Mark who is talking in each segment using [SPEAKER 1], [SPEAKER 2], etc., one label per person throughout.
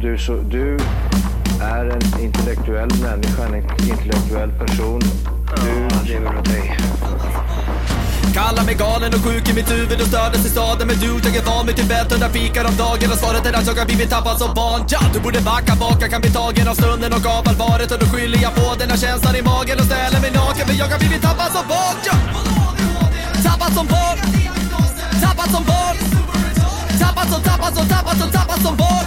[SPEAKER 1] du, så, du är en intellektuell människa, en intellektuell person. Du lever av dig.
[SPEAKER 2] Kallar mig galen och sjuk i mitt huvud och stördes i staden Men du, jag är van vid Tibet och där fikar om dagen Och svaret är att jag har blivit tappad som barn ja, Du borde backa bak, jag kan bli tagen av stunden och av allvaret Och då skyller jag på den här känslan i magen och ställer mig naken För jag har blivit tappad som barn ja. Tappad som barn Tappad som barn Tappad som, tappad som, tappad som, tappad som barn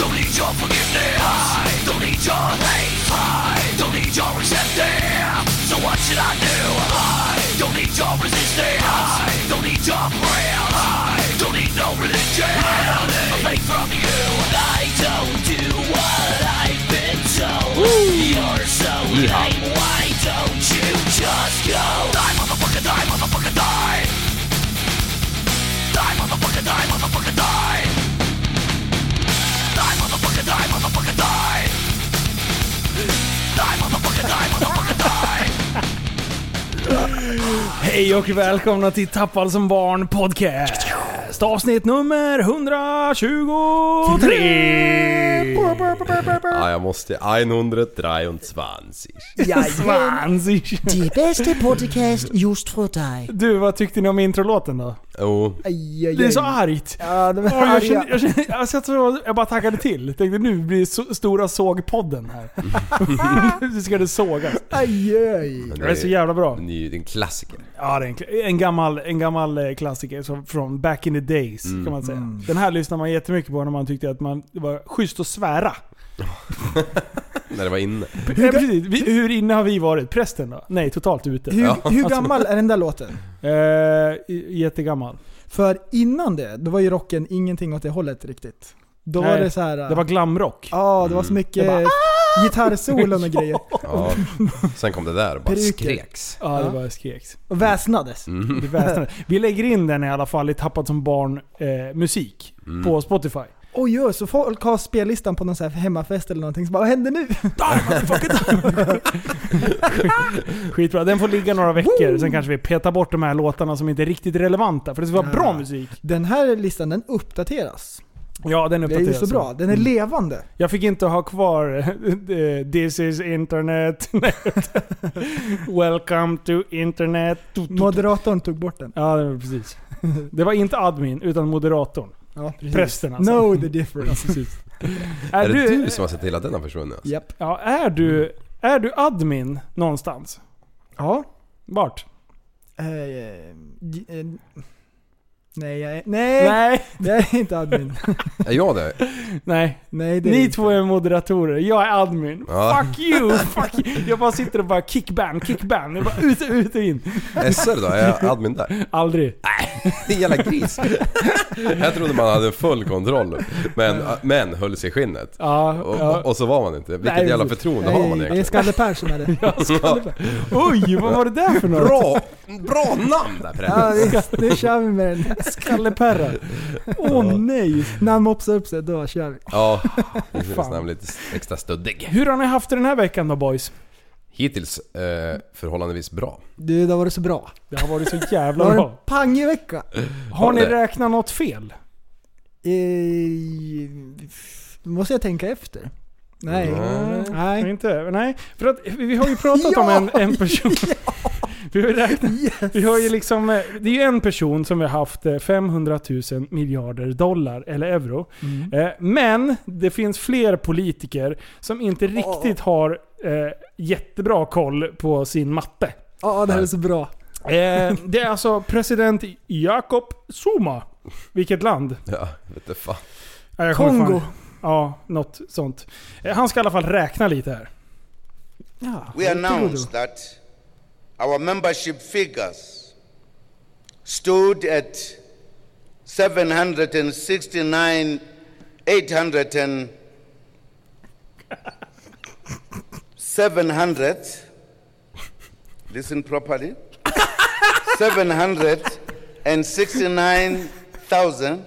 [SPEAKER 2] Don't need your forgiveness. I don't need your hate. I don't need your resentment. So what should I do? I don't need your resistance. I don't need your prayers. I don't need no religion. A faith from you. I don't do what I've been told. You're so lame. Why don't you just go? Die, motherfucker, die, motherfucker, die. Die, motherfucker, die, motherfucker, die. Die, motherfucker, die, motherfucker, die! Die, motherfucker, die, motherfucker, die!
[SPEAKER 3] Hej och välkomna till Tappad som barn podcast. Avsnitt nummer 123!
[SPEAKER 4] Ja, jag måste 123.
[SPEAKER 3] Svansig.
[SPEAKER 5] Die beste Podcast just för dig.
[SPEAKER 3] Du, vad tyckte ni om introlåten då?
[SPEAKER 4] Jo,
[SPEAKER 3] Det är så argt.
[SPEAKER 5] Ja, de är
[SPEAKER 3] Oj, jag,
[SPEAKER 5] arga.
[SPEAKER 3] kände, jag, kände, alltså jag, tror jag bara taggade till. Tänkte nu blir det so stora sågpodden här. Nu ska det sågas.
[SPEAKER 5] Aj, aj.
[SPEAKER 4] men
[SPEAKER 3] Det är så jävla bra.
[SPEAKER 4] Det är ju en klassiker.
[SPEAKER 3] Ja, det är en, kla- en, gammal, en gammal eh, klassiker som, från back in the days kan man säga.
[SPEAKER 5] Mm.
[SPEAKER 3] Den här lyssnade man jättemycket på när man tyckte att man, det var schysst att svära.
[SPEAKER 4] När det var inne.
[SPEAKER 3] Hur, ja, precis. Vi, hur inne har vi varit? Prästen då? Nej, totalt ute.
[SPEAKER 6] Hur,
[SPEAKER 4] Ja.
[SPEAKER 6] hur gammal är den där låten?
[SPEAKER 3] Eh, i- jättegammal.
[SPEAKER 6] För innan det, då var ju rocken ingenting åt det hållet riktigt. Då var
[SPEAKER 3] Nej,
[SPEAKER 6] det så här.
[SPEAKER 3] Det var glamrock.
[SPEAKER 6] Ja, det var så mycket
[SPEAKER 3] Det
[SPEAKER 6] gitarrsolon och grejer.
[SPEAKER 4] Ja. Sen kom det där och bara
[SPEAKER 6] Peruker.
[SPEAKER 4] skreks.
[SPEAKER 3] Ja, det bara skreks.
[SPEAKER 6] Och väsnades.
[SPEAKER 3] Det väsnade. Vi lägger in den i alla fall i Tappad som barn eh, musik
[SPEAKER 6] Mm.
[SPEAKER 3] på Spotify.
[SPEAKER 6] Oj, oj, så folk har spellistan på någon så här hemmafest eller någonting. Så bara, vad händer nu?
[SPEAKER 3] Skitbra. Den får ligga några veckor, sen kanske vi petar bort de här låtarna som inte är riktigt relevanta. För det ska vara bra musik.
[SPEAKER 6] Den här listan, den uppdateras.
[SPEAKER 3] Ja, Mm. den
[SPEAKER 6] Det är
[SPEAKER 3] uppdateras.
[SPEAKER 6] ju så bra. Den är levande.
[SPEAKER 3] Jag fick inte ha kvar eh, This is internet. Welcome to internet.
[SPEAKER 6] Moderatorn tog bort den.
[SPEAKER 3] Ja, det var precis. Det var inte admin, utan moderatorn.
[SPEAKER 6] Ja, precis.
[SPEAKER 3] Prästen alltså.
[SPEAKER 6] Know the difference.
[SPEAKER 3] Precis.
[SPEAKER 4] Är
[SPEAKER 3] Är,
[SPEAKER 4] det
[SPEAKER 3] du,
[SPEAKER 4] du som har sett till att den har försvunnit? alltså?
[SPEAKER 6] Japp.
[SPEAKER 3] ja, är, du, är du admin någonstans?
[SPEAKER 6] Ja.
[SPEAKER 3] Vart?
[SPEAKER 6] Eh, eh, j- eh, nej, jag är, nej,
[SPEAKER 3] Nej.
[SPEAKER 6] det är inte admin.
[SPEAKER 4] Är jag det?
[SPEAKER 3] Nej.
[SPEAKER 6] Nej, det är
[SPEAKER 3] Ni
[SPEAKER 6] inte.
[SPEAKER 3] två är moderatorer, jag är admin.
[SPEAKER 4] Ja.
[SPEAKER 3] Fuck you! Fuck you. Jag bara sitter och bara kickban, kickban. Jag bara ut, ut och in.
[SPEAKER 4] SR då? Är jag admin där?
[SPEAKER 3] Aldrig.
[SPEAKER 4] Det är jävla gris. Jag trodde man hade full kontroll. Men, men höll sig i skinnet.
[SPEAKER 3] Ja,
[SPEAKER 4] Och,
[SPEAKER 3] ja.
[SPEAKER 4] och så var man inte. Vilket
[SPEAKER 3] Nej,
[SPEAKER 4] jävla
[SPEAKER 3] precis.
[SPEAKER 4] förtroende har man
[SPEAKER 6] Nej, det är
[SPEAKER 4] egentligen?
[SPEAKER 6] Skalle Persson är det.
[SPEAKER 3] Oj, vad var det där för något?
[SPEAKER 4] Bra, bra namn där
[SPEAKER 6] Ja,
[SPEAKER 4] Preben.
[SPEAKER 6] visst, nu kör vi med den.
[SPEAKER 3] Skalleperra. Åh nej!
[SPEAKER 6] När han mopsar upp sig, då kör vi.
[SPEAKER 4] Ja, det känns nämligen lite extra stöddig.
[SPEAKER 3] Hur har ni haft det den här veckan då boys?
[SPEAKER 4] Hittills eh, förhållandevis bra.
[SPEAKER 6] Du, det har varit så bra.
[SPEAKER 3] Det har varit så
[SPEAKER 6] Det
[SPEAKER 3] jävla
[SPEAKER 6] har
[SPEAKER 3] bra.
[SPEAKER 6] en pangig vecka.
[SPEAKER 3] Har ni
[SPEAKER 4] det.
[SPEAKER 3] räknat något fel?
[SPEAKER 6] Eh, måste jag tänka efter? Nej.
[SPEAKER 3] Nej,
[SPEAKER 6] Nej.
[SPEAKER 3] Inte? Nej, för att vi har ju pratat om en, en person. Vi har, ju räknat, vi har ju liksom, eh, det är ju en person som vi har haft eh, 500 000 miljarder dollar eller euro. Eh, Men det finns fler politiker som inte riktigt har eh, jättebra koll på sin matte.
[SPEAKER 6] Ja, det här är så bra.
[SPEAKER 3] Eh, det är alltså president Jakob Zuma. Vilket land?
[SPEAKER 4] Ja, vet du fan.
[SPEAKER 3] Ja, jag kommer
[SPEAKER 6] Kongo.
[SPEAKER 3] fan- Ja, något sånt. Eh, Han ska i alla fall räkna lite här.
[SPEAKER 6] Ja,
[SPEAKER 7] we announced that our membership figures stood at 769 800 and 700 listen properly 769,820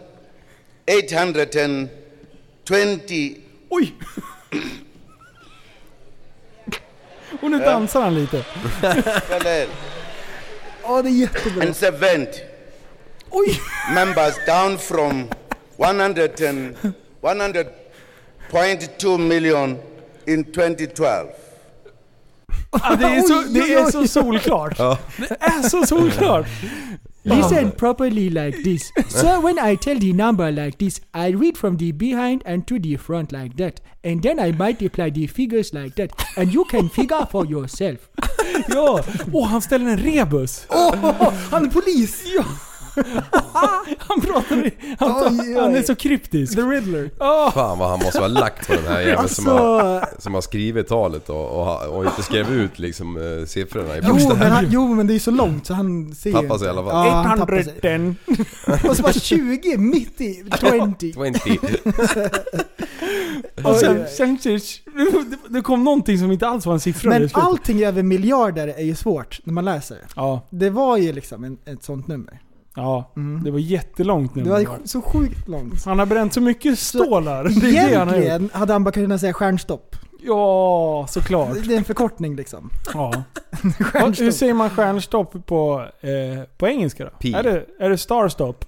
[SPEAKER 3] Oj! Och nu
[SPEAKER 6] Eh.
[SPEAKER 3] dansar han lite.
[SPEAKER 6] Ja, det är jättebra.
[SPEAKER 7] and 70
[SPEAKER 6] Oj!
[SPEAKER 7] members down from 100 and 100.2 million in 2012.
[SPEAKER 3] Ja, det, är så,
[SPEAKER 6] Oj,
[SPEAKER 3] det är
[SPEAKER 6] oj,
[SPEAKER 3] så
[SPEAKER 6] oj.
[SPEAKER 3] solklart. Det är så solklart.
[SPEAKER 5] Listen properly like this. So when I tell the number like this, I read from the behind and to the front like that. And then I multiply the figures like that. And you can figure for yourself.
[SPEAKER 3] Ja. Åh, han ställer en rebus.
[SPEAKER 6] Han är polis! Ja.
[SPEAKER 3] Han pratar i, han,
[SPEAKER 6] Oj, oj.
[SPEAKER 3] han är så kryptisk.
[SPEAKER 6] The Riddler.
[SPEAKER 4] Fan vad han måste vara lack på den här jäveln som,
[SPEAKER 6] Alltså-
[SPEAKER 4] har, som har skrivit talet och, och, ha- och inte skrev ut liksom eh, siffrorna i
[SPEAKER 6] Jo
[SPEAKER 4] första.
[SPEAKER 6] men, han, jo men det är så långt så han ser ju
[SPEAKER 4] Tappar
[SPEAKER 6] inte.
[SPEAKER 4] sig i alla fall.
[SPEAKER 6] Ja, han tappar sig.
[SPEAKER 3] 800.
[SPEAKER 6] Och så bara 20 mitt i, 20.
[SPEAKER 4] 20.
[SPEAKER 3] Och
[SPEAKER 6] Oj,
[SPEAKER 3] sen,
[SPEAKER 6] oj.
[SPEAKER 3] sen det, det kom någonting som inte alls var en siffra. där
[SPEAKER 6] Men
[SPEAKER 3] i slutet.
[SPEAKER 6] allting över miljarder är ju svårt när man läser. det.
[SPEAKER 3] Ja,
[SPEAKER 6] Det var ju liksom en, ett sånt nummer. Mm.
[SPEAKER 3] ja. Det var jättelångt nu.
[SPEAKER 6] Det var ju så sjukt långt.
[SPEAKER 3] Han har bränt så mycket stålar. det är det han har gjort.
[SPEAKER 6] Egentligen hade han bara kunnat säga stjärnstopp.
[SPEAKER 3] Ja, såklart.
[SPEAKER 6] Det är en förkortning liksom.
[SPEAKER 3] Ja. Vad- Hur
[SPEAKER 6] Stjärnstopp.
[SPEAKER 3] säger man stjärnstopp på, eh, på engelska då?
[SPEAKER 4] Pi.
[SPEAKER 3] Är det, är det starstopp?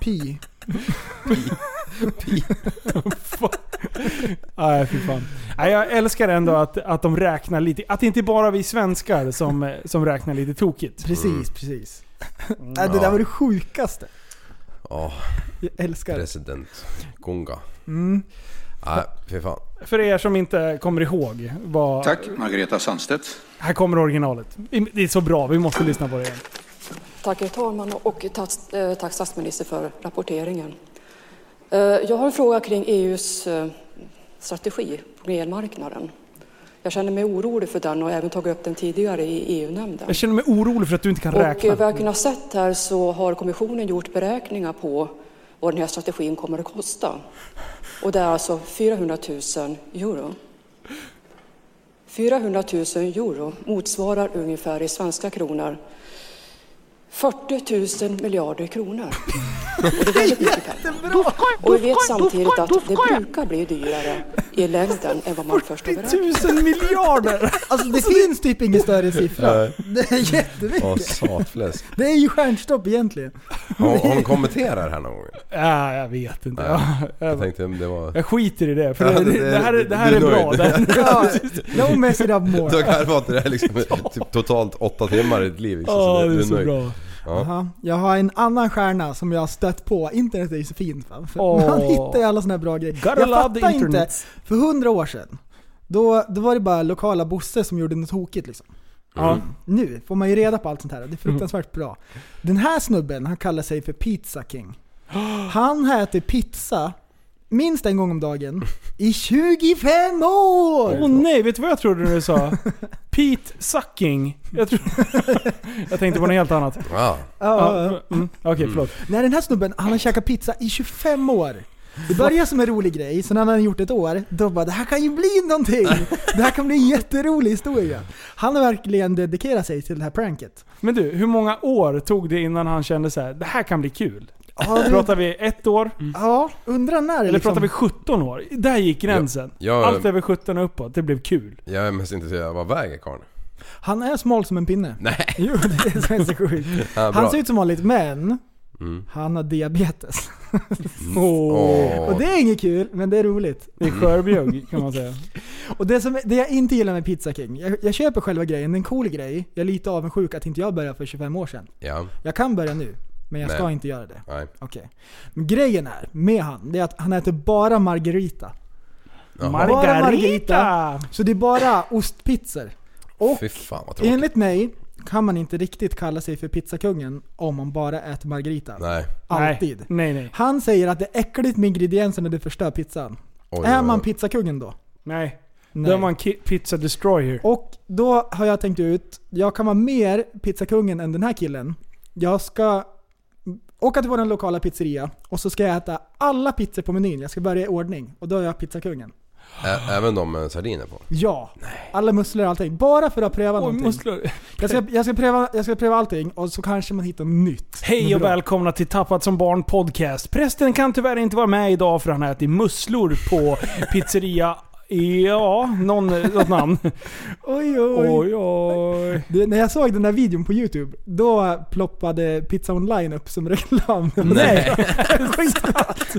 [SPEAKER 6] Pi.
[SPEAKER 3] Nej, fy fan. Nej, jag älskar ändå att, att de räknar lite. Att det inte bara är vi svenskar som, eh, som räknar lite tokigt.
[SPEAKER 6] Precis, precis. Äh, det där var det sjukaste.
[SPEAKER 4] Ja,
[SPEAKER 6] Jag älskar det.
[SPEAKER 4] president Gunga.
[SPEAKER 6] Mm.
[SPEAKER 4] Nej, fy fan.
[SPEAKER 3] För er som inte kommer ihåg vad...
[SPEAKER 8] Tack, Margareta Sandstedt.
[SPEAKER 3] Här kommer originalet. Det är så bra, vi måste lyssna på det igen.
[SPEAKER 9] Tack herr talman och tack, eh, tack statsminister för rapporteringen. Eh, Jag har en fråga kring EUs eh, strategi på elmarknaden. Jag känner mig orolig för den och har även tagit upp den tidigare i E EU-nämnden.
[SPEAKER 3] Jag känner mig orolig för att du inte kan
[SPEAKER 9] Och eh, vad
[SPEAKER 3] räkna.
[SPEAKER 9] jag kunnat sett här så har kommissionen gjort beräkningar på vad den här strategin kommer att kosta. Och det är alltså 400 000 euro. 400 000 euro motsvarar ungefär i svenska kronor 40 000 miljarder kronor. Och det är väldigt mycket pengar. Och vi vet samtidigt att det brukar bli dyrare i längden än vad man först har beräknat.
[SPEAKER 6] Tusen miljarder! Alltså det finns typ ingen större siffra.
[SPEAKER 4] Nej.
[SPEAKER 6] Det är jättemycket.
[SPEAKER 4] Åh, satfläsk.
[SPEAKER 6] Det är ju stjärnstopp egentligen.
[SPEAKER 4] Har har hon kommenterat här någon gång?
[SPEAKER 3] Ja, jag vet inte.
[SPEAKER 4] Nej,
[SPEAKER 3] jag,
[SPEAKER 4] Jag tänkte om det var...
[SPEAKER 3] jag skiter i det, för
[SPEAKER 4] Ja,
[SPEAKER 3] det,
[SPEAKER 4] det-
[SPEAKER 3] det, det här, är- det här
[SPEAKER 4] du
[SPEAKER 3] är
[SPEAKER 4] är
[SPEAKER 3] bra.
[SPEAKER 4] nöjd.
[SPEAKER 3] Det-
[SPEAKER 6] Ja, no mess it up more.
[SPEAKER 4] Du har garvat det här liksom typ totalt åtta timmar i ditt liv. liksom,
[SPEAKER 3] Ja, det är
[SPEAKER 4] du
[SPEAKER 3] så
[SPEAKER 4] nöjd.
[SPEAKER 3] bra.
[SPEAKER 6] Aha. Jag har en annan stjärna som jag har stött på. Internet är ju så fint. va? För
[SPEAKER 3] Åh.
[SPEAKER 6] Man hittar ju alla såna här bra grejer.
[SPEAKER 3] Gotta
[SPEAKER 6] jag
[SPEAKER 3] love the
[SPEAKER 6] fattar inte.
[SPEAKER 3] internet.
[SPEAKER 6] För hundra år sedan, då, då var det bara lokala Bosse som gjorde något tokigt liksom.
[SPEAKER 3] Ja.
[SPEAKER 6] Nu får man ju reda på allt sånt här och det är fruktansvärt bra. Den här snubben, han kallar sig för Pizza King. Han har ätit pizza minst en gång om dagen i 25 år!
[SPEAKER 3] Åh nej, vet du vad jag trodde när du sa? Pete Sucking. Jag, tro... jag tänkte på något helt annat.
[SPEAKER 4] Ja.
[SPEAKER 3] Ja, mm, Okej, förlåt.
[SPEAKER 6] Nej den här snubben, han har käkat pizza i 25 år. Det börjar som en rolig grej, sen när han har gjort ett år, då bara det här kan ju bli någonting! Det här kan bli en jätterolig historia. Han har verkligen dedikerat sig till det här pranket.
[SPEAKER 3] Men du, hur många år tog det innan han kände så här, det här kan bli kul? Pratar vi ett år?
[SPEAKER 4] Mm.
[SPEAKER 6] Ja, undrar när liksom,
[SPEAKER 3] Eller pratar vi 17 år? Där gick gränsen.
[SPEAKER 4] liksom- Ja, ja.
[SPEAKER 3] Allt över 17 och uppåt, det blev kul.
[SPEAKER 4] Jag är mest intresserad av vad väger karln?
[SPEAKER 6] Han är smal som en pinne.
[SPEAKER 4] Nej.
[SPEAKER 6] Jo, det är så- det är så sjukt.
[SPEAKER 4] Ja, bra.
[SPEAKER 6] Han ser ut som vanligt, men
[SPEAKER 4] Mm.
[SPEAKER 6] han har diabetes.
[SPEAKER 4] Åh.
[SPEAKER 6] Och det är inget kul, men det är roligt.
[SPEAKER 3] Det är
[SPEAKER 4] Mm.
[SPEAKER 3] skörbjugg kan man säga.
[SPEAKER 6] Och det, som, det jag inte gillar med Pizza King, jag, jag köper själva grejen, det är en cool grej. Jag är lite avundsjuk att inte jag började för 25 år sedan.
[SPEAKER 4] Ja,
[SPEAKER 6] Jag kan börja nu, men jag ska
[SPEAKER 4] Nej.
[SPEAKER 6] inte göra det.
[SPEAKER 4] nej.
[SPEAKER 6] Okej. Men grejen är, med han, det är att han äter bara margarita.
[SPEAKER 4] Jaha.
[SPEAKER 3] Margarita!
[SPEAKER 6] Margarita. Så det är bara ostpizzor. Och
[SPEAKER 4] Fy fan vad tråkigt.
[SPEAKER 6] enligt mig kan man inte riktigt kalla sig för pizzakungen om man bara äter margarita.
[SPEAKER 4] Nej.
[SPEAKER 6] Alltid.
[SPEAKER 3] Nej, nej. nej.
[SPEAKER 6] Han säger att det är äckligt med ingredienserna det förstör pizzan.
[SPEAKER 4] Oj,
[SPEAKER 6] är
[SPEAKER 4] oj,
[SPEAKER 6] man
[SPEAKER 4] oj.
[SPEAKER 6] pizzakungen då?
[SPEAKER 3] nej.
[SPEAKER 6] Nej.
[SPEAKER 3] Då är man ki- pizza destroyer.
[SPEAKER 6] Och då har jag tänkt ut, jag kan vara mer pizzakungen än den här killen. Jag ska åka till vår lokala pizzeria och så ska jag äta alla pizzor på menyn. Jag ska börja i ordning. Och då är jag pizzakungen.
[SPEAKER 4] Ä- Även de med sardiner på.
[SPEAKER 6] Ja. Alla musslor och allting. Bara för att pröva
[SPEAKER 3] Oj,
[SPEAKER 6] någonting.
[SPEAKER 3] musslor.
[SPEAKER 6] Jag ska, jag, ska pröva, jag ska pröva allting och så kanske man hittar något nytt.
[SPEAKER 3] Hej
[SPEAKER 6] Något
[SPEAKER 3] och
[SPEAKER 6] bra.
[SPEAKER 3] välkomna till Tappat som barn podcast. Prästen kan tyvärr inte vara med idag för han har ätit musslor på pizzeria, ja, någon, något namn.
[SPEAKER 6] Oj, oj, oj.
[SPEAKER 3] Oj, oj.
[SPEAKER 6] Du, när jag såg den där videon på Youtube, då ploppade Pizza Online upp som reklam. Nej!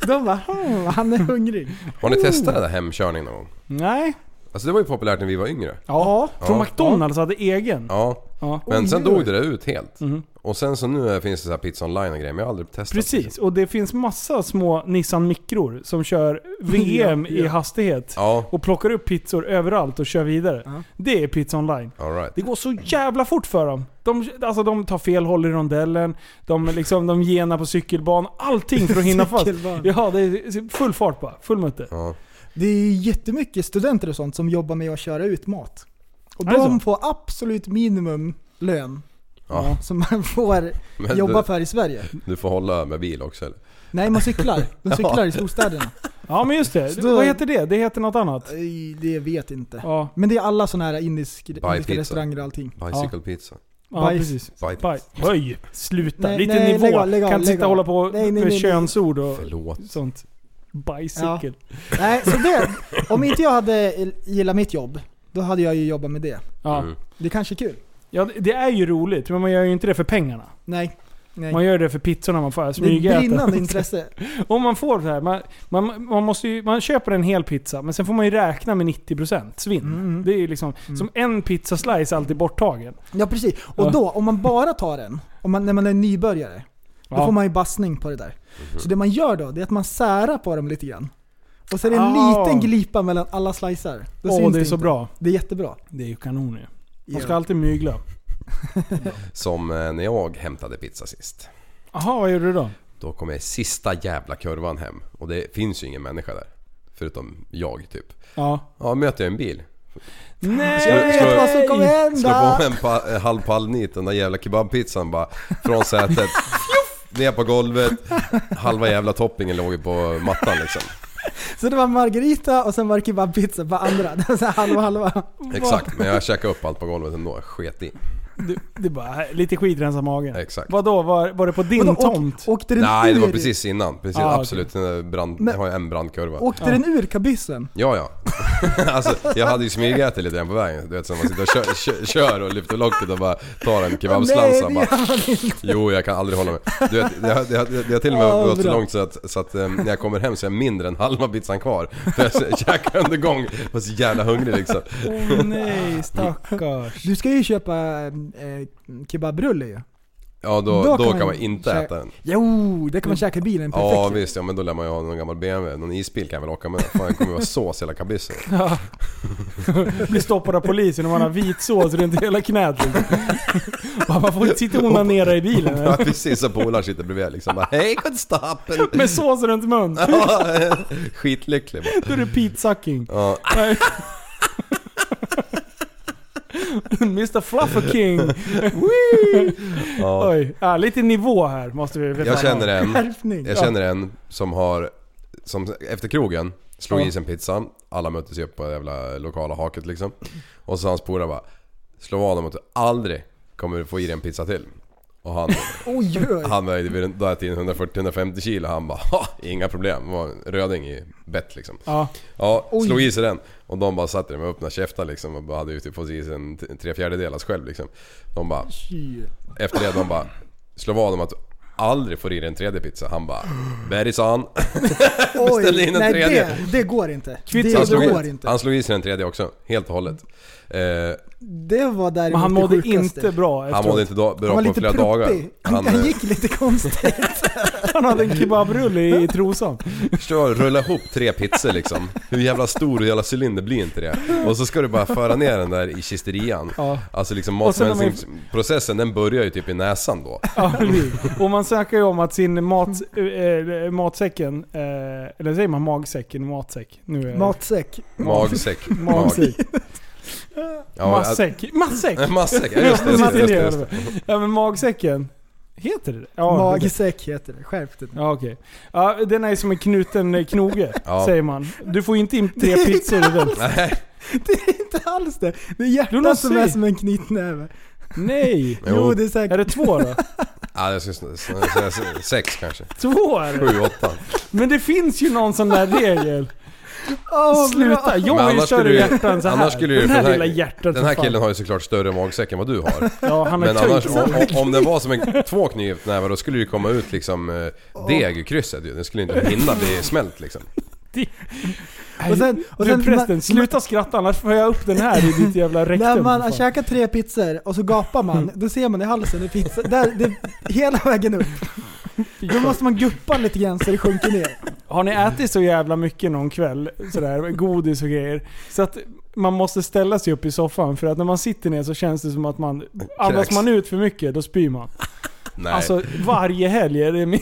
[SPEAKER 6] De bara hmm, han är hungrig.
[SPEAKER 4] Har ni testat det där hemkörning någon gång?
[SPEAKER 3] Nej.
[SPEAKER 4] Alltså det var ju populärt när vi var yngre.
[SPEAKER 6] Ja.
[SPEAKER 3] Från
[SPEAKER 4] Ja.
[SPEAKER 3] McDonalds hade egen.
[SPEAKER 4] Ja.
[SPEAKER 3] Ja.
[SPEAKER 4] Men sen
[SPEAKER 6] Oj, oj. Mm-hmm.
[SPEAKER 4] dog det där ut helt. Och sen så nu finns det så här pizza online och grejer, men jag har aldrig testat.
[SPEAKER 3] Precis, och det finns massa små Nissan Mikror som kör VM i hastighet.
[SPEAKER 4] Ja,
[SPEAKER 3] Och plockar upp pizzor överallt och kör vidare.
[SPEAKER 6] Ja.
[SPEAKER 3] Det är pizza online.
[SPEAKER 4] alright.
[SPEAKER 3] Det går så jävla fort för dem. De, alltså de tar fel håll i rondellen, de, liksom, de genar på cykelban, allting för att hinna fast.
[SPEAKER 6] Cykelbarn.
[SPEAKER 3] Ja, det är full fart bara. Full mutter.
[SPEAKER 4] Ja.
[SPEAKER 6] Det är ju jättemycket studenter och sånt som jobbar med att köra ut mat. Och
[SPEAKER 3] Är det
[SPEAKER 6] de
[SPEAKER 3] så?
[SPEAKER 6] får absolut minimum lön
[SPEAKER 4] Ja.
[SPEAKER 6] som man får
[SPEAKER 4] Men
[SPEAKER 6] jobba
[SPEAKER 4] du,
[SPEAKER 6] för i Sverige.
[SPEAKER 4] du får hålla med bil också eller?
[SPEAKER 6] Nej, man cyklar. De cyklar i storstäderna.
[SPEAKER 3] Ja men just det.
[SPEAKER 6] Så då-
[SPEAKER 3] Vad heter det? Det heter något annat.
[SPEAKER 6] Ej, Det vet inte.
[SPEAKER 3] Ja,
[SPEAKER 6] Men det är alla sådana här indisk, indiska
[SPEAKER 4] pizza.
[SPEAKER 6] restauranger och allting.
[SPEAKER 4] Bicycle pizza.
[SPEAKER 3] ja
[SPEAKER 6] Bajs.
[SPEAKER 3] precis.
[SPEAKER 4] Bite.
[SPEAKER 3] Baj. Oj! Sluta.
[SPEAKER 6] Nej,
[SPEAKER 3] Lite
[SPEAKER 6] nej,
[SPEAKER 3] nivå.
[SPEAKER 6] lägg av, lägg av,
[SPEAKER 3] kan inte
[SPEAKER 6] lägg
[SPEAKER 3] sitta och
[SPEAKER 6] av.
[SPEAKER 3] hålla på
[SPEAKER 6] Nej, nej, nej,
[SPEAKER 3] med
[SPEAKER 6] nej.
[SPEAKER 3] könsord och
[SPEAKER 4] Förlåt.
[SPEAKER 3] sånt. Bicycle.
[SPEAKER 6] Nej, så det, om inte jag hade gillat mitt jobb, då hade jag ju jobbat med det.
[SPEAKER 3] Ja.
[SPEAKER 4] Mm.
[SPEAKER 6] Det kanske är kul.
[SPEAKER 3] ja, det- det är ju roligt. Men man gör ju inte det för pengarna.
[SPEAKER 6] Nej. Nej.
[SPEAKER 3] Man gör det för pizzorna man får Alltså,
[SPEAKER 6] det är ett
[SPEAKER 3] smyga
[SPEAKER 6] brinnande intresse.
[SPEAKER 3] Om man får det här, man, man, man, måste ju, man köper en hel pizza, men sen får man ju räkna med 90% svinn.
[SPEAKER 6] Mm.
[SPEAKER 3] Det är ju liksom, som en pizzaslice alltid borttagen.
[SPEAKER 6] Ja precis.
[SPEAKER 3] Ja.
[SPEAKER 6] Och då, om man bara tar en, om man, när man är nybörjare, då
[SPEAKER 3] Ja.
[SPEAKER 6] får man ju bassning på det där.
[SPEAKER 4] Mhm.
[SPEAKER 6] Så det man gör då, det är att man särar på dem lite grann. Och så är det en
[SPEAKER 3] Ah.
[SPEAKER 6] liten glipa mellan alla slicer. Då
[SPEAKER 3] Åh,
[SPEAKER 6] syns
[SPEAKER 3] det är så
[SPEAKER 6] inte.
[SPEAKER 3] bra.
[SPEAKER 6] Det är jättebra.
[SPEAKER 3] Det är ju kanon ju. Man ska alltid mygla.
[SPEAKER 4] Som eh, när jag hämtade pizza sist.
[SPEAKER 3] Jaha, vad gjorde du då?
[SPEAKER 4] Då kom jag i sista jävla kurvan hem. Och det finns ju ingen människa där. Förutom jag typ.
[SPEAKER 3] Ja.
[SPEAKER 4] Ja, möter jag en bil.
[SPEAKER 3] Nej!
[SPEAKER 4] Slå- slå-
[SPEAKER 6] Vad som kommer
[SPEAKER 4] Slår
[SPEAKER 6] hända!
[SPEAKER 4] på en pa, eh, halv pall nit, den där jävla kebabpizzan bara från sätet. Fjuff! Ner på golvet. Halva jävla toppingen låg ju på mattan liksom.
[SPEAKER 6] Så det var margarita och sen var det kebabpizza på andra. Det var så här halva halva.
[SPEAKER 4] Exakt, men jag käkade upp allt på golvet ändå. Sket i.
[SPEAKER 3] Du, det är bara lite skitrensa magen.
[SPEAKER 4] Exakt.
[SPEAKER 3] Vadå, var, var det på din
[SPEAKER 6] Vadå, åk-
[SPEAKER 3] tomt?
[SPEAKER 6] Åkte den
[SPEAKER 4] Nej, det var
[SPEAKER 6] ur-
[SPEAKER 4] precis innan. Precis,
[SPEAKER 3] Ah, okej.
[SPEAKER 4] absolut. Den där brand,
[SPEAKER 6] Men-
[SPEAKER 4] jag har ju en brandkurva.
[SPEAKER 6] Åkte den ur kabyssen?
[SPEAKER 4] Ja, ja. alltså, jag hade ju smygätit lite grann på vägen. Du vet, så man sitter och kör, kör, kör och lyfter locket och bara tar en kebabslamsa.
[SPEAKER 6] det
[SPEAKER 4] bara,
[SPEAKER 6] gör man inte.
[SPEAKER 4] jo, jag kan aldrig hålla mig. Du vet, det, har- det, har- det har till och med
[SPEAKER 6] Ja,
[SPEAKER 4] gått så
[SPEAKER 6] bra.
[SPEAKER 4] långt så att, så att eh, när jag kommer hem så är jag mindre än halva pizzan kvar. För jag käkar under gång. Jag var så jävla hungrig liksom.
[SPEAKER 3] Åh nej, stackars.
[SPEAKER 6] Du ska ju köpa eh, kebabrulle ju.
[SPEAKER 4] Ja, då, då, kan man, inte
[SPEAKER 6] kä-
[SPEAKER 4] äta den. Mm.
[SPEAKER 6] Jo, det kan man käka i bilen perfekt.
[SPEAKER 4] Ja,
[SPEAKER 6] ju.
[SPEAKER 4] visst. Ja, men då lär man ju ha någon gammal BMW. Någon isbil kan jag väl åka med. Fan, jag kommer ju vara sås i hela kabyssen.
[SPEAKER 3] Ja. Blir stoppad av polisen om man har vit sås runt hela knät. liksom. Man får inte sitta och onanera i bilen.
[SPEAKER 4] Ja,
[SPEAKER 3] eller?
[SPEAKER 4] precis. Och polaren sitter bredvid liksom. Bara, Hej, konstapeln!
[SPEAKER 3] Med sås runt mun.
[SPEAKER 4] Ja, Skitlycklig bara.
[SPEAKER 3] Då är det pizzacking.
[SPEAKER 4] Ja,
[SPEAKER 3] Nej. Mr Fluffer King.
[SPEAKER 4] ja.
[SPEAKER 3] Oj, ja, lite nivå här måste vi veta.
[SPEAKER 4] Jag känner en,
[SPEAKER 6] Skärpning.
[SPEAKER 4] jag känner en som har, som efter krogen, slog
[SPEAKER 3] Ja.
[SPEAKER 4] i sig en pizza. Alla möttes ju upp på det jävla lokala haket liksom. Och så hans polare bara, slå vad om att du aldrig kommer få i dig en pizza till. Och han,
[SPEAKER 6] Oj, oj, oj.
[SPEAKER 4] han vägde vid den där tiden 140-150 kilo. Han bara, "Ha, inga problem. Det var en röding i bett liksom.
[SPEAKER 3] Ja.
[SPEAKER 4] Ja, slog i sig den. Och de bara satt där med öppna käftar liksom och bara hade ju typ fått i sig en t- tre fjärdedelars själv liksom. De bara... Efter det de bara... Slå vad om att du aldrig får i dig en tredje pizza. Han bara... Bergis han. Beställde in en
[SPEAKER 6] nej,
[SPEAKER 4] tredje.
[SPEAKER 6] Det, det går inte.
[SPEAKER 3] Kvitto.
[SPEAKER 6] Det,
[SPEAKER 4] Han
[SPEAKER 3] Han
[SPEAKER 4] slog,
[SPEAKER 6] det går
[SPEAKER 4] i,
[SPEAKER 6] inte.
[SPEAKER 4] han slog i sig den tredje också. Helt och hållet. Eh,
[SPEAKER 6] Det var däremot
[SPEAKER 3] Men han
[SPEAKER 6] det
[SPEAKER 3] mådde
[SPEAKER 6] sjukaste.
[SPEAKER 3] inte bra
[SPEAKER 4] han
[SPEAKER 3] efteråt.
[SPEAKER 4] mådde inte då- bra
[SPEAKER 6] Han var
[SPEAKER 4] på
[SPEAKER 6] lite
[SPEAKER 4] flera dagar.
[SPEAKER 6] proppig. Han,
[SPEAKER 4] Han
[SPEAKER 6] han
[SPEAKER 4] eh,
[SPEAKER 6] gick lite konstigt.
[SPEAKER 3] Han hade en kebabrulle i trosan.
[SPEAKER 4] förstår, rulla ihop tre pizzor liksom. Hur jävla stor och jävla cylinder blir inte det? Och så ska du bara föra ner den där i kisterian.
[SPEAKER 3] Ja.
[SPEAKER 4] Alltså liksom
[SPEAKER 3] Och sen när man-
[SPEAKER 4] matsmältningsprocessen den börjar ju typ i näsan då.
[SPEAKER 3] Ja, precis. och man snackar ju om att sin mat, eh, matsäcken, eh, eller säger man magsäcken? Matsäck? Nu är det-
[SPEAKER 6] Matsäck.
[SPEAKER 4] Magsäck.
[SPEAKER 3] Magsäck.
[SPEAKER 4] Ja,
[SPEAKER 3] Massäck. Massäck!
[SPEAKER 4] Massäck, ja, just det. Just det, just det.
[SPEAKER 3] Ja men magsäcken. Heter det det?
[SPEAKER 6] Magsäck heter det, skärp dig.
[SPEAKER 3] Ja okej. Ja, den är som en knuten eh, knoge,
[SPEAKER 4] Ja.
[SPEAKER 3] säger man. Du får inte in tre pizzor i den.
[SPEAKER 4] Nej,
[SPEAKER 6] Det är inte alls det. Det är
[SPEAKER 3] Jonas,
[SPEAKER 6] hjärtat som är
[SPEAKER 3] säg.
[SPEAKER 6] som en knytnäve.
[SPEAKER 3] Nej!
[SPEAKER 4] Jo.
[SPEAKER 6] Jo, det är
[SPEAKER 3] Är
[SPEAKER 6] säkert.
[SPEAKER 3] det två då?
[SPEAKER 4] ja, jag syns, s- s- sex kanske.
[SPEAKER 3] Två är det.
[SPEAKER 4] Sju, åtta.
[SPEAKER 3] Men det finns ju någon sån där regel.
[SPEAKER 6] Åh,
[SPEAKER 3] Sluta!
[SPEAKER 4] Men
[SPEAKER 3] Jag
[SPEAKER 4] annars
[SPEAKER 3] kör
[SPEAKER 4] skulle du-
[SPEAKER 3] hjärtan så här.
[SPEAKER 4] annars skulle du-
[SPEAKER 3] den här
[SPEAKER 4] den här-
[SPEAKER 3] lilla
[SPEAKER 4] Den
[SPEAKER 3] hjärtan för
[SPEAKER 4] här
[SPEAKER 3] fan.
[SPEAKER 4] killen har ju såklart större magsäck än vad du har.
[SPEAKER 3] Ja, han är
[SPEAKER 4] Men
[SPEAKER 3] töjt.
[SPEAKER 4] annars, om, om det var som en, två knytnävar då skulle det ju komma ut liksom eh, deg ur krysset ju. Den skulle inte hinna bli smält liksom.
[SPEAKER 6] Och sen, och sen
[SPEAKER 3] du prästen, sluta skratta annars får jag upp den här i ditt jävla rektum.
[SPEAKER 6] när man har
[SPEAKER 3] för fan.
[SPEAKER 6] käkat tre pizzor och så gapar man, då ser man i halsen hur pizza, där, det, hela vägen upp. Då måste man guppa lite grann så det sjunker ner.
[SPEAKER 3] Har ni ätit så jävla mycket någon kväll, sådär, godis och grejer, så att man måste ställa sig upp i soffan för att när man sitter ner så känns det som att man... Andas man ut för mycket, då spyr man.
[SPEAKER 4] Nej.
[SPEAKER 3] Alltså varje helg är det min...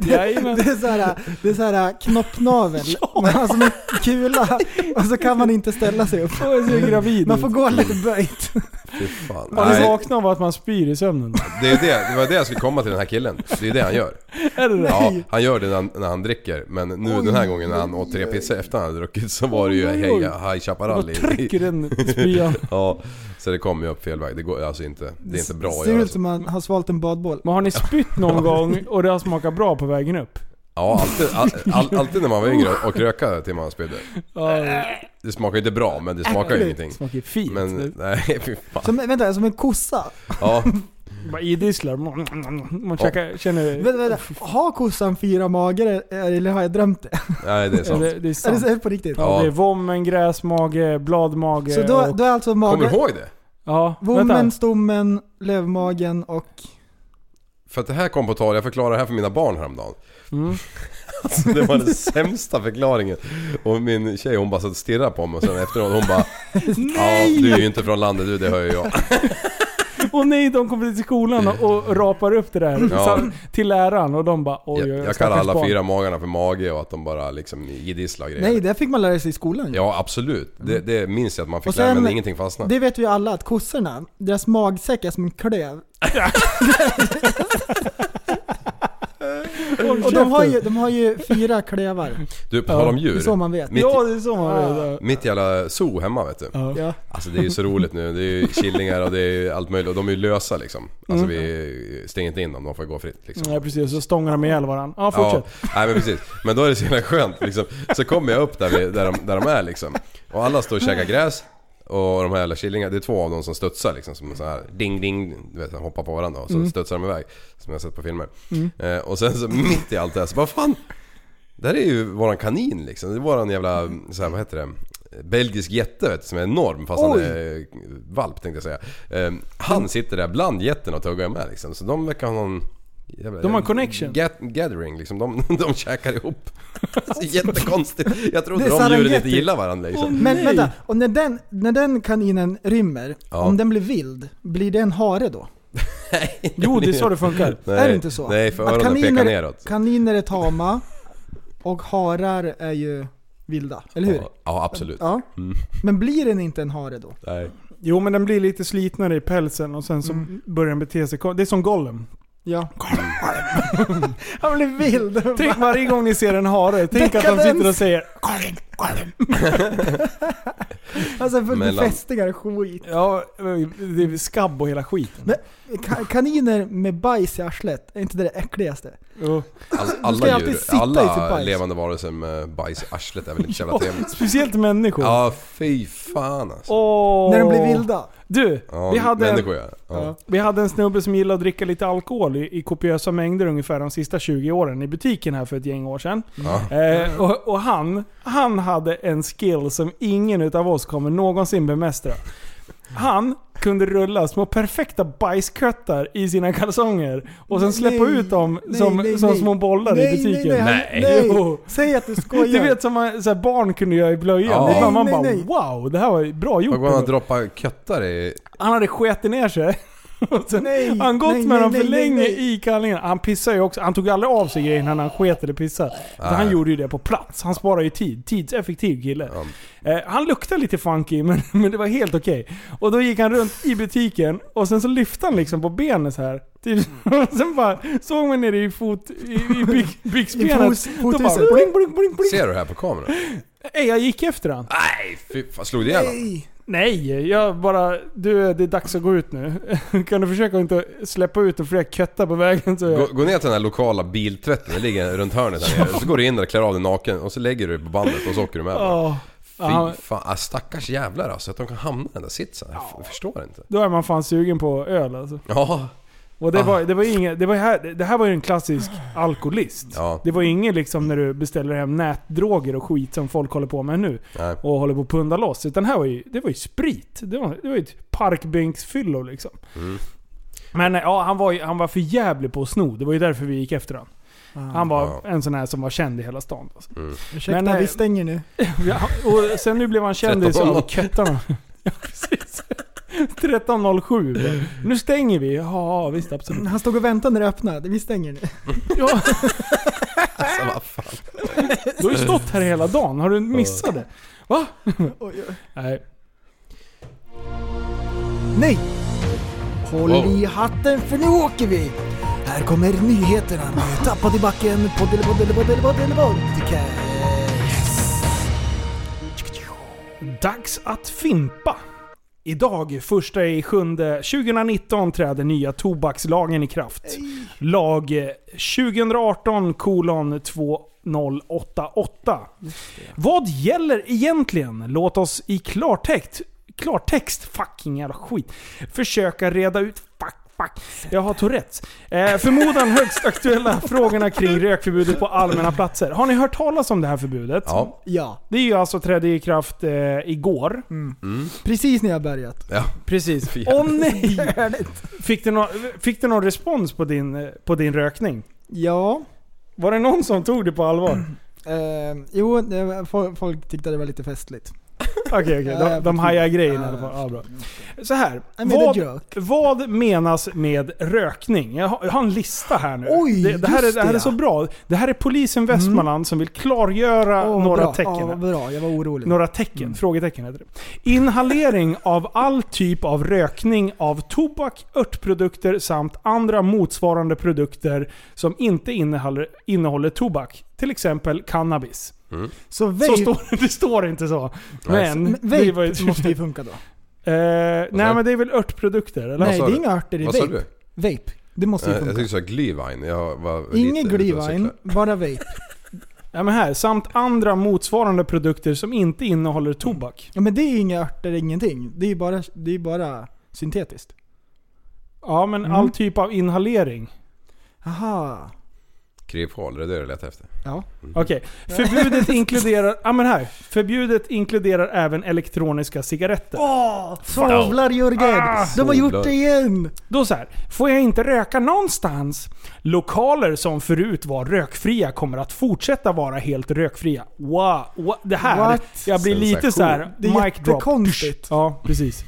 [SPEAKER 3] Jajamän.
[SPEAKER 6] Det är såhär, det är såhär knoppnavel. Man har
[SPEAKER 3] alltså,
[SPEAKER 6] som en kula och så kan man inte ställa sig upp.
[SPEAKER 3] Jag är så gravid
[SPEAKER 6] Man får
[SPEAKER 3] ut.
[SPEAKER 6] gå lite böjt.
[SPEAKER 4] Fy fan.
[SPEAKER 3] Man
[SPEAKER 4] Nej,
[SPEAKER 3] vaknar av att man spyr i sömnen.
[SPEAKER 4] det, är det, det var det jag skulle komma till den här killen. Det är det han gör.
[SPEAKER 3] Är det det?
[SPEAKER 4] Ja, han gör det när han, när han dricker. Men nu den här gången när han åt tre pizzor efter han hade druckit så var det ju
[SPEAKER 3] Oj, oj,
[SPEAKER 4] Hej
[SPEAKER 3] oj.
[SPEAKER 4] High Chaparral
[SPEAKER 3] Vad
[SPEAKER 4] i,
[SPEAKER 3] trycker
[SPEAKER 4] i,
[SPEAKER 3] den spyan?
[SPEAKER 4] Ja, så det kom ju upp fel väg. Det går alltså inte. Det är inte bra att
[SPEAKER 6] Ser
[SPEAKER 4] göra
[SPEAKER 6] ut
[SPEAKER 4] så.
[SPEAKER 6] som man har svalt en badboll.
[SPEAKER 3] Men har ni spytt någon gång och det har smakat bra på vägen upp?
[SPEAKER 4] Ja, alltid, all, all, alltid när man var yngre och röka till man spydde.
[SPEAKER 3] Ja, det
[SPEAKER 4] Det smakar ju inte bra men det smakar ju
[SPEAKER 6] Äckligt.
[SPEAKER 4] ingenting.
[SPEAKER 3] smakar ju fint.
[SPEAKER 4] Men nej fy fan.
[SPEAKER 6] Som, vänta, som en kossa.
[SPEAKER 4] Ja,
[SPEAKER 3] Bara idisslar. Man käkar, känner...
[SPEAKER 6] Vänta, vänta. Har kossan fyra magar eller har jag drömt det?
[SPEAKER 4] nej det är sant.
[SPEAKER 3] Eller, det är
[SPEAKER 6] Är det
[SPEAKER 3] sant.
[SPEAKER 6] så här på riktigt?
[SPEAKER 3] Ja,
[SPEAKER 4] Ja.
[SPEAKER 3] det är vommen, gräsmage, bladmage
[SPEAKER 6] Så då,
[SPEAKER 3] och...
[SPEAKER 6] då är alltså
[SPEAKER 4] Kommer
[SPEAKER 6] magen,
[SPEAKER 4] du ihåg det?
[SPEAKER 3] ja,
[SPEAKER 6] vommen,
[SPEAKER 3] vänta.
[SPEAKER 6] stommen, lövmagen och...
[SPEAKER 4] För att det här kom på tal, jag förklarade det här för mina barn häromdagen.
[SPEAKER 3] Mm.
[SPEAKER 4] Alltså, det var den sämsta förklaringen. Och min tjej hon bara satt och stirrade på mig och sen efteråt hon bara Ja, du är ju inte från landet du, det hör ju jag.
[SPEAKER 3] Och nej, de kommer till skolan och, och rapar upp det där
[SPEAKER 4] Ja.
[SPEAKER 3] sam- till läraren och de bara oj, oj,
[SPEAKER 4] Jag,
[SPEAKER 3] oj,
[SPEAKER 4] jag kallar
[SPEAKER 3] stackars
[SPEAKER 4] alla
[SPEAKER 3] barn.
[SPEAKER 4] fyra magarna för mage och att de bara liksom idisslar och grejer.
[SPEAKER 6] Nej, det fick man lära sig i skolan ju.
[SPEAKER 4] Ja absolut, det, det minns jag att man fick
[SPEAKER 6] Och sen-
[SPEAKER 4] lära men det är ingenting fastnade.
[SPEAKER 6] Det vet vi ju alla att kossorna, deras magsäck är som en klöv.
[SPEAKER 3] Håll
[SPEAKER 6] Och de har ju,
[SPEAKER 3] käften.
[SPEAKER 6] de har ju fyra klövar.
[SPEAKER 4] Du, på tal om
[SPEAKER 6] Det är så
[SPEAKER 4] djur.
[SPEAKER 6] man vet.
[SPEAKER 4] Mitt,
[SPEAKER 3] Ja, det är så man ja.
[SPEAKER 4] mitt jävla zoo hemma vet du.
[SPEAKER 3] Ja.
[SPEAKER 6] Ja.
[SPEAKER 4] Alltså det är ju så roligt nu. Det är ju killingar och det är ju allt möjligt. Och de är ju lösa liksom. Alltså vi stänger inte in dem, de får gå fritt liksom.
[SPEAKER 3] Nej precis, så stångar de ihjäl varandra. Ja,
[SPEAKER 4] Ja,
[SPEAKER 3] fortsätt.
[SPEAKER 4] nej men precis. Men då är det så jävla skönt liksom. Så kommer jag upp där, vi, där, de, där de är liksom. Och alla står och käkar gräs. Och de här jävla killingarna, det är två av dem som studsar liksom. Som så här ding ding, du vet de hoppar på varandra och så studsar de iväg. Som jag har sett på filmer. Eh, och sen så mitt i allt det här så bara fan. Där är ju våran kanin liksom. Det är våran jävla, så här, vad heter det? Belgisk jätte vet du, som är enorm fast han
[SPEAKER 6] Oj.
[SPEAKER 4] är eh, valp tänkte jag säga. Eh, han sitter där bland jätten och tuggar med liksom. Så de verkar ha någon... Jävla,
[SPEAKER 3] De har en connection.
[SPEAKER 4] Get, gathering liksom, de, de käkar ihop. Det är så jättekonstigt. Jag trodde
[SPEAKER 6] Det är
[SPEAKER 4] de djuren inte
[SPEAKER 6] Serengeti.
[SPEAKER 4] gillar varandra liksom.
[SPEAKER 6] Men vänta, och när den, när den kaninen rymmer,
[SPEAKER 4] Ja.
[SPEAKER 6] om den blir vild, blir det en hare då?
[SPEAKER 3] Jo, det är så det funkar.
[SPEAKER 4] Nej,
[SPEAKER 6] är det inte så?
[SPEAKER 4] Nej, för
[SPEAKER 6] Att
[SPEAKER 4] öronen pekar neråt.
[SPEAKER 6] Kaniner är tama och harar är ju vilda, eller hur?
[SPEAKER 4] Ja, Mm. ja, absolut.
[SPEAKER 6] Ja. Men blir den inte en hare då?
[SPEAKER 4] Nej.
[SPEAKER 3] Jo, men den blir lite slitnare i pälsen och sen så
[SPEAKER 6] Mm.
[SPEAKER 3] börjar den bete sig kon- Det är som Gollum.
[SPEAKER 6] Ja. Han blir vild.
[SPEAKER 3] Tänk varje gång ni ser en hare, tänk att de
[SPEAKER 6] Dekadens.
[SPEAKER 3] sitter och säger
[SPEAKER 6] Alltså för
[SPEAKER 4] Mellan-
[SPEAKER 6] befästingar och skit.
[SPEAKER 3] Ja, det är skabb och hela skiten.
[SPEAKER 6] Ka- kaniner med bajs i arslet, är inte det det äckligaste?
[SPEAKER 3] Jo.
[SPEAKER 4] All,
[SPEAKER 6] ska ju
[SPEAKER 4] alla
[SPEAKER 6] alltid
[SPEAKER 4] djur,
[SPEAKER 6] sitta i sitt
[SPEAKER 4] alla
[SPEAKER 6] bajs.
[SPEAKER 4] levande varelser med bajs i arslet är väl inte så jävla trevligt.
[SPEAKER 3] Speciellt människor.
[SPEAKER 4] Ja, fy fan alltså.
[SPEAKER 3] Åh.
[SPEAKER 6] När de blir vilda.
[SPEAKER 3] Du,
[SPEAKER 4] Ja,
[SPEAKER 3] vi, hade en,
[SPEAKER 4] människor ja. ja.
[SPEAKER 3] vi hade en snubbe som gillade att dricka lite alkohol i, i kopiösa mängder ungefär de sista 20 åren i butiken här för ett gäng år sedan.
[SPEAKER 4] Ja.
[SPEAKER 3] Eh, och och han, han hade en skill som ingen utav oss kommer någonsin bemästra. Han kunde rulla små perfekta bajsköttar i sina kalsonger och sen släppa
[SPEAKER 6] Nej,
[SPEAKER 3] ut dem
[SPEAKER 6] nej,
[SPEAKER 3] som,
[SPEAKER 6] nej,
[SPEAKER 3] som
[SPEAKER 6] nej.
[SPEAKER 3] små bollar
[SPEAKER 6] nej,
[SPEAKER 3] i butiken.
[SPEAKER 6] Nej, nej, nej, nej.
[SPEAKER 3] Jo.
[SPEAKER 6] Säg att du skojar.
[SPEAKER 3] Du vet som man, så här, barn kunde göra i blöjan.
[SPEAKER 4] Ja.
[SPEAKER 3] Ibland man
[SPEAKER 6] Nej,
[SPEAKER 3] bara
[SPEAKER 6] nej,
[SPEAKER 3] wow, det här var bra
[SPEAKER 4] Vad går han att
[SPEAKER 3] gjort.
[SPEAKER 4] droppa köttar i?
[SPEAKER 3] Han hade sketit ner sig. Och sen
[SPEAKER 6] Nej,
[SPEAKER 3] har han gått
[SPEAKER 6] nej,
[SPEAKER 3] med
[SPEAKER 6] nej,
[SPEAKER 3] dem för
[SPEAKER 6] nej, nej,
[SPEAKER 3] länge
[SPEAKER 6] nej.
[SPEAKER 3] i kallingen. Han pissar ju också. Han tog aldrig av sig grejen när han sket eller pissade. Utan Han
[SPEAKER 4] Nej.
[SPEAKER 3] gjorde ju det på plats. Han sparar ju tid. Tidseffektiv kille.
[SPEAKER 4] Ja.
[SPEAKER 3] Eh, han luktade lite funky, men, men det var helt okej. Och då gick han runt i butiken och sen så lyfte han liksom på benet så här. Typ, och sen bara såg man nere i fot... i, i byx- byxbenet.
[SPEAKER 6] fot-
[SPEAKER 3] Då bara
[SPEAKER 6] fothuset.
[SPEAKER 3] bling, bling, bling, bling.
[SPEAKER 4] Ser du det här på kameran?
[SPEAKER 3] Ey, jag gick efter han.
[SPEAKER 4] Nej, fy fan. Slog du ihjäl honom?
[SPEAKER 6] Nej.
[SPEAKER 3] Nej, jag bara... Du, det är dags att gå ut nu. Kan du försöka att inte släppa ut och fler köttar på vägen? Så jag,
[SPEAKER 4] Gå, gå ner till den här lokala biltvätten, den ligger runt hörnet här nere. Så går du in där och klär av dig naken och så lägger du dig på bandet och så åker du med. Oh.
[SPEAKER 3] Ja, Ja.
[SPEAKER 4] Fy fan, ah, stackars jävlar alltså att de kan hamna i den där sitsen. Jag f- Jag förstår inte.
[SPEAKER 3] då är man fan sugen på öl alltså.
[SPEAKER 4] Ja,
[SPEAKER 3] Och det, var, det, var ingen, det, var ju här, det här var ju en klassisk alkoholist.
[SPEAKER 4] ja.
[SPEAKER 3] Det var ju ingen liksom när du beställer hem nätdroger och skit som folk håller på med nu.
[SPEAKER 4] Nej.
[SPEAKER 3] Och håller på att punda loss. Utan här var ju, det var ju sprit. Det var, det var ju ett parkbänksfyllo liksom.
[SPEAKER 4] Mm.
[SPEAKER 3] Men eh, ja, han var, ju- han var för jävlig på att sno. Det var ju därför vi gick efter honom. Han var
[SPEAKER 4] Ja.
[SPEAKER 3] en sån här som var känd i hela stan. Alltså.
[SPEAKER 6] Ursäkta,
[SPEAKER 3] Men, eh,
[SPEAKER 6] vi stänger nu.
[SPEAKER 3] Ja, och sen nu blev han kändis av
[SPEAKER 4] 13.00.
[SPEAKER 3] köttarna. Ja, precis. 13.07. Nu stänger vi. Ja, visst absolut.
[SPEAKER 6] Han stod och väntade när det öppnade. Vi stänger nu.
[SPEAKER 3] Ja,
[SPEAKER 4] Alltså, vad fan.
[SPEAKER 3] du har ju stått här hela dagen. Har du missat det? Va? Nej.
[SPEAKER 6] Nej! Håll
[SPEAKER 4] Wow.
[SPEAKER 6] i hatten för nu åker vi! Här kommer nyheterna med Tappad i backen på Deliboddeliboddeliboddelibodcast.
[SPEAKER 3] Dags att fimpa! Idag, första i sjunde 2019, träder nya tobakslagen i kraft. Lag eh, 2018 kolon 2088. Vad gäller egentligen? Låt oss i klartext, klartext, fucking jävla skit, försöka reda ut Fuck, fuck. Jag har Tourettes. Eh, förmodan högst aktuella frågorna kring rökförbudet på allmänna platser. Har ni hört talas om det här förbudet?
[SPEAKER 4] Ja,
[SPEAKER 6] Ja,
[SPEAKER 3] Det är ju alltså trädde i kraft eh, igår.
[SPEAKER 6] precis när jag börjat.
[SPEAKER 4] ja.
[SPEAKER 3] Precis.
[SPEAKER 4] För jävligt.
[SPEAKER 3] Åh nej! Fick du, nå- fick du någon respons på din, eh, på din rökning?
[SPEAKER 6] Ja.
[SPEAKER 3] Var det någon som tog det på allvar?
[SPEAKER 6] Eh, jo, det var- fol- folk tyckte det var lite festligt.
[SPEAKER 3] Okej, okej.
[SPEAKER 6] Ja,
[SPEAKER 3] De,
[SPEAKER 6] jag
[SPEAKER 3] de
[SPEAKER 6] förstod.
[SPEAKER 3] hajar grejen i
[SPEAKER 6] Ja,
[SPEAKER 3] alla fall.
[SPEAKER 6] jag
[SPEAKER 3] Ja, bra. Så här.
[SPEAKER 6] I made a
[SPEAKER 3] Vad,
[SPEAKER 6] joke.
[SPEAKER 3] vad menas med rökning? Jag har, jag har en lista här nu.
[SPEAKER 6] Oj,
[SPEAKER 3] det, det, här är,
[SPEAKER 6] just
[SPEAKER 3] det här
[SPEAKER 6] det,
[SPEAKER 3] är så
[SPEAKER 6] ja. Mm.
[SPEAKER 3] bra. Det här är polisen Västmanland som vill klargöra
[SPEAKER 6] Åh,
[SPEAKER 3] några
[SPEAKER 6] bra.
[SPEAKER 3] tecken.
[SPEAKER 6] Ja,
[SPEAKER 3] här.
[SPEAKER 6] vad bra. Jag var orolig.
[SPEAKER 3] Några tecken? Frågetecken heter det. Inhalering av all typ av rökning av tobak, örtprodukter samt andra motsvarande produkter som inte innehåller, innehåller tobak. Till exempel cannabis.
[SPEAKER 6] Så
[SPEAKER 3] Så
[SPEAKER 6] vape,
[SPEAKER 3] står, det står inte så.
[SPEAKER 4] Nej,
[SPEAKER 3] Men,
[SPEAKER 6] men
[SPEAKER 3] Mm, det var ju...
[SPEAKER 6] vape måste ju funka då.
[SPEAKER 3] Eh, nej men det är väl örtprodukter? Eller?
[SPEAKER 6] Nej, det
[SPEAKER 4] sa
[SPEAKER 6] är
[SPEAKER 4] du?
[SPEAKER 6] inga örter i
[SPEAKER 4] Vad sa
[SPEAKER 6] vape.
[SPEAKER 4] du?
[SPEAKER 6] Vape. Det måste
[SPEAKER 4] Eh,
[SPEAKER 6] ju
[SPEAKER 4] Jag
[SPEAKER 6] funka.
[SPEAKER 4] tyckte du sa Glühwein. Jag var lite
[SPEAKER 6] typ. Ingen
[SPEAKER 4] ute och
[SPEAKER 6] glühwein,
[SPEAKER 4] cyklade.
[SPEAKER 6] bara vape.
[SPEAKER 3] Ja, men här. Samt andra motsvarande produkter som inte innehåller tobak.
[SPEAKER 6] Ja, men det är inga örter, ingenting. Det är ju bara, det är bara syntetiskt.
[SPEAKER 3] Ja men
[SPEAKER 6] Mm.
[SPEAKER 3] all typ av inhalering.
[SPEAKER 6] Aha.
[SPEAKER 4] Kryphål, det är det du letar efter.
[SPEAKER 6] Ja.
[SPEAKER 3] Okej. Förbudet inkluderar... Ja men här. Förbudet inkluderar även elektroniska cigaretter.
[SPEAKER 6] Åh! Sovlar Jörgen! De har gjort det igen!
[SPEAKER 3] Då så här. Får jag inte röka någonstans? Lokaler som förut var rökfria kommer att fortsätta vara helt rökfria. Wow. what- Det här.
[SPEAKER 6] What?
[SPEAKER 3] Jag blir lite så här.
[SPEAKER 6] Det är
[SPEAKER 3] mic drop.
[SPEAKER 6] jättekonstigt. Mm.
[SPEAKER 3] Ja, precis.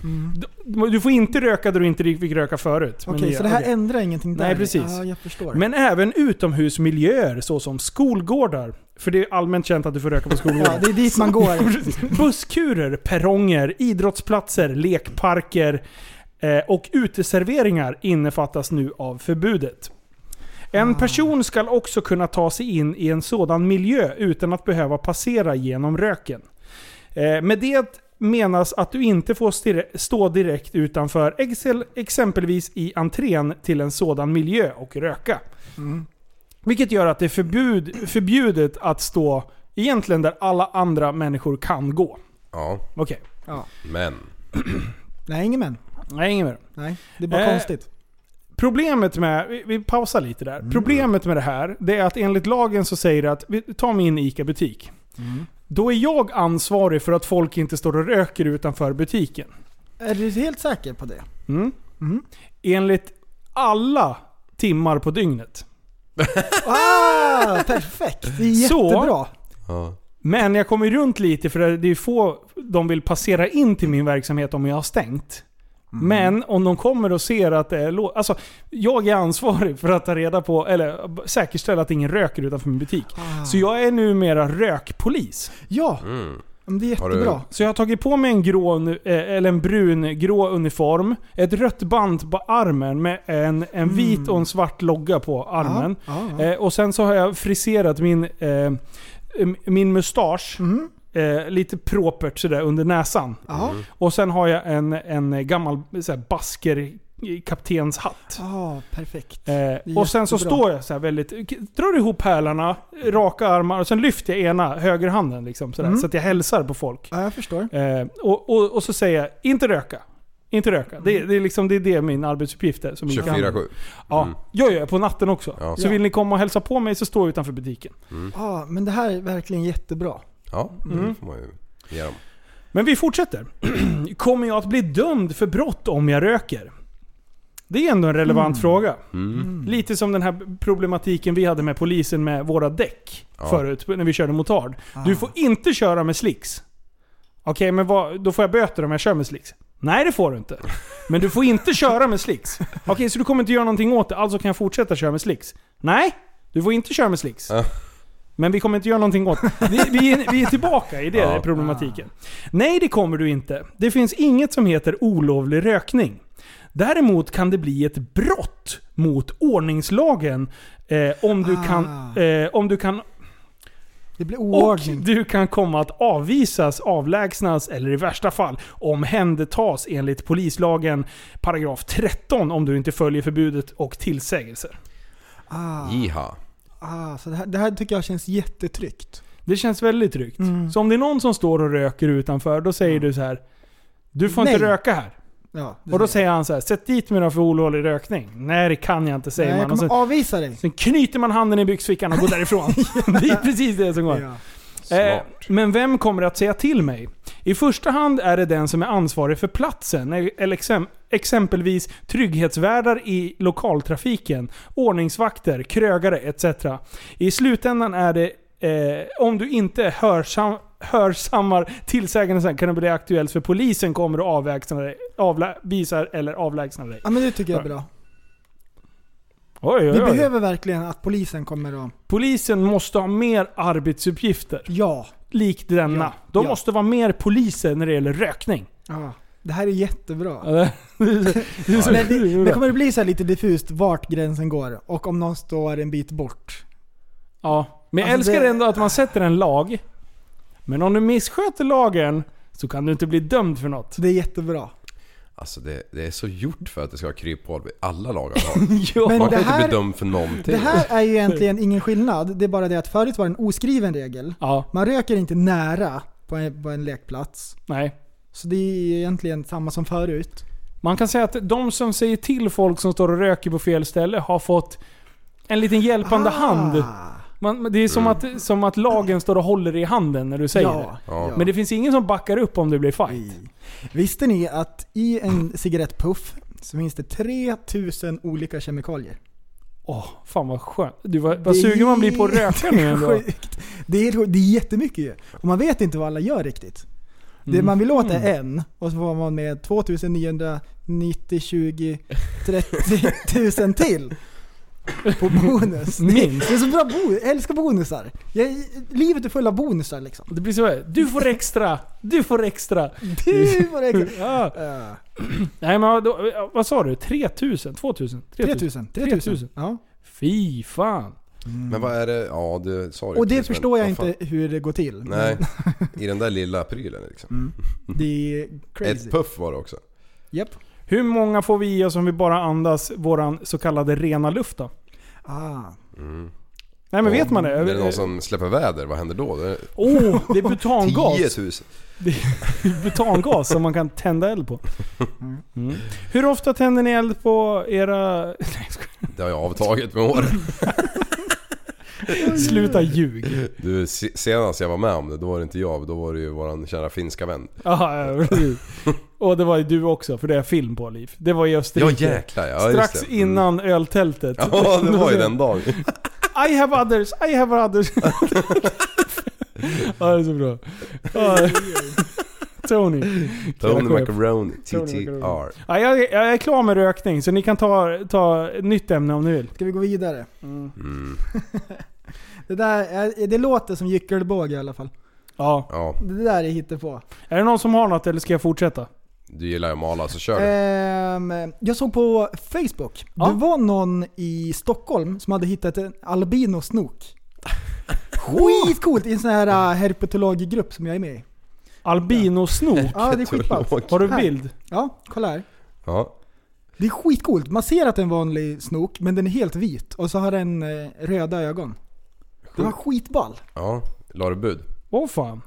[SPEAKER 3] Du- Du får inte röka där du inte fick röka förut. Men
[SPEAKER 6] Okej, så det här ändrar ingenting där?
[SPEAKER 3] Nej, precis.
[SPEAKER 6] Ja, jag förstår.
[SPEAKER 3] Men även utomhusmiljöer såsom skolgårdar. För det är allmänt känt att du får röka på skolgårdar.
[SPEAKER 6] ja, det är dit man går.
[SPEAKER 3] Busskurer, perronger, idrottsplatser, lekparker eh, och uteserveringar innefattas nu av förbudet. En person ska också kunna ta sig in i en sådan miljö utan att behöva passera genom röken. Eh, Med det menas att du inte får stirre- stå direkt utanför excel- exempelvis i entrén till en sådan miljö och röka. Vilket gör att det är förbud, förbjudet att stå egentligen där alla andra människor kan gå.
[SPEAKER 4] Ja,
[SPEAKER 3] Okej.
[SPEAKER 4] men.
[SPEAKER 6] Nej, ingen men.
[SPEAKER 3] Nej, inget mer.
[SPEAKER 6] Nej, det är bara
[SPEAKER 3] Eh,
[SPEAKER 6] konstigt.
[SPEAKER 3] Problemet med, vi, vi pausar lite där. Problemet med det här, det är att enligt lagen så säger det att, vi- ta min ICA-butik. Då är jag ansvarig för att folk inte står och röker utanför butiken.
[SPEAKER 6] Är du helt säker på det?
[SPEAKER 3] Mm. Enligt alla timmar på dygnet.
[SPEAKER 6] Ah, perfekt! Det är
[SPEAKER 3] Så-
[SPEAKER 6] jättebra.
[SPEAKER 4] Ja.
[SPEAKER 3] Men jag kommer ju runt lite för det är ju få de vill passera in till min verksamhet om jag har stängt.
[SPEAKER 6] Mm.
[SPEAKER 3] Men om de kommer och ser att det är lågt... Alltså, jag är ansvarig för att ta reda på, eller b- säkerställa att ingen röker utanför min butik. Så jag är numera rökpolis.
[SPEAKER 6] Ah. Ja,
[SPEAKER 4] Mm.
[SPEAKER 6] men det är
[SPEAKER 4] Har du-
[SPEAKER 6] jättebra.
[SPEAKER 3] Så jag har tagit på mig en grå, nu- eh, eller en brun grå uniform, ett rött band på armen med en, en vit och en svart logga på armen.
[SPEAKER 6] Mm. Ja, ja.
[SPEAKER 3] Eh, och sen så har jag friserat min, eh, m- min mustasch. Eh, lite propert sådär under näsan.
[SPEAKER 6] Mm. Ja.
[SPEAKER 4] Mm.
[SPEAKER 3] Och sen har jag en, en gammal så här, basker kaptenshatt.
[SPEAKER 6] Ja, Ah, perfekt.
[SPEAKER 3] Eh, och sen så
[SPEAKER 6] jättebra.
[SPEAKER 3] står jag så här väldigt, k- drar ihop pärlarna, raka armar och sen lyfter jag ena högerhanden liksom, sådär,
[SPEAKER 6] Mm.
[SPEAKER 3] så att jag hälsar på folk.
[SPEAKER 6] Ja, jag förstår.
[SPEAKER 3] Eh, och, och, och så säger jag, inte röka. Inte röka.
[SPEAKER 6] Mm.
[SPEAKER 3] Det, det, är liksom, det är det min arbetsuppgift är. Som min granne.
[SPEAKER 4] 24-7.
[SPEAKER 3] Ja,
[SPEAKER 4] Mm.
[SPEAKER 3] gör jag på natten också.
[SPEAKER 4] Ja.
[SPEAKER 3] Så vill ni komma och hälsa på mig så står jag utanför butiken.
[SPEAKER 4] Mm.
[SPEAKER 6] Ja, men det här är verkligen jättebra.
[SPEAKER 4] Ja, det får man ju ge dem.
[SPEAKER 3] Men vi fortsätter. Kommer jag att bli dömd för brott om jag röker? Det är ändå en relevant fråga. Lite som den här problematiken vi hade med polisen med våra däck
[SPEAKER 4] Ja.
[SPEAKER 3] förut när vi körde motard. Du får inte köra med slicks. Okej, men vad, då får jag böter om jag kör med slicks? Nej, det får du inte. Men du får inte köra med slicks. Okej, så du kommer inte göra någonting åt det, alltså kan jag fortsätta köra med slicks? Nej, du får inte köra med slicks.
[SPEAKER 4] Ja.
[SPEAKER 3] Men vi kommer inte göra någonting åt det. Vi, vi, är- vi är tillbaka i det
[SPEAKER 4] Ja.
[SPEAKER 3] problematiken. Nej, det kommer du inte. Det finns inget som heter olovlig rökning. Däremot kan det bli ett brott mot ordningslagen eh, om, du kan, eh, om du kan
[SPEAKER 6] Det blir
[SPEAKER 3] och
[SPEAKER 6] oordning.
[SPEAKER 3] du kan komma att avvisas, avlägsnas eller i värsta fall omhändertas enligt polislagen paragraf 13 om du inte följer förbudet och tillsägelser.
[SPEAKER 4] Jiha.
[SPEAKER 6] Ah, så det, här, det här tycker jag känns jättetryggt.
[SPEAKER 3] Det känns väldigt tryggt.
[SPEAKER 6] Mm.
[SPEAKER 3] Så om det är någon som står och röker utanför, då säger du så här. Du får inte
[SPEAKER 6] Nej.
[SPEAKER 3] röka här.
[SPEAKER 6] Ja, det
[SPEAKER 3] Och då säger han så här. Sätt dit mig då för olovlig rökning. Nej det kan jag inte, säger
[SPEAKER 6] Nej,
[SPEAKER 3] man. Och
[SPEAKER 6] jag
[SPEAKER 3] sen,
[SPEAKER 6] kommer avvisa dig.
[SPEAKER 3] sen knyter man handen i byxfickan och går därifrån. det är precis det som går.
[SPEAKER 6] Ja.
[SPEAKER 3] Eh,
[SPEAKER 4] Smart.
[SPEAKER 3] men vem kommer att säga till mig? I första hand är det den som är ansvarig för platsen, eller- eller exem- exempelvis trygghetsvärdar i lokaltrafiken, ordningsvakter, krögare etc. I slutändan är det eh, om du inte hörsam, hörsammar tillsägelsen kan det bli aktuellt för polisen kommer och avlägsnar dig, avvisar eller avlägsnar dig.
[SPEAKER 6] ja, men det tycker jag är bra.
[SPEAKER 3] Oj,
[SPEAKER 6] Vi
[SPEAKER 3] oj, oj.
[SPEAKER 6] behöver verkligen att polisen kommer och...
[SPEAKER 3] Polisen måste ha mer arbetsuppgifter,
[SPEAKER 6] Ja.
[SPEAKER 3] likt denna.
[SPEAKER 6] Ja,
[SPEAKER 3] De
[SPEAKER 6] ja.
[SPEAKER 3] måste vara mer poliser när det gäller rökning.
[SPEAKER 6] ja. Det här är jättebra.
[SPEAKER 3] Ja, det- det är så-
[SPEAKER 6] Men, det, men
[SPEAKER 3] det-
[SPEAKER 6] kommer det bli så här lite diffust vart gränsen går? Och om någon står en bit bort?
[SPEAKER 3] Ja. Men jag
[SPEAKER 6] Alltså,
[SPEAKER 3] älskar
[SPEAKER 6] det-
[SPEAKER 3] ändå att man sätter en lag. Men om du missköter lagen så kan du inte bli dömd för något.
[SPEAKER 6] Så det är jättebra.
[SPEAKER 3] Typ.
[SPEAKER 4] Alltså det, det är så gjort för att det ska vara kryphål i alla lagar har.
[SPEAKER 6] Men
[SPEAKER 4] Man
[SPEAKER 6] det
[SPEAKER 4] kan inte
[SPEAKER 6] här-
[SPEAKER 4] bli dömd för någonting.
[SPEAKER 6] Det här är ju egentligen ingen skillnad. Det är bara det att förut var det en oskriven regel.
[SPEAKER 3] Ja,
[SPEAKER 6] Man röker inte nära på en, på en lekplats.
[SPEAKER 3] nej.
[SPEAKER 6] Så det är ju egentligen samma som förut.
[SPEAKER 3] Man kan säga att de som säger till folk som står och röker på fel ställe har fått en liten hjälpande
[SPEAKER 6] Ah.
[SPEAKER 3] hand. Man, men det är som, att, som att lagen står och håller i handen när du säger
[SPEAKER 6] Ja.
[SPEAKER 3] det.
[SPEAKER 4] Ja.
[SPEAKER 3] Men det finns ingen som backar upp om det blir fight.
[SPEAKER 6] Visste ni att i en cigarettpuff så finns det 3000 olika kemikalier?
[SPEAKER 3] Åh, fan vad skönt. Du, vad, vad sugen man blir på att röka nu ändå.
[SPEAKER 6] Sjukt. Det är, det är jättemycket ju. Och man vet inte vad alla gör riktigt.
[SPEAKER 3] Mm.
[SPEAKER 6] Det man vill åt är en och så får man med 2990, 20, 30 000 till. På bonus.
[SPEAKER 3] Minst.
[SPEAKER 6] Det är så bra bonus. Jag älskar bonusar. Jag, livet är fullt av bonusar liksom.
[SPEAKER 3] Det blir så här. Du får extra. Du får extra.
[SPEAKER 6] Du var det
[SPEAKER 3] Ja.
[SPEAKER 6] uh,
[SPEAKER 3] Nej men då, vad sa du? 3000? 2000? 3000?
[SPEAKER 6] 3000.
[SPEAKER 3] 3000.
[SPEAKER 6] 3000. Ja.
[SPEAKER 3] Fy fan.
[SPEAKER 4] Men vad är det? Ja, du sa ju
[SPEAKER 6] Och det
[SPEAKER 4] precis, men
[SPEAKER 6] förstår jag
[SPEAKER 4] vad fan.
[SPEAKER 6] inte hur det går till. men
[SPEAKER 4] Nej, i den där lilla prylen liksom.
[SPEAKER 6] Det är
[SPEAKER 3] Mm.
[SPEAKER 6] crazy.
[SPEAKER 4] Ett puff var det också.
[SPEAKER 6] Japp.
[SPEAKER 3] Hur många får vi i oss om vi bara andas våran så kallade rena luft då?
[SPEAKER 6] Ah.
[SPEAKER 3] Nej men vet man det?
[SPEAKER 4] Är det någon som släpper väder, vad händer då? Det är
[SPEAKER 3] Åh, det är butangas.
[SPEAKER 4] 10 000.
[SPEAKER 3] butangas som man kan tända eld på. Mm. Hur ofta tänder ni eld på era... Nej, jag skojar.
[SPEAKER 4] Det har jag avtagit med åren.
[SPEAKER 3] Sluta ljug.
[SPEAKER 4] Du, se- senast jag var med om det, då var det inte jag, då var det ju våran kära finska vän.
[SPEAKER 3] Aha, ja, precis. Och det var ju du också, för det är film på Liv. Det var i
[SPEAKER 4] Ja
[SPEAKER 3] Österrike.
[SPEAKER 4] jäklar ja, just
[SPEAKER 3] Strax
[SPEAKER 4] det. Mm.
[SPEAKER 3] innan öltältet.
[SPEAKER 4] Ja det var ju den dagen.
[SPEAKER 3] I have others, I have others. ja, det är så bra. Ja. Tony.
[SPEAKER 4] Tony
[SPEAKER 3] Killa chef.
[SPEAKER 4] Macaroni,
[SPEAKER 3] Tony
[SPEAKER 4] TTR.
[SPEAKER 3] Ja, jag, är- jag är klar med rökning, så ni kan ta, ta ett nytt ämne om ni vill.
[SPEAKER 6] Ska vi gå vidare?
[SPEAKER 4] Mm.
[SPEAKER 6] Det där, eh, det låter som gyckelbåge i alla fall.
[SPEAKER 3] Ja.
[SPEAKER 4] Ja,
[SPEAKER 6] Det där är hittepå.
[SPEAKER 3] Är det någon som har något eller ska jag fortsätta?
[SPEAKER 4] du gillar ju att mala så kör
[SPEAKER 3] Eh.
[SPEAKER 4] du.
[SPEAKER 6] Ehm, jag såg på Facebook,
[SPEAKER 3] Ja.
[SPEAKER 6] det var någon i Stockholm som hade hittat en albinosnok. Skitcoolt! I en sån här eh, herpetologgrupp som jag är med i.
[SPEAKER 3] Albinosnok?
[SPEAKER 6] Ja, det är skitballt.
[SPEAKER 4] Herpetolog.
[SPEAKER 3] Har du
[SPEAKER 6] här.
[SPEAKER 3] bild?
[SPEAKER 6] Ja, kolla här.
[SPEAKER 4] Ja.
[SPEAKER 6] Det är skitcoolt. Man ser att det är en vanlig snok, men den är helt vit. Och så har den eh, röda ögon. Den var skitball.
[SPEAKER 4] Ja. La du bud?
[SPEAKER 3] Åh fan.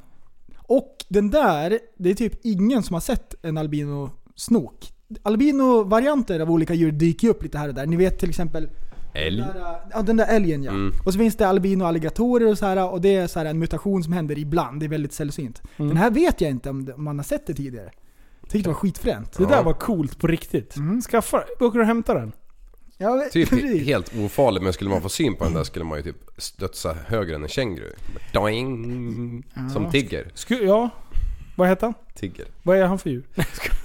[SPEAKER 6] Och den där, det är typ ingen som har sett en albino-snok. Albino-varianter av olika djur dyker ju upp lite här och där. Ni vet till exempel
[SPEAKER 4] Älg?
[SPEAKER 6] den där, ja, den där älgen ja.
[SPEAKER 4] Mm.
[SPEAKER 6] Och så finns det albino-alligatorer och så här och det är så här en mutation som händer ibland. Det är väldigt sällsynt.
[SPEAKER 3] Mm.
[SPEAKER 6] Den här vet jag inte om det- om man har sett det tidigare. Tyckte det var skitfränt. Mm.
[SPEAKER 3] Det
[SPEAKER 4] Ja.
[SPEAKER 3] där var coolt på riktigt. Skaffa Åker du och hämtar den?
[SPEAKER 6] Ja,
[SPEAKER 4] Typ
[SPEAKER 6] precis.
[SPEAKER 4] helt ofarlig men skulle man få syn på den där skulle man ju typ stötsa högre än en känguru. Doing. Som tigger.
[SPEAKER 3] Sku, ja. Vad heter han?
[SPEAKER 4] Tigger.
[SPEAKER 3] Vad är han för djur?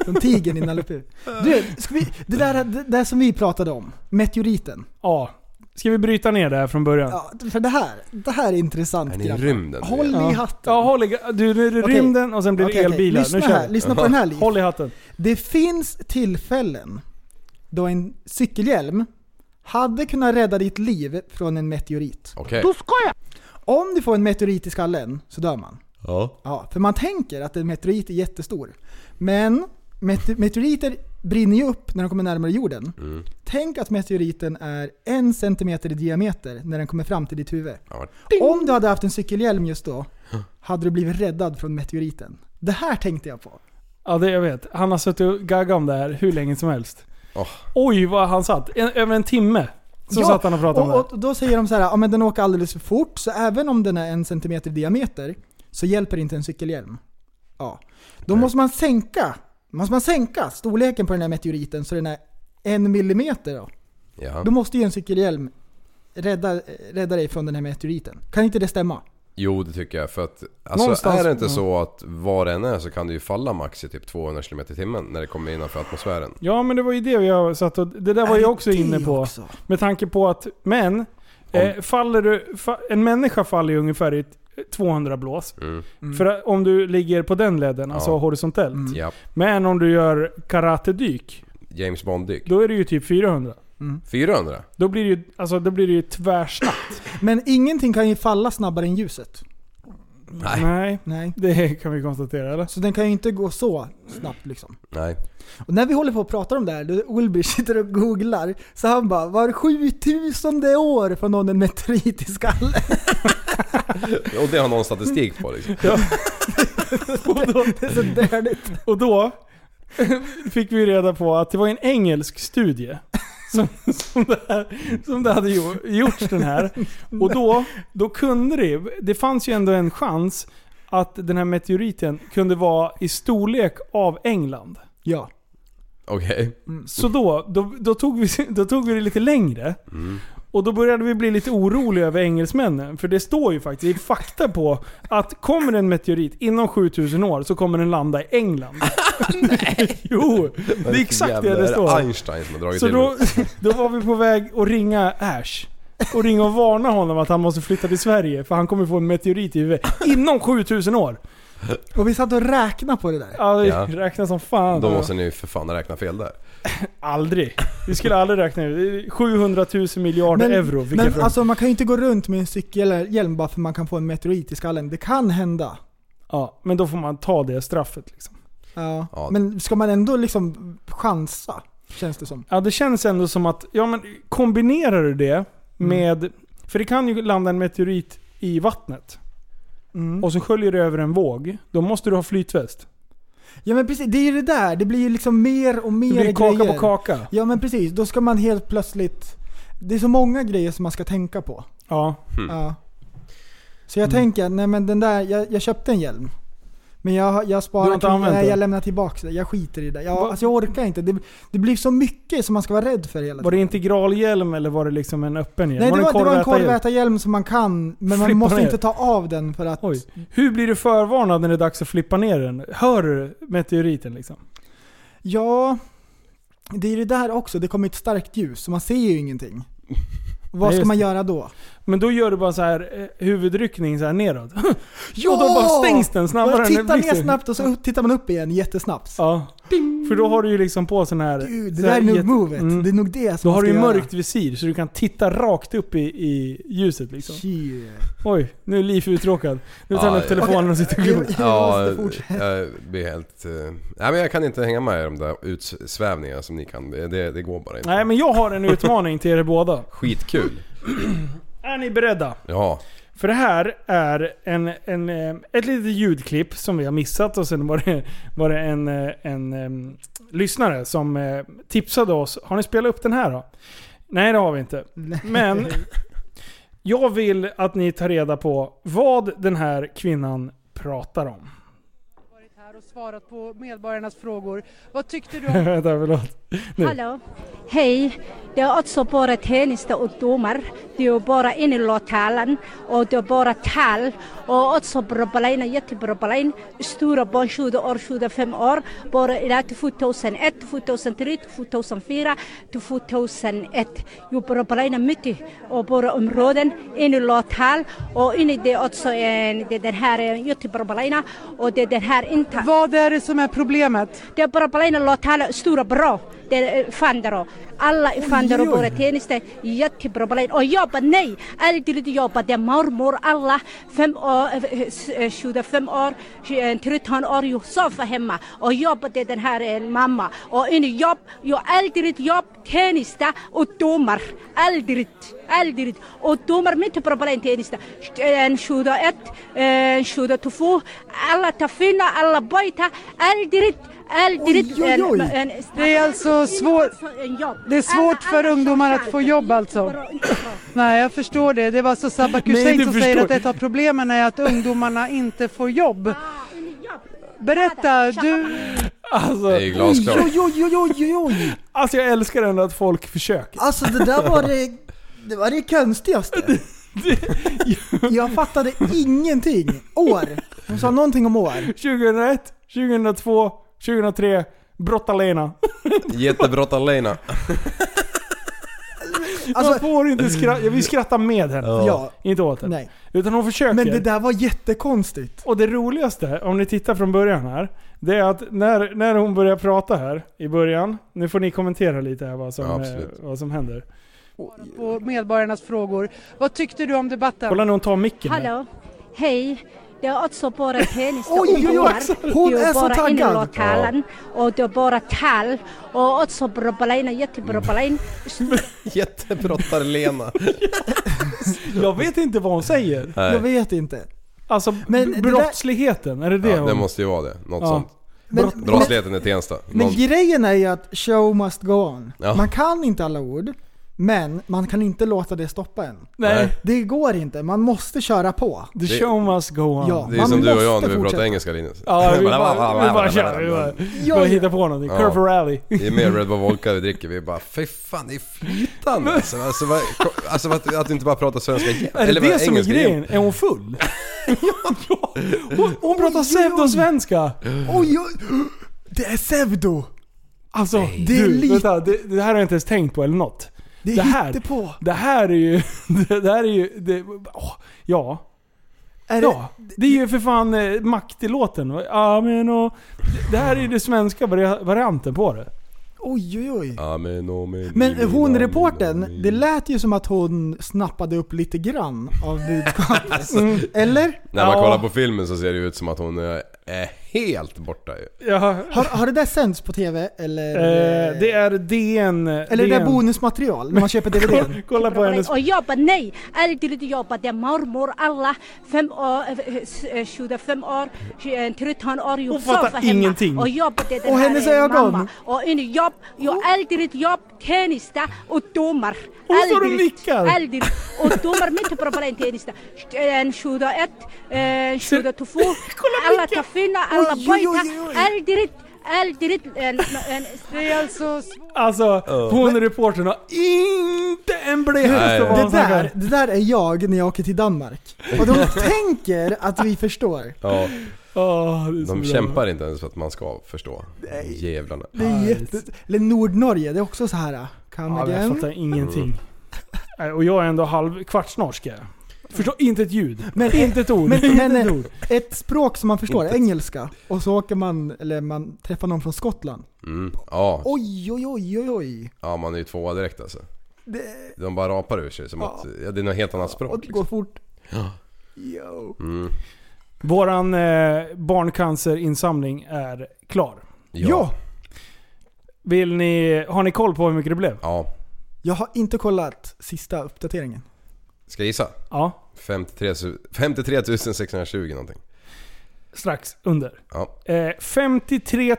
[SPEAKER 6] Som tigern i Nalle Puh. Du, ska vi, det där det där som vi pratade om, meteoriten.
[SPEAKER 3] Ja. Ska vi bryta ner det här från början? Ja,
[SPEAKER 6] Ja, för det här, det här är intressant
[SPEAKER 4] Är ni i rymden?
[SPEAKER 6] Håll i hatten.
[SPEAKER 3] håll i, du, nu är det
[SPEAKER 6] Okej.
[SPEAKER 3] rymden och sen blir det
[SPEAKER 6] Okej, okej.
[SPEAKER 3] elbilar.
[SPEAKER 6] Lyssna,
[SPEAKER 3] Nu kör
[SPEAKER 6] här,
[SPEAKER 3] vi.
[SPEAKER 6] lyssna på den här Liv.
[SPEAKER 3] Håll i hatten.
[SPEAKER 6] Det finns tillfällen då en cykelhjälm hade kunnat rädda ditt liv från en meteorit.
[SPEAKER 4] Okej.
[SPEAKER 6] Om du får en meteorit i skallen så dör man.
[SPEAKER 4] Ja.
[SPEAKER 6] Ja, för man tänker att en meteorit är jättestor. Men mete- meteoriter brinner ju upp när de kommer närmare jorden.
[SPEAKER 4] Mm.
[SPEAKER 6] Tänk att meteoriten är en centimeter i diameter när den kommer fram till ditt huvud.
[SPEAKER 4] Ja.
[SPEAKER 6] Om du hade haft en cykelhjälm just då, hade du blivit räddad från meteoriten. Det här tänkte jag på.
[SPEAKER 3] Ja, det jag vet. Han har suttit och gaggat om det här hur länge som helst.
[SPEAKER 4] Åh.
[SPEAKER 3] Oj, vad han satt. En, över en timme. Så
[SPEAKER 6] Ja,
[SPEAKER 3] satt han och pratade om det.
[SPEAKER 6] Och, och då säger de så här, ja men den åker alldeles för fort, så även om den är en centimeter i diameter så hjälper inte en cykelhjälm. Ja. Då måste man sänka måste man sänka storleken på den här meteoriten så den är en millimeter. Då,
[SPEAKER 4] Jaha.
[SPEAKER 6] då måste ju en cykelhjälm rädda, rädda dig från den här meteoriten. Kan inte det stämma?
[SPEAKER 4] Jo det tycker jag för att alltså,
[SPEAKER 3] Någonstans-
[SPEAKER 4] är det inte
[SPEAKER 3] ja.
[SPEAKER 4] så att var den är så kan det ju falla max i typ 200 km i timmen när det kommer innanför atmosfären.
[SPEAKER 3] Ja men det var ju det jag satt och, det där var
[SPEAKER 6] Är
[SPEAKER 3] jag också
[SPEAKER 6] det
[SPEAKER 3] inne på.
[SPEAKER 6] också?
[SPEAKER 3] Med tanke på att, men, eh, faller du, fa, en människa faller ju ungefär i ett 200 blås.
[SPEAKER 4] Mm.
[SPEAKER 3] För att, om du ligger på den ledden, alltså
[SPEAKER 4] Ja.
[SPEAKER 3] horisontellt.
[SPEAKER 6] Mm.
[SPEAKER 4] Ja.
[SPEAKER 3] Men om du gör karatedyk,
[SPEAKER 4] James Bond-dyk.
[SPEAKER 3] då är det ju typ 400.
[SPEAKER 4] 400?
[SPEAKER 3] Då blir det ju, alltså, då blir det ju tvärsnabbt.
[SPEAKER 6] Men ingenting kan ju falla snabbare än ljuset.
[SPEAKER 4] Nej.
[SPEAKER 3] Nej,
[SPEAKER 6] Nej.
[SPEAKER 3] det kan vi konstatera eller?
[SPEAKER 6] Så den kan ju inte gå så snabbt liksom.
[SPEAKER 4] Nej.
[SPEAKER 6] Och när vi håller på och pratar om det här, då Ulbir sitter och googlar, så han bara var 7000 år får någon en meteorit i skallen.
[SPEAKER 4] Och det har någon statistik på liksom.
[SPEAKER 6] det är så dödligt.
[SPEAKER 3] Och då fick vi reda på att det var en engelsk studie som, som, det, här, som det hade gjo- gjorts den här. Och då, då kunde det, det fanns ju ändå en chans att den här meteoriten kunde vara i storlek av England.
[SPEAKER 6] Ja.
[SPEAKER 4] Okej.
[SPEAKER 3] Så då, då, då, tog, vi, då tog vi det lite längre.
[SPEAKER 4] Mm.
[SPEAKER 3] Och då började vi bli lite oroliga över engelsmännen. För det står ju faktiskt, det är fakta på att kommer en meteorit inom 7000 år så kommer den landa i England. jo, det är exakt det
[SPEAKER 4] Jävlar,
[SPEAKER 3] det står.
[SPEAKER 4] Einstein som har dragit
[SPEAKER 3] Så
[SPEAKER 4] till
[SPEAKER 3] då,
[SPEAKER 4] med.
[SPEAKER 3] då var vi på väg att ringa Ash. Och ringa och varna honom att han måste flytta till Sverige för han kommer få en meteorit i huvudet inom 7000 år.
[SPEAKER 6] Och vi satt och räknade på det där.
[SPEAKER 3] Ja, det
[SPEAKER 4] Ja.
[SPEAKER 3] räknas som fan.
[SPEAKER 4] Då måste ni ju för fan räkna fel där.
[SPEAKER 3] Aldrig. Vi skulle aldrig räkna ut. Det är 700 000 miljarder euro. fick jag
[SPEAKER 6] men
[SPEAKER 3] från-
[SPEAKER 6] alltså man kan ju inte gå runt med en cykelhjälm bara för man kan få en meteorit i skallen. Det kan hända.
[SPEAKER 3] Ja, men då får man ta det straffet liksom.
[SPEAKER 6] Ja.
[SPEAKER 4] Ja.
[SPEAKER 6] Men ska man ändå liksom chansa? Känns det som.
[SPEAKER 3] Ja, det känns ändå som att, ja men kombinerar du det
[SPEAKER 6] Mm.
[SPEAKER 3] med, för det kan ju landa en meteorit i vattnet
[SPEAKER 6] Mm.
[SPEAKER 3] och så sköljer det över en våg, då måste du ha flytväst.
[SPEAKER 6] Ja men precis, det är ju det där. Det blir ju liksom mer och mer
[SPEAKER 3] Det blir kaka
[SPEAKER 6] grejer.
[SPEAKER 3] på kaka.
[SPEAKER 6] Ja men precis, då ska man helt plötsligt... Det är så många grejer som man ska tänka på.
[SPEAKER 3] Ja. Mm.
[SPEAKER 6] Ja. Så jag tänker, nej men den där, jag, jag köpte en hjälm. Men jag, jag
[SPEAKER 3] Du har
[SPEAKER 6] sparar
[SPEAKER 3] inte
[SPEAKER 6] till,
[SPEAKER 3] använt
[SPEAKER 6] nej,
[SPEAKER 3] det?
[SPEAKER 6] jag lämnar tillbaka det. Jag skiter i det. Jag,
[SPEAKER 3] Va-
[SPEAKER 6] alltså jag orkar inte. Det, det blir så mycket som man ska vara rädd för hela
[SPEAKER 3] Var det integralhjälm eller var det liksom en öppen hjälm?
[SPEAKER 6] Nej, det var, det var en
[SPEAKER 3] korvätarhjälm?
[SPEAKER 6] korvätarhjälm som man kan, men man
[SPEAKER 3] Flippa
[SPEAKER 6] måste
[SPEAKER 3] ner.
[SPEAKER 6] inte ta av den för att...
[SPEAKER 3] Oj. Hur blir du förvarnad när det är dags att flippa ner den? Hör du meteoriten liksom?
[SPEAKER 6] Ja, det är det där också. Det kommer ett starkt ljus, så man ser ju ingenting. Vad
[SPEAKER 3] Nej,
[SPEAKER 6] ska
[SPEAKER 3] just
[SPEAKER 6] man
[SPEAKER 3] det.
[SPEAKER 6] göra då?
[SPEAKER 3] Men då gör du bara så här eh, huvudryckning så här nedåt.
[SPEAKER 6] Ja!
[SPEAKER 3] Och då bara stängs den snabbare
[SPEAKER 6] Man
[SPEAKER 3] än
[SPEAKER 6] tittar ner
[SPEAKER 3] blixten.
[SPEAKER 6] snabbt och så upp, tittar man upp igen jättesnabbt.
[SPEAKER 3] Ja. För då har du ju liksom på sån här...
[SPEAKER 6] Gud, det
[SPEAKER 3] så
[SPEAKER 6] där
[SPEAKER 3] här
[SPEAKER 6] är nog
[SPEAKER 3] jätte-
[SPEAKER 6] movet.
[SPEAKER 3] Mm.
[SPEAKER 6] Det är nog det
[SPEAKER 3] Då
[SPEAKER 6] som man
[SPEAKER 3] har du
[SPEAKER 6] ska
[SPEAKER 3] ju
[SPEAKER 6] göra.
[SPEAKER 3] mörkt visir så du kan titta rakt upp i, i ljuset liksom.
[SPEAKER 6] Shit.
[SPEAKER 3] Oj, nu är Liv uttråkad. Nu tar
[SPEAKER 4] Ja,
[SPEAKER 3] han upp
[SPEAKER 4] ja.
[SPEAKER 3] telefonen och sitter och glor.
[SPEAKER 4] Ja,
[SPEAKER 6] måste fortsätta.
[SPEAKER 4] jag blir helt... eh, Nej men jag kan inte hänga med i de där utsvävningarna som ni kan. Det, det, det går bara inte.
[SPEAKER 3] Nej men jag har en utmaning till er båda.
[SPEAKER 4] Skitkul.
[SPEAKER 3] Är ni beredda?
[SPEAKER 4] Ja.
[SPEAKER 3] För det här är en, en, eh, ett litet ljudklipp som vi har missat och sen var det, var det en, eh, en em, lyssnare som eh, tipsade oss. Har ni spelat upp den här då? Nej det har vi inte. Men jag vill att ni tar reda på vad den här kvinnan pratar om.
[SPEAKER 10] varit här och svarat på medborgarnas frågor. Vad tyckte du om
[SPEAKER 3] Vänta, förlåt.
[SPEAKER 11] Hallå. Hej. Det är också bara tjänsteungdomar. Det är bara inlåttalan och det är bara tal. Och också problem, jättebra problem. Stora barn, 20 år, 25 år. Bara idag till 2001, 2003, 2004, till 2001. Jo, problemen mycket. Och bara områden, inlåttal. Och in i det också en, det är den här eh, jättebra problemen. Och det är den här inte.
[SPEAKER 10] Vad är det som är problemet?
[SPEAKER 11] Det är bara plain låtar stora bra. Det är eh, Fandero. Alla i Fandero, våra tjänster, jättebra plain. Och jobba, nej, aldrig lite jobba. Det är mormor, alla, fem år, eh, s- eh, 25 år, tj- eh, 13 år, jag sover hemma. Och jobba, det är den här eh, mamma. Och in i jobb, jag aldrig jobb, tjänster och domar. Aldrig, aldrig. Och domar, mitt problem tjänster. En 21, en 22, alla tar fina, alla bojtar, aldrig Aldrig
[SPEAKER 6] Oj, oj, oj.
[SPEAKER 11] En, en,
[SPEAKER 10] Det är alltså svår-
[SPEAKER 11] en jobb.
[SPEAKER 10] det är svårt för ungdomar att få jobb alltså. Nej, jag förstår det. Det var alltså Sabak Hussein
[SPEAKER 3] du
[SPEAKER 10] som säger
[SPEAKER 3] förstår.
[SPEAKER 10] att ett av problemen är att ungdomarna inte får jobb. Berätta, du...
[SPEAKER 4] Det
[SPEAKER 3] Alltså,
[SPEAKER 4] är ju glasklart.
[SPEAKER 6] Oj, oj, oj, oj, oj, oj.
[SPEAKER 3] alltså jag älskar ändå att folk försöker.
[SPEAKER 6] Alltså det där var det, det var det konstigaste. Jag fattade ingenting. År. Hon sa någonting om år.
[SPEAKER 3] 2001, 2002, 2003, Brottalena.
[SPEAKER 4] Jättebrottar Lena.
[SPEAKER 3] Man
[SPEAKER 6] Alltså,
[SPEAKER 3] får inte skratta. Jag vill skratta med henne.
[SPEAKER 6] ja.
[SPEAKER 3] Inte åt henne.
[SPEAKER 6] Nej.
[SPEAKER 3] Utan hon försöker.
[SPEAKER 6] Men det där var jättekonstigt.
[SPEAKER 3] Och det roligaste, om ni tittar från början här, det är att när, när hon börjar prata här i början, nu får ni kommentera lite här vad som,
[SPEAKER 4] Ja,
[SPEAKER 3] eh,
[SPEAKER 4] absolut.
[SPEAKER 3] vad som händer.
[SPEAKER 10] På medborgarnas frågor. Vad tyckte du om debatten?
[SPEAKER 3] Kolla när hon tar micken. här.
[SPEAKER 11] Hallå, hej. Det är också bara tjänster
[SPEAKER 6] Oj, oj, oj, hon är så taggad.
[SPEAKER 11] taggad! Och det är bara tal. Och också problem, jättebra problem.
[SPEAKER 4] Jättebrottar Lena.
[SPEAKER 3] Jag vet inte vad hon säger.
[SPEAKER 6] Jag
[SPEAKER 4] Nej.
[SPEAKER 6] vet inte.
[SPEAKER 3] Alltså
[SPEAKER 6] Men
[SPEAKER 3] b-
[SPEAKER 6] det där-
[SPEAKER 3] brottsligheten, är det det
[SPEAKER 4] Ja, det
[SPEAKER 3] hon...
[SPEAKER 4] måste ju vara det. Något
[SPEAKER 3] Ja.
[SPEAKER 4] sånt.
[SPEAKER 6] Men, men,
[SPEAKER 4] Brottsligheten är Tensta.
[SPEAKER 6] men
[SPEAKER 4] Någon...
[SPEAKER 6] grejen är ju att show must go on.
[SPEAKER 4] Ja.
[SPEAKER 6] Man kan inte alla ord, men man kan inte låta det stoppa en.
[SPEAKER 3] Nej,
[SPEAKER 6] Det går inte. Man måste köra på.
[SPEAKER 3] the show must go on.
[SPEAKER 6] Ja.
[SPEAKER 4] Det är
[SPEAKER 6] Man
[SPEAKER 4] som du och jag när
[SPEAKER 6] måste
[SPEAKER 4] vi pratar
[SPEAKER 6] fortsätta.
[SPEAKER 4] engelska Linus.
[SPEAKER 3] Ja, vi bara, vi bara kör. Vi bara,
[SPEAKER 6] Ja,
[SPEAKER 3] bara
[SPEAKER 6] ja.
[SPEAKER 3] hittar på någonting.
[SPEAKER 4] Ja.
[SPEAKER 3] Curve rally.
[SPEAKER 4] Det är mer Red Bull Vodka vi dricker, vi är bara fy fan det är flytande alltså, alltså, vad, alltså att, att du inte bara pratar svenska igen.
[SPEAKER 3] Är det
[SPEAKER 4] vad,
[SPEAKER 3] det som är
[SPEAKER 4] engelska igen.
[SPEAKER 3] grejen? Är hon full? ja, hon, hon pratar pseudosvenska.
[SPEAKER 6] Oj, oj. Det är pseudo.
[SPEAKER 3] Alltså,
[SPEAKER 6] Det
[SPEAKER 3] det,
[SPEAKER 6] är
[SPEAKER 3] du,
[SPEAKER 6] lite-
[SPEAKER 3] vänta, det, det här har jag inte ens tänkt på eller något.
[SPEAKER 6] Det är
[SPEAKER 3] Det här-
[SPEAKER 6] hittepå.
[SPEAKER 3] Det här är ju... Det, det här är ju... Det, åh, ja.
[SPEAKER 6] Är det,
[SPEAKER 3] Ja. Det är ju för fan eh, makt i låten. Ja, men och, det- det här är ju det svenska vari- varianten på det.
[SPEAKER 6] oj, oj, oj.
[SPEAKER 4] Amen, amen,
[SPEAKER 6] Men hon
[SPEAKER 4] amen,
[SPEAKER 6] reporten,
[SPEAKER 4] amen.
[SPEAKER 6] det lät ju som att hon snappade upp lite grann av budskapet. Mm. Eller?
[SPEAKER 4] När man
[SPEAKER 3] Ja.
[SPEAKER 4] kollar på filmen så ser det ut som att hon är eh, helt borta ju.
[SPEAKER 6] Har, har det där sänts på TV eller?
[SPEAKER 3] Eh, det är DN...
[SPEAKER 6] eller det där bonusmaterial när man köper DVD?
[SPEAKER 3] Kolla på hennes...
[SPEAKER 11] Och jobba, nej! Aldrig till att jobba. Det är mormor alla fem år, eh, s- eh, 25 år, eh, 13 år.
[SPEAKER 3] Hon fattar ingenting.
[SPEAKER 11] Och jobba, det är den
[SPEAKER 3] Och
[SPEAKER 11] här,
[SPEAKER 3] hennes
[SPEAKER 11] eh,
[SPEAKER 3] ögon.
[SPEAKER 11] Mamma. Och en jobb, jag aldrig jobb, tennista och domar.
[SPEAKER 3] Hon står och
[SPEAKER 11] Aldrig,
[SPEAKER 3] nickar.
[SPEAKER 11] Aldrig. Och domar, mitt problem tennista. En 21, eh, 22. Alla tar fina, alla
[SPEAKER 10] Oj, oj, oj,
[SPEAKER 11] pojkar.
[SPEAKER 10] oj.
[SPEAKER 11] Aldrig, aldrig en... en
[SPEAKER 10] Det är alltså...
[SPEAKER 3] Alltså, hon reportern har inte en blek
[SPEAKER 4] Nej.
[SPEAKER 3] aning om vad
[SPEAKER 6] Det
[SPEAKER 3] hon snackar
[SPEAKER 6] där,
[SPEAKER 3] om.
[SPEAKER 6] det där är jag när jag åker till Danmark. Och de tänker att vi förstår.
[SPEAKER 4] Ja,
[SPEAKER 3] Åh, det är så
[SPEAKER 4] de
[SPEAKER 3] bra.
[SPEAKER 4] kämpar inte ens för att man ska förstå. Jävlarna.
[SPEAKER 6] Det är jätte... Eller Nordnorge, det är också så här. Come
[SPEAKER 3] Ja, jag
[SPEAKER 6] again.
[SPEAKER 3] fattar ingenting. Nej, Och jag är ändå halv kvartsnorsk är jag. Förstår inte ett ljud.
[SPEAKER 6] Men-
[SPEAKER 3] inte ett ord.
[SPEAKER 6] Men,
[SPEAKER 3] inte
[SPEAKER 6] men
[SPEAKER 3] ett
[SPEAKER 6] eh,
[SPEAKER 3] ord.
[SPEAKER 6] ett språk som man förstår,
[SPEAKER 3] Inte ett-
[SPEAKER 6] engelska. Och så åker man, eller man träffar någon från Skottland.
[SPEAKER 4] Mm. Ja.
[SPEAKER 6] Oj, oj, oj, oj, oj.
[SPEAKER 4] ja, man är ju tvåa direkt alltså.
[SPEAKER 6] Det-
[SPEAKER 4] De bara rapar ur sig som att ja, det är något helt annat
[SPEAKER 6] Och
[SPEAKER 4] språk.
[SPEAKER 6] det
[SPEAKER 3] liksom.
[SPEAKER 6] går fort.
[SPEAKER 4] Ja.
[SPEAKER 6] Yo.
[SPEAKER 4] Mm.
[SPEAKER 3] Våran eh, barncancerinsamling är klar.
[SPEAKER 4] Ja. Ja.
[SPEAKER 3] Vill ni, har ni koll på hur mycket det blev?
[SPEAKER 4] Ja.
[SPEAKER 6] Jag har inte kollat sista uppdateringen.
[SPEAKER 4] Ska jag gissa?
[SPEAKER 3] Ja.
[SPEAKER 4] 53, su- 53 620 någonting.
[SPEAKER 3] Strax under.
[SPEAKER 4] Ja.
[SPEAKER 3] Eh, 53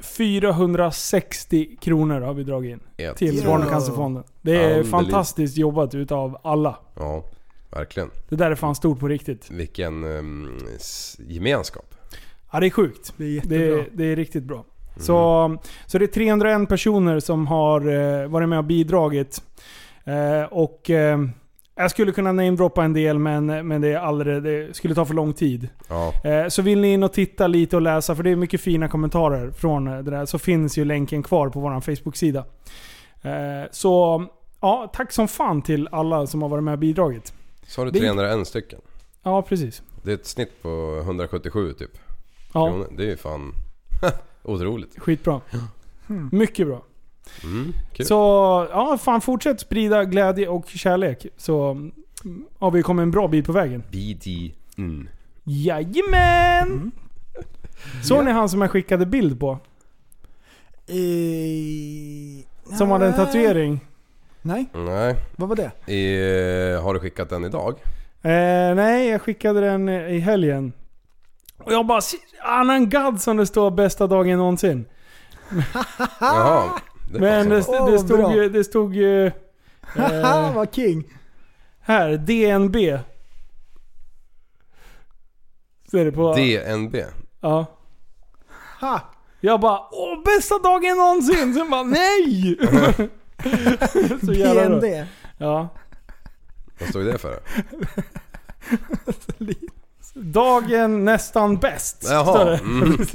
[SPEAKER 3] 460 kronor har vi dragit in.
[SPEAKER 4] Ett.
[SPEAKER 3] Till
[SPEAKER 4] Ja.
[SPEAKER 3] Barncancerfonden. Det är
[SPEAKER 4] Underligt.
[SPEAKER 3] fantastiskt jobbat utav alla.
[SPEAKER 4] Ja, verkligen.
[SPEAKER 3] Det där är fan stort på riktigt.
[SPEAKER 4] Vilken ehm, s- gemenskap.
[SPEAKER 3] Ja, det är sjukt.
[SPEAKER 6] Det är
[SPEAKER 3] Det är, det är riktigt bra. Så, så det är 301 personer som har eh, varit med och bidragit. Eh, och eh, jag skulle kunna namedroppa en del men, men det, är alldeles, det skulle ta för lång tid.
[SPEAKER 4] Ja.
[SPEAKER 3] Eh, så vill ni in och titta lite och läsa, för det är mycket fina kommentarer från eh, det där, så finns ju länken kvar på vår Facebook-sida. Eh, så ja, tack som fan till alla som har varit med och bidragit.
[SPEAKER 4] Så har du
[SPEAKER 3] Det är-
[SPEAKER 4] 301 stycken.
[SPEAKER 3] Ja, precis.
[SPEAKER 4] Det är ett snitt på 177 typ.
[SPEAKER 3] Ja.
[SPEAKER 4] Kronor. Det är ju fan otroligt.
[SPEAKER 3] Skitbra. Mycket bra.
[SPEAKER 4] Mm, kul.
[SPEAKER 3] Så ja, fan fortsätt sprida glädje och kärlek. Så mm, har vi kommit en bra bit på vägen.
[SPEAKER 4] BD. Mm.
[SPEAKER 3] Jajamän!
[SPEAKER 6] Mm.
[SPEAKER 3] Såg ni han som jag skickade bild på?
[SPEAKER 6] Eh,
[SPEAKER 3] Som hade
[SPEAKER 6] Ah.
[SPEAKER 3] en tatuering?
[SPEAKER 6] Nej,
[SPEAKER 4] Nej.
[SPEAKER 6] vad var det?
[SPEAKER 4] Eh, har du skickat den idag?
[SPEAKER 3] Eh, nej, jag skickade den i helgen. Och jag bara "Shit, Annan gadd som det står bästa dagen någonsin.
[SPEAKER 4] Jaha. Det alltså,
[SPEAKER 3] Men det,
[SPEAKER 4] passar.
[SPEAKER 3] det
[SPEAKER 6] Åh,
[SPEAKER 3] stod
[SPEAKER 6] bra.
[SPEAKER 3] ju... Det stod ju eh,
[SPEAKER 6] Haha, vad king.
[SPEAKER 3] här, DNB. Ser det på...
[SPEAKER 4] DNB.
[SPEAKER 3] Ja.
[SPEAKER 6] Ha.
[SPEAKER 3] Jag bara åh bästa dagen någonsin. Sen bara nej! Så jävla bra.
[SPEAKER 6] BND.
[SPEAKER 3] Ja.
[SPEAKER 4] Vad står det för?
[SPEAKER 3] Dagen nästan bäst. står
[SPEAKER 4] Jaha.
[SPEAKER 3] det.
[SPEAKER 4] Mm.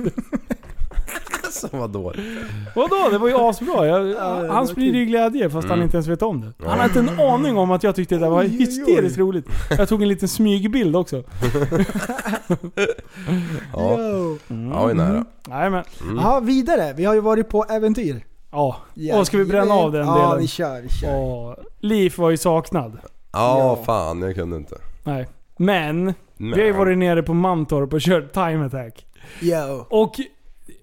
[SPEAKER 4] Alltså vadå?
[SPEAKER 3] Vadå? Det var ju asbra. Jag,
[SPEAKER 6] det var
[SPEAKER 3] han sprider ju glädje fast han
[SPEAKER 4] Mm.
[SPEAKER 3] inte ens vet om det.
[SPEAKER 4] Ja.
[SPEAKER 3] Han har inte en aning om att jag tyckte det där var
[SPEAKER 6] Oj, oj, oj.
[SPEAKER 3] hysteriskt roligt. Jag tog en liten smygbild också.
[SPEAKER 4] Mm. Ja,
[SPEAKER 6] Yo.
[SPEAKER 4] ja vi är nära.
[SPEAKER 3] Mm. Nej men,
[SPEAKER 6] Ja, vidare. Vi har ju varit på äventyr.
[SPEAKER 3] ja. Åh, ska vi bränna av den
[SPEAKER 6] Ja,
[SPEAKER 3] delen?
[SPEAKER 6] vi kör. Vi kör.
[SPEAKER 3] Åh, Liv var ju saknad.
[SPEAKER 4] Ja, fan jag kunde inte.
[SPEAKER 3] Nej. Men,
[SPEAKER 4] Men.
[SPEAKER 3] vi har ju varit nere på Mantorp och kört time attack.
[SPEAKER 6] Yo.
[SPEAKER 3] Och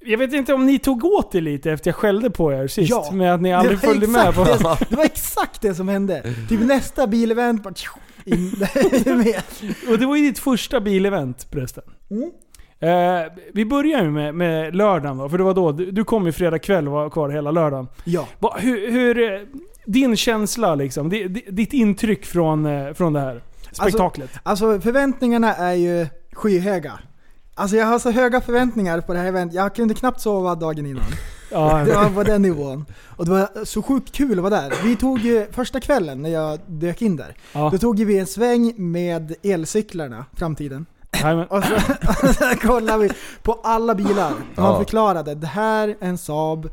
[SPEAKER 3] jag vet inte om ni tog åt er lite efter jag skällde på er sist
[SPEAKER 6] Ja.
[SPEAKER 3] med att ni aldrig
[SPEAKER 6] Det var
[SPEAKER 3] följde med
[SPEAKER 6] exakt
[SPEAKER 3] på...
[SPEAKER 6] Det, det var exakt det som hände. Typ nästa bilevent bara... tjo, In, är du med?
[SPEAKER 3] Och det var ju ditt första bilevent förresten.
[SPEAKER 6] Mm.
[SPEAKER 3] Eh, vi börjar ju med, med lördagen då, för det var då du, du kom ju fredag kväll och var kvar hela lördagen.
[SPEAKER 6] Ja.
[SPEAKER 3] Va, hur, hur, eh, din känsla liksom, di, di, ditt intryck från, eh, från det här spektaklet?
[SPEAKER 6] Alltså förväntningarna är ju skyhöga. Alltså jag har så höga förväntningar på det här eventet. Jag kunde knappt sova dagen innan.
[SPEAKER 3] ja,
[SPEAKER 6] Det var på den nivån. Och det var så sjukt kul att vara där. Vi tog ju första kvällen när jag dök in där.
[SPEAKER 3] ja,
[SPEAKER 6] Då tog ju vi en sväng med elcyklarna, framtiden.
[SPEAKER 3] nej, men,
[SPEAKER 6] Och så, och så kollade vi på alla bilar. Man
[SPEAKER 4] Ja.
[SPEAKER 6] förklarade, det här är en Saab,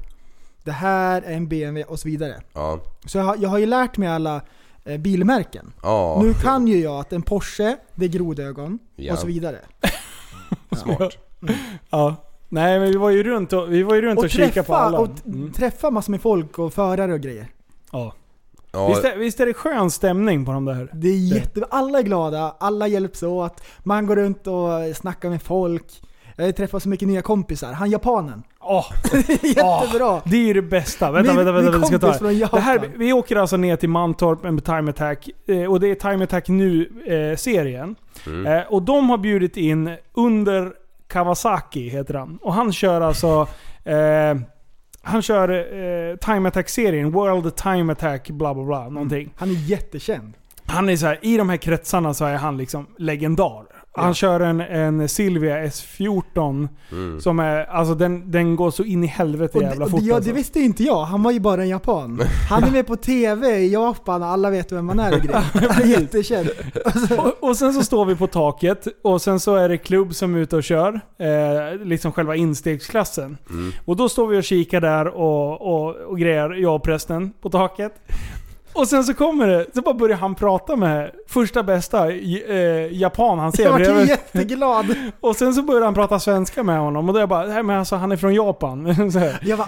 [SPEAKER 6] det här är en BMW och så vidare.
[SPEAKER 4] Ja.
[SPEAKER 6] Så jag har, jag har ju lärt mig alla eh, bilmärken.
[SPEAKER 4] Ja.
[SPEAKER 6] Nu kan ju jag att en Porsche, det är grodögon
[SPEAKER 4] Ja.
[SPEAKER 6] och så vidare.
[SPEAKER 4] Smart.
[SPEAKER 3] ja. nej men vi var ju runt och, vi var ju runt och, kikade på alla.
[SPEAKER 6] och t-
[SPEAKER 3] Mm.
[SPEAKER 6] träffa massor med folk och förare och grejer.
[SPEAKER 3] Ja.
[SPEAKER 4] Ja,
[SPEAKER 3] Visst, är, visst är det skön stämning på de där?
[SPEAKER 6] Det är jätte... Alla är glada, alla hjälps åt, man går runt och snackar med folk. Jag har träffat så mycket nya kompisar. Han japanen.
[SPEAKER 3] Åh! Ah.
[SPEAKER 6] Jättebra!
[SPEAKER 3] Det är ju det bästa. Vänta,
[SPEAKER 6] Min-
[SPEAKER 3] vänta,
[SPEAKER 6] min
[SPEAKER 3] vänta. vi ska ta
[SPEAKER 6] kompis från
[SPEAKER 3] det.
[SPEAKER 6] Japan.
[SPEAKER 3] det här, vi åker alltså ner till Mantorp med Time Attack. eh, Och det är Time Attack Nu-serien. Eh, Och de har bjudit in Under Kawasaki, heter han. Och han kör alltså... Eh, han kör eh, Time Attack-serien. World Time Attack bla bla bla. Någonting.
[SPEAKER 6] Han är jättekänd.
[SPEAKER 3] Han är så här, i de här kretsarna så är han liksom legendar. Han kör en, en Silvia S14
[SPEAKER 6] Mm.
[SPEAKER 3] som är, alltså den, den går så in i helvete
[SPEAKER 6] Och
[SPEAKER 3] jävla
[SPEAKER 6] det, och
[SPEAKER 3] fort
[SPEAKER 6] det, ja,
[SPEAKER 3] alltså.
[SPEAKER 6] det visste ju inte jag. Han var ju bara en japan. Han är med på TV i Japan och alla vet vem man är och grejer. Han är jättekänd.
[SPEAKER 3] och, och sen så står vi på taket och sen så är det klubb som är ute och kör. Eh, liksom själva instegsklassen.
[SPEAKER 6] Mm.
[SPEAKER 3] Och då står vi och kikar där och, och, och grejer, jag och prästen, på taket. Och sen så kommer det, så bara börjar han prata med första bästa j- eh, japan han ser
[SPEAKER 6] Jag vart
[SPEAKER 3] bredvid.
[SPEAKER 6] jätteglad.
[SPEAKER 3] Och sen så börjar han prata svenska med honom och då är jag bara, nej men alltså han är från Japan. Så här.
[SPEAKER 6] Jag bara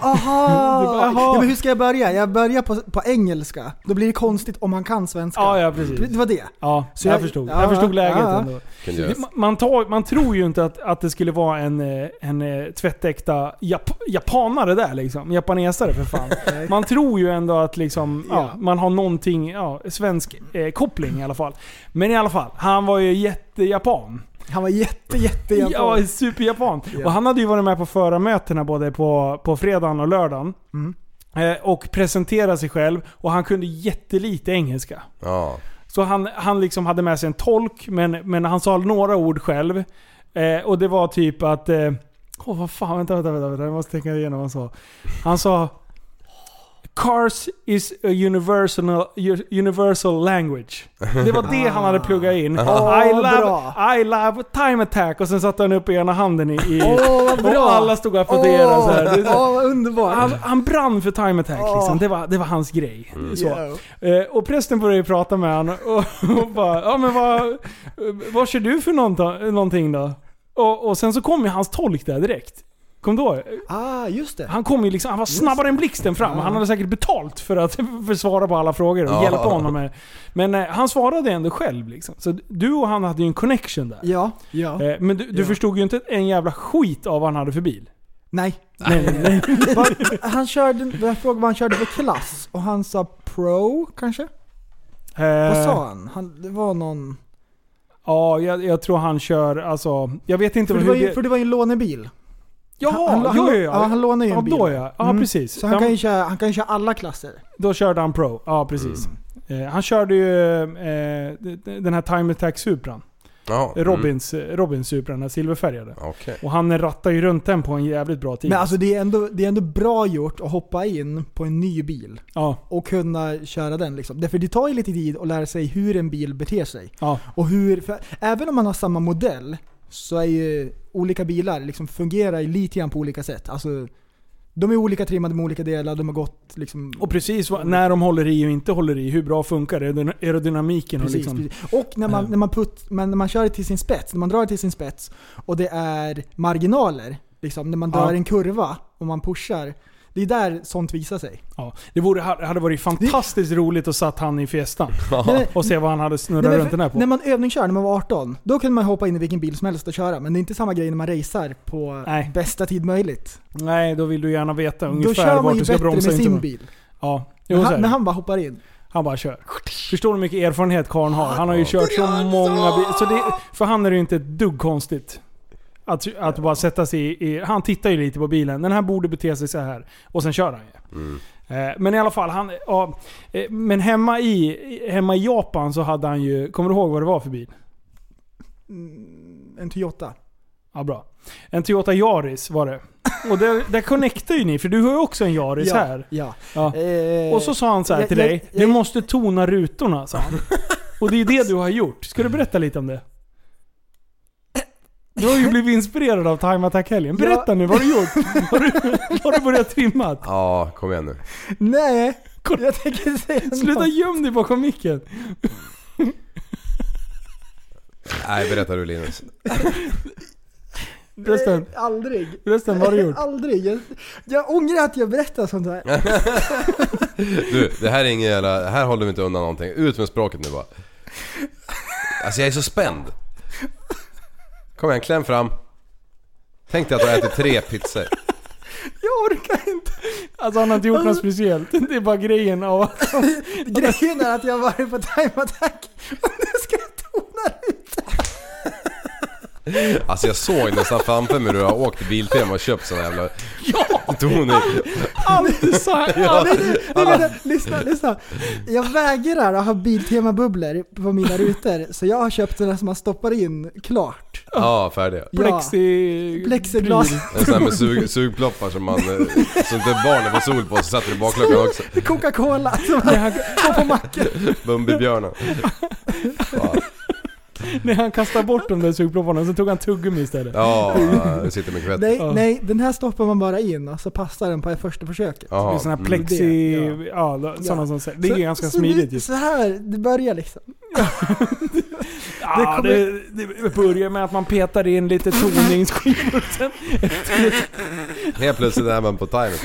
[SPEAKER 6] aha!
[SPEAKER 3] Du bara, aha.
[SPEAKER 6] Ja, men hur ska jag börja? Jag börjar på, på engelska. Då blir det konstigt om han kan svenska.
[SPEAKER 3] Ah, Ja, ja precis.
[SPEAKER 6] Det var det.
[SPEAKER 3] Ja,
[SPEAKER 6] Så
[SPEAKER 3] jag,
[SPEAKER 6] jag-
[SPEAKER 3] förstod.
[SPEAKER 6] ja,
[SPEAKER 3] jag förstod
[SPEAKER 6] ja,
[SPEAKER 3] läget
[SPEAKER 6] ja.
[SPEAKER 3] ändå.
[SPEAKER 4] Kan göra.
[SPEAKER 3] Man, man, tar, man tror ju inte att, att det skulle vara en, eh, en eh, tvättäkta jap, japanare där liksom. Japanesare för fan. Man tror ju ändå att liksom, ja, man har någonting, ja, svensk eh, koppling i alla fall. Men i alla fall, han var ju jättejapan.
[SPEAKER 6] Han var jätte, jätte
[SPEAKER 3] Ja, superjapan.
[SPEAKER 6] Ja.
[SPEAKER 3] Och han hade ju varit med på förarmötena både på, på fredagen och lördagen.
[SPEAKER 6] Mm.
[SPEAKER 3] Eh, Och presenterade sig själv och han kunde jättelite engelska.
[SPEAKER 4] Ja.
[SPEAKER 3] Så han, han liksom hade med sig en tolk, men, men han sa några ord själv. Eh, och det var typ att... eh, Åh, vad fan. Vänta, vänta, vänta. vänta jag måste tänka igenom vad han sa. Han sa... Cars is a universal, universal language. Det var det han hade pluggat in.
[SPEAKER 6] Åh,
[SPEAKER 3] I, love,
[SPEAKER 6] bra.
[SPEAKER 3] I love time attack. Och sen satte han upp ena handen i... i
[SPEAKER 6] Åh, vad bra.
[SPEAKER 3] Och alla stod och applåderade. så här. Det är så här.
[SPEAKER 6] Åh, vad underbart.
[SPEAKER 3] Han, han brann för time attack
[SPEAKER 6] Åh.
[SPEAKER 3] liksom. det, var, det var hans grej. Så.
[SPEAKER 6] Yeah.
[SPEAKER 3] Eh, och prästen började ju prata med honom och, och bara ja men vad, eh, vad kör du för någonta- någonting då? Och, och sen så kom ju hans tolk där direkt. Kom då?
[SPEAKER 6] Ah, just det.
[SPEAKER 3] Han kom ju liksom, han var snabbare än blixten fram. Han hade säkert betalt för att för svara på alla frågor och
[SPEAKER 4] Ja.
[SPEAKER 3] hjälpa honom med. Men eh, han svarade ändå själv liksom. Så du och han hade ju en connection där.
[SPEAKER 6] Ja, ja.
[SPEAKER 3] Eh, men du, du
[SPEAKER 6] Ja.
[SPEAKER 3] förstod ju inte en jävla skit av vad han hade för bil.
[SPEAKER 6] Nej.
[SPEAKER 3] Nej, nej, nej.
[SPEAKER 6] Vad- han körde, jag frågade vad han körde för klass och han sa pro kanske?
[SPEAKER 3] Eh.
[SPEAKER 6] Vad sa han? han det var någon...
[SPEAKER 3] Ja, jag, jag tror han kör, alltså... Jag vet inte
[SPEAKER 6] För det,
[SPEAKER 3] hur
[SPEAKER 6] var ju, för det var ju en lånebil.
[SPEAKER 3] Ja,
[SPEAKER 6] han, han,
[SPEAKER 3] jo, jo,
[SPEAKER 6] ja, han lånar ju en
[SPEAKER 3] ja,
[SPEAKER 6] bil.
[SPEAKER 3] Då ja, ja
[SPEAKER 6] Mm.
[SPEAKER 3] precis.
[SPEAKER 6] Så han
[SPEAKER 3] Ja,
[SPEAKER 6] kan, ju köra, han kan ju köra alla klasser.
[SPEAKER 3] Då körde han Pro. Ja, precis.
[SPEAKER 6] Mm.
[SPEAKER 3] Eh, han körde ju eh, d- d- den här Time Attack Supran.
[SPEAKER 4] Ja. mm.
[SPEAKER 3] Robins, eh, Robins Supran, den här silverfärgade.
[SPEAKER 4] Okej.
[SPEAKER 3] Och han rattar ju runt den på en jävligt bra tid.
[SPEAKER 6] Men alltså det är, ändå, det är ändå bra gjort att hoppa in på en ny bil
[SPEAKER 3] ja,
[SPEAKER 6] och kunna köra den. Liksom. Därför det tar ju lite tid att lära sig hur en bil beter sig.
[SPEAKER 3] ja.
[SPEAKER 6] Och hur, för även om man har samma modell så är ju olika bilar liksom fungerar ju lite grann på olika sätt. Alltså, de är olika trimmade med olika delar, de har gått liksom...
[SPEAKER 3] Och precis vad, när de håller i och inte håller i, hur bra funkar aerodyn- aerodynamiken? och
[SPEAKER 6] Precis,
[SPEAKER 3] liksom,
[SPEAKER 6] precis. Och när man,
[SPEAKER 3] Eh.
[SPEAKER 6] när, man putt, men när man kör det till sin spets, när man drar det till sin spets och det är marginaler, liksom, när man
[SPEAKER 3] Ja.
[SPEAKER 6] drar en kurva och man pushar. Det är där sånt visar sig.
[SPEAKER 3] Ja, det vore, hade varit fantastiskt roligt att satt han i fiestan.
[SPEAKER 6] Nej,
[SPEAKER 3] Och se vad han hade
[SPEAKER 6] Nej,
[SPEAKER 3] snurrat
[SPEAKER 6] men
[SPEAKER 3] runt den här
[SPEAKER 6] för- När
[SPEAKER 3] på.
[SPEAKER 6] man övningskör, när man var 18, då kunde man hoppa in i vilken bil som helst och köra. Men det är inte samma grej när man racear på
[SPEAKER 3] Nej.
[SPEAKER 6] bästa tid möjligt.
[SPEAKER 3] Nej, då vill du gärna veta
[SPEAKER 6] Då
[SPEAKER 3] ungefär
[SPEAKER 6] kör
[SPEAKER 3] vart
[SPEAKER 6] man ju
[SPEAKER 3] du ska
[SPEAKER 6] bättre
[SPEAKER 3] bromsa.
[SPEAKER 6] med
[SPEAKER 3] och inte
[SPEAKER 6] sin
[SPEAKER 3] bromsa.
[SPEAKER 6] bil.
[SPEAKER 3] Ja, jo,
[SPEAKER 6] När
[SPEAKER 3] så är
[SPEAKER 6] han,
[SPEAKER 3] det.
[SPEAKER 6] när han bara hoppar in.
[SPEAKER 3] Han bara kör. Förstår du hur mycket erfarenhet karln har? Han har ju kört så många bilar. Så det, för han är det ju inte ett dugg konstigt. Att, att bara sätta sig i, i... Han tittar ju lite på bilen. Den här borde bete sig så här. Och sen kör han ju. Eh, Men i alla fall, han, ja, eh, men hemma i, i- hemma i Japan så hade han ju... Kommer du ihåg vad det var för bil?
[SPEAKER 6] En Toyota.
[SPEAKER 3] Ja, bra. En Toyota Yaris var det. Och där, där connectar ju ni, för du har ju också en Yaris
[SPEAKER 6] ja,
[SPEAKER 3] här.
[SPEAKER 6] Ja.
[SPEAKER 3] Ja.
[SPEAKER 6] Eh,
[SPEAKER 3] Och så sa han så här
[SPEAKER 6] jag-
[SPEAKER 3] till
[SPEAKER 6] jag-
[SPEAKER 3] dig,
[SPEAKER 6] jag-
[SPEAKER 3] du måste tona rutorna sa han. Och det är det du har gjort. Ska du berätta lite om det? Du har ju blivit inspirerad av Time Attack-helgen. Berätta
[SPEAKER 6] Ja.
[SPEAKER 3] nu, vad har du gjort? Har du, har du börjat trimma?
[SPEAKER 4] Ja, kom igen nu.
[SPEAKER 6] Nej, jag tänker säga
[SPEAKER 3] Sluta
[SPEAKER 6] något.
[SPEAKER 3] göm dig bakom micken.
[SPEAKER 4] Nej, berätta du Linus.
[SPEAKER 3] Resten,
[SPEAKER 6] Eh, Aldrig.
[SPEAKER 3] resten vad har du gjort?
[SPEAKER 6] Aldrig. Jag, jag ångrar att jag berättar sånt här.
[SPEAKER 4] Du, det här är ingen jävla... det Här håller vi inte undan någonting. Ut med språket nu bara. Alltså jag är så spänd. Kom igen, kläm fram. Tänk dig att du äter tre pizzor.
[SPEAKER 3] Jag orkar inte. Alltså han har inte gjort något speciellt. Det är bara grejen av att...
[SPEAKER 6] Grejen är att jag har varit på Time Attack och nu ska jag tona ut
[SPEAKER 4] Alltså jag såg nästan framför mig hur du har åkt till Biltema och köpt såna jävla... Ja! Toner.
[SPEAKER 6] allt du sa! Ja, nej, nej, nej, vänta, lyssna, lyssna. Jag vägrar att ha Biltema-bubblor på mina rutor, så jag har köpt sådana som man stoppar in klart.
[SPEAKER 4] Ja, färdiga.
[SPEAKER 6] Ja.
[SPEAKER 3] Plexi...
[SPEAKER 6] Plexiglas.
[SPEAKER 4] En sån här med sug, sugploppar som man... eh, Som inte barnen får sol på, så satte du i bakluckan också.
[SPEAKER 6] Coca-Cola som man får på macken.
[SPEAKER 4] Bumbibjörnen. Fan.
[SPEAKER 3] När han kastade bort de där sugplopparna så tog han tuggummi istället.
[SPEAKER 4] Ja, jag sitter med kvätt.
[SPEAKER 6] Nej,
[SPEAKER 3] Ja.
[SPEAKER 6] nej, den här stoppar man bara in och så passar den på första försöket.
[SPEAKER 3] Det är
[SPEAKER 4] Jaha,
[SPEAKER 3] såna
[SPEAKER 4] mm.
[SPEAKER 3] här plexi...
[SPEAKER 6] Det,
[SPEAKER 3] Ja, sådana
[SPEAKER 6] Ja.
[SPEAKER 3] som säger. Det är
[SPEAKER 6] Så-
[SPEAKER 3] ganska
[SPEAKER 6] så
[SPEAKER 3] smidigt
[SPEAKER 6] nu-
[SPEAKER 3] ju.
[SPEAKER 6] Så här, det börjar liksom.
[SPEAKER 3] Ja,
[SPEAKER 6] kommer-
[SPEAKER 3] det, det börjar med att man petar in lite toningsskivor sen.
[SPEAKER 4] Mm. Helt plötsligt är man på timer.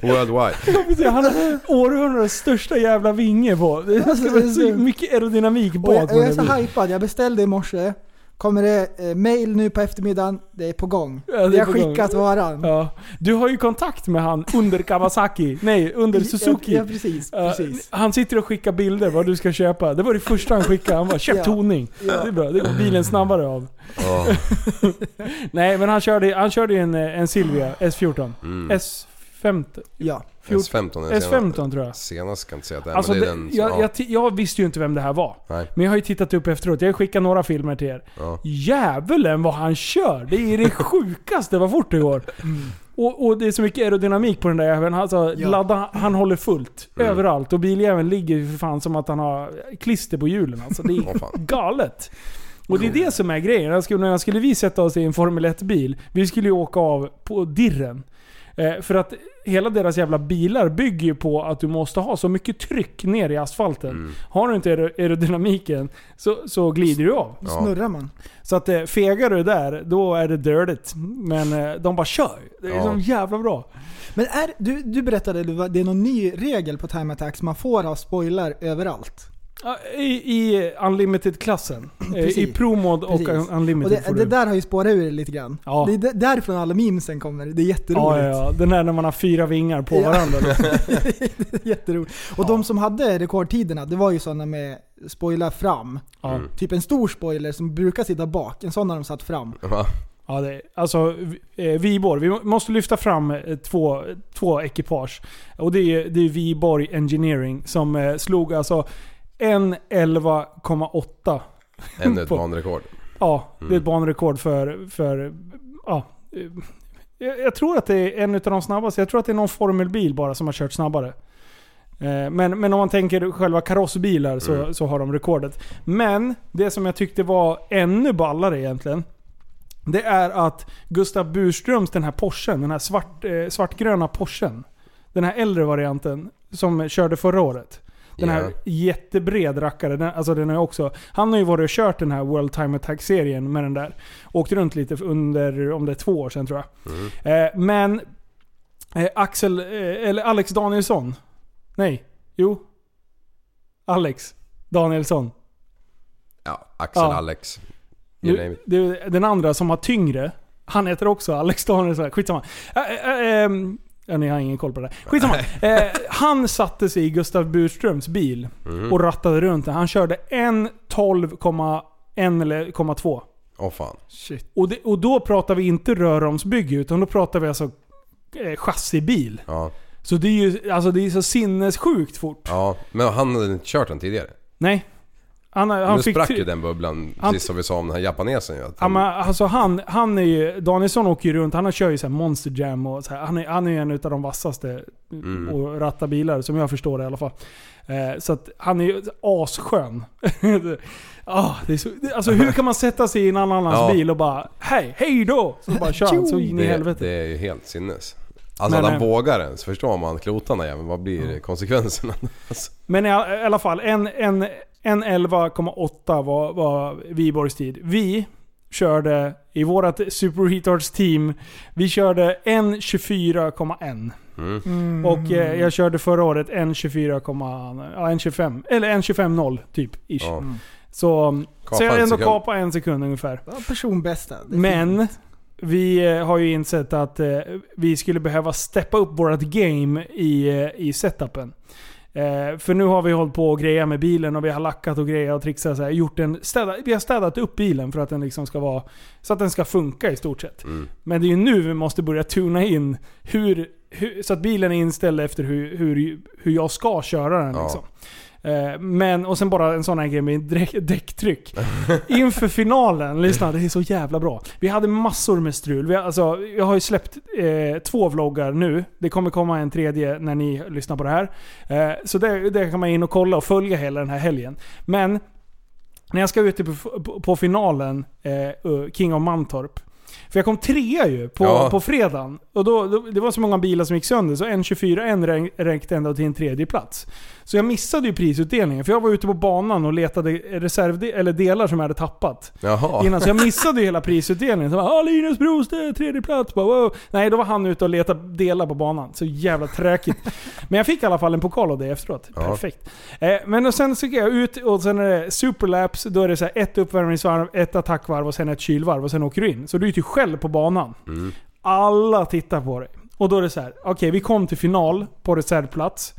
[SPEAKER 4] Worldwide.
[SPEAKER 3] Han har århundradets största jävla vinge på. Det är så mycket aerodynamik
[SPEAKER 6] Och jag,
[SPEAKER 3] bak. på
[SPEAKER 6] jag är
[SPEAKER 3] den
[SPEAKER 6] så
[SPEAKER 3] här bilen.
[SPEAKER 6] hypad, jag beställde i morse. Kommer det eh, mail nu på eftermiddagen, det är på gång.
[SPEAKER 3] Ja, det är
[SPEAKER 6] Vi har
[SPEAKER 3] på gång.
[SPEAKER 6] skickat varan.
[SPEAKER 3] Ja. Du har ju kontakt med han under Kawasaki. Nej, under Suzuki.
[SPEAKER 6] Ja, ja precis,
[SPEAKER 3] Eh,
[SPEAKER 6] precis.
[SPEAKER 3] han sitter och skickar bilder vad du ska köpa. Det var det första han skickade. Han bara 'Köp
[SPEAKER 6] Ja.
[SPEAKER 3] toning'
[SPEAKER 6] Ja.
[SPEAKER 3] Det är bra, det går bilen snabbare av.
[SPEAKER 4] Ja.
[SPEAKER 3] Nej men han körde, han körde ju en, eh, en Silvia S14.
[SPEAKER 4] Mm.
[SPEAKER 3] S50?
[SPEAKER 6] Ja.
[SPEAKER 3] Fjort-
[SPEAKER 4] S15 är
[SPEAKER 3] S15
[SPEAKER 4] senast.
[SPEAKER 3] tror jag.
[SPEAKER 4] Senast ska jag inte säga att det är,
[SPEAKER 3] Alltså,
[SPEAKER 4] men det
[SPEAKER 3] det,
[SPEAKER 4] är den som...
[SPEAKER 3] jag,
[SPEAKER 4] ja.
[SPEAKER 3] jag, ti- jag visste ju inte vem det här var.
[SPEAKER 4] Nej.
[SPEAKER 3] Men jag har ju tittat upp efteråt. Jag har skickat några filmer till er.
[SPEAKER 4] Ja.
[SPEAKER 3] Djävulen vad han kör! Det är det sjukaste vad fort det går.
[SPEAKER 4] Mm.
[SPEAKER 3] Och, och det är så mycket aerodynamik på den där jäveln. Alltså,
[SPEAKER 6] Ja.
[SPEAKER 3] ladda, han håller fullt
[SPEAKER 4] Mm.
[SPEAKER 3] överallt. Och biljäveln ligger ju för fan som att han har klister på hjulen. Alltså, det är
[SPEAKER 4] Åh, fan.
[SPEAKER 3] galet. Och det är det som är grejen. Jag skulle, när skulle vi sätta oss i en Formel 1-bil, vi skulle ju åka av på dirren. Eh, för att hela deras jävla bilar bygger ju på att du måste ha så mycket tryck ner i asfalten.
[SPEAKER 6] Mm.
[SPEAKER 3] Har du inte aer- aerodynamiken så, så glider du av.
[SPEAKER 6] Då snurrar man.
[SPEAKER 3] Så att eh, fegar du där, då är det dirtigt. Men eh, de bara kör. Det är
[SPEAKER 4] Ja.
[SPEAKER 3] så jävla bra.
[SPEAKER 6] Men är, du, du berättade att det var- det är någon ny regel på Time Attacks, man får ha spoiler överallt.
[SPEAKER 3] Ja, I, i Unlimited-klassen. Eh, I
[SPEAKER 6] Precis.
[SPEAKER 3] ProMod och
[SPEAKER 6] Precis.
[SPEAKER 3] Un-
[SPEAKER 6] Och
[SPEAKER 3] Unlimited
[SPEAKER 6] det,
[SPEAKER 3] får
[SPEAKER 6] det
[SPEAKER 3] du.
[SPEAKER 6] där har ju spårat ur det lite grann.
[SPEAKER 3] Ja.
[SPEAKER 6] Det är d- därifrån alla memesen kommer, det är
[SPEAKER 3] ja,
[SPEAKER 6] jätteroligt.
[SPEAKER 3] ja, ja. Den här när man har fyra vingar på
[SPEAKER 6] Ja.
[SPEAKER 3] varandra.
[SPEAKER 6] Jätteroligt. Och de som hade rekordtiderna, det var ju sådana med spoiler fram.
[SPEAKER 3] Ja.
[SPEAKER 6] Typ en stor spoiler som brukar sitta bak, en sån har de satt fram.
[SPEAKER 4] Va?
[SPEAKER 3] Ja, det, alltså, vi- eh, Viborg. Vi må- måste lyfta fram eh, två, två ekipage. Och det är, det är Viborg Engineering som eh, slog alltså en 11,8.
[SPEAKER 4] Ännu ett
[SPEAKER 3] På-
[SPEAKER 4] banrekord.
[SPEAKER 3] Ja, det är ett
[SPEAKER 4] Mm.
[SPEAKER 3] banrekord för... för ja, eh, jag, jag tror att det är en av de snabbaste. Jag tror att det är någon formelbil bara som har kört snabbare. Eh, Men, men om man tänker själva karossbilar så,
[SPEAKER 4] Mm.
[SPEAKER 3] så har de rekordet. Men det som jag tyckte var ännu ballare egentligen. Det är att Gustav Burströms, den här Porschen, den här svart, eh, svartgröna Porschen. Den här äldre varianten som körde förra året. Den här
[SPEAKER 4] Ja.
[SPEAKER 3] jättebred rackare. Den, alltså den är också, han har ju varit och kört den här World Time Attack-serien med den där. Åkt runt lite under, om det är två år sedan tror jag.
[SPEAKER 4] Mm.
[SPEAKER 3] Eh, men eh, Axel, eh, eller Alex Danielsson. Nej, jo. Alex Danielsson.
[SPEAKER 4] Ja, Axel,
[SPEAKER 3] Ja.
[SPEAKER 4] Alex. You name
[SPEAKER 3] Nu,
[SPEAKER 4] it.
[SPEAKER 3] det, den andra som har tyngre, han heter också Alex Danielsson. Skitsamma. Äh, äh, ähm, ja, ni har ingen koll på det där. Skitsamma. Eh, han satte sig i Gustav Burströms bil
[SPEAKER 4] Mm.
[SPEAKER 3] och rattade runt den. Han körde en 12,1 eller 0,2.
[SPEAKER 4] Åh fan.
[SPEAKER 3] Och, det, och då pratar vi inte röromsbygge, utan då pratar vi alltså eh, chassibil.
[SPEAKER 4] Ja.
[SPEAKER 3] Så det är ju alltså, det är så sinnessjukt fort.
[SPEAKER 4] ja. Men han hade inte kört den tidigare.
[SPEAKER 3] Nej. Han, han
[SPEAKER 4] nu
[SPEAKER 3] fick
[SPEAKER 4] sprack
[SPEAKER 3] tre-
[SPEAKER 4] ju den bubblan,
[SPEAKER 3] Han-
[SPEAKER 4] precis som vi sa om den här japanesen ju. att
[SPEAKER 3] Ja,
[SPEAKER 4] han-
[SPEAKER 3] men, alltså han, han är ju, Danielsson åker ju runt, han kör ju så här Monster Jam och så här. Han är, han är ju en av de vassaste
[SPEAKER 4] Mm.
[SPEAKER 3] och ratta bilar som jag förstår det i alla fall. Eh, så att han är ju asskön. ah, det är så, det, alltså hur kan man sätta sig i en annan annans
[SPEAKER 4] Ja.
[SPEAKER 3] bil och bara hej, hej då! Så bara kör han så in i
[SPEAKER 4] det,
[SPEAKER 3] helvete.
[SPEAKER 4] det är ju helt sinnes. Alltså
[SPEAKER 3] Men,
[SPEAKER 4] att han
[SPEAKER 3] eh,
[SPEAKER 4] vågar ens, förstår man klotarna jäveln, vad blir konsekvenserna? Alltså,
[SPEAKER 3] Men i all- i alla fall, en, en, en 11,8 var, var Viborgs tid. Vi körde i vårt Super Retards team, vi körde en 24,1.
[SPEAKER 4] Mm.
[SPEAKER 3] Och eh, jag körde förra året en 24, ja, en 25, eller en 25,0 typ. Ish.
[SPEAKER 4] ja.
[SPEAKER 3] Så,
[SPEAKER 4] Kapa
[SPEAKER 3] så jag
[SPEAKER 4] en
[SPEAKER 3] ändå
[SPEAKER 4] sekund.
[SPEAKER 3] kapat en sekund ungefär.
[SPEAKER 6] Ja, personbästa. Det är
[SPEAKER 3] Men vi eh, har ju insett att eh, vi skulle behöva steppa upp vårt game i, eh, i setupen. Eh, för nu har vi hållit på och grejat med bilen och vi har lackat och grejat och trixat. Så här, gjort en städa, vi har städat upp bilen för att den liksom ska vara, så att den ska funka i stort sett. Men det är ju nu vi måste börja tuna in hur, hur, så att bilen är inställd efter hur, hur, hur jag ska köra den.
[SPEAKER 4] Ja.
[SPEAKER 3] Liksom. Eh, Men, och sen bara en sån här grej med dräck- däcktryck. Inför finalen, lyssna det är så jävla bra. Vi hade massor med strul. Vi, har- alltså, jag har ju släppt eh, två vloggar nu. Det kommer komma en tredje när ni lyssnar på det här. Eh, så det, det kan man in och kolla och följa hela den här helgen. Men när jag ska ut på, på, på finalen, eh, uh, King of Mantorp. För jag kom trea ju på,
[SPEAKER 4] Ja.
[SPEAKER 3] på fredagen. Och då, då, det var så många bilar som gick sönder, så en 24 en rän- räckte ända till en tredje plats. Så jag missade ju prisutdelningen, för jag var ute på banan och letade reserv, eller delar som jag hade tappat.
[SPEAKER 4] Jaha.
[SPEAKER 3] Innan, så jag missade ju hela prisutdelningen. Så jag bara, "Ah, Linus Brostedt, tredje plats. Bara, wow. Nej, då var han ute och letade delar på banan. Så jävla tråkigt. Men jag fick i alla fall en pokal av det efteråt.
[SPEAKER 4] Ja.
[SPEAKER 3] Perfekt. Eh, men och sen så gick jag ut och sen är det superlaps. Då är det så här ett uppvärmningsvarv, ett attackvarv och sen ett kylvarv. Och sen åker du in. Så du är ju typ själv på banan.
[SPEAKER 4] Mm.
[SPEAKER 3] Alla tittar på dig. Och då är det så här. okej vi kom till final på reservplats.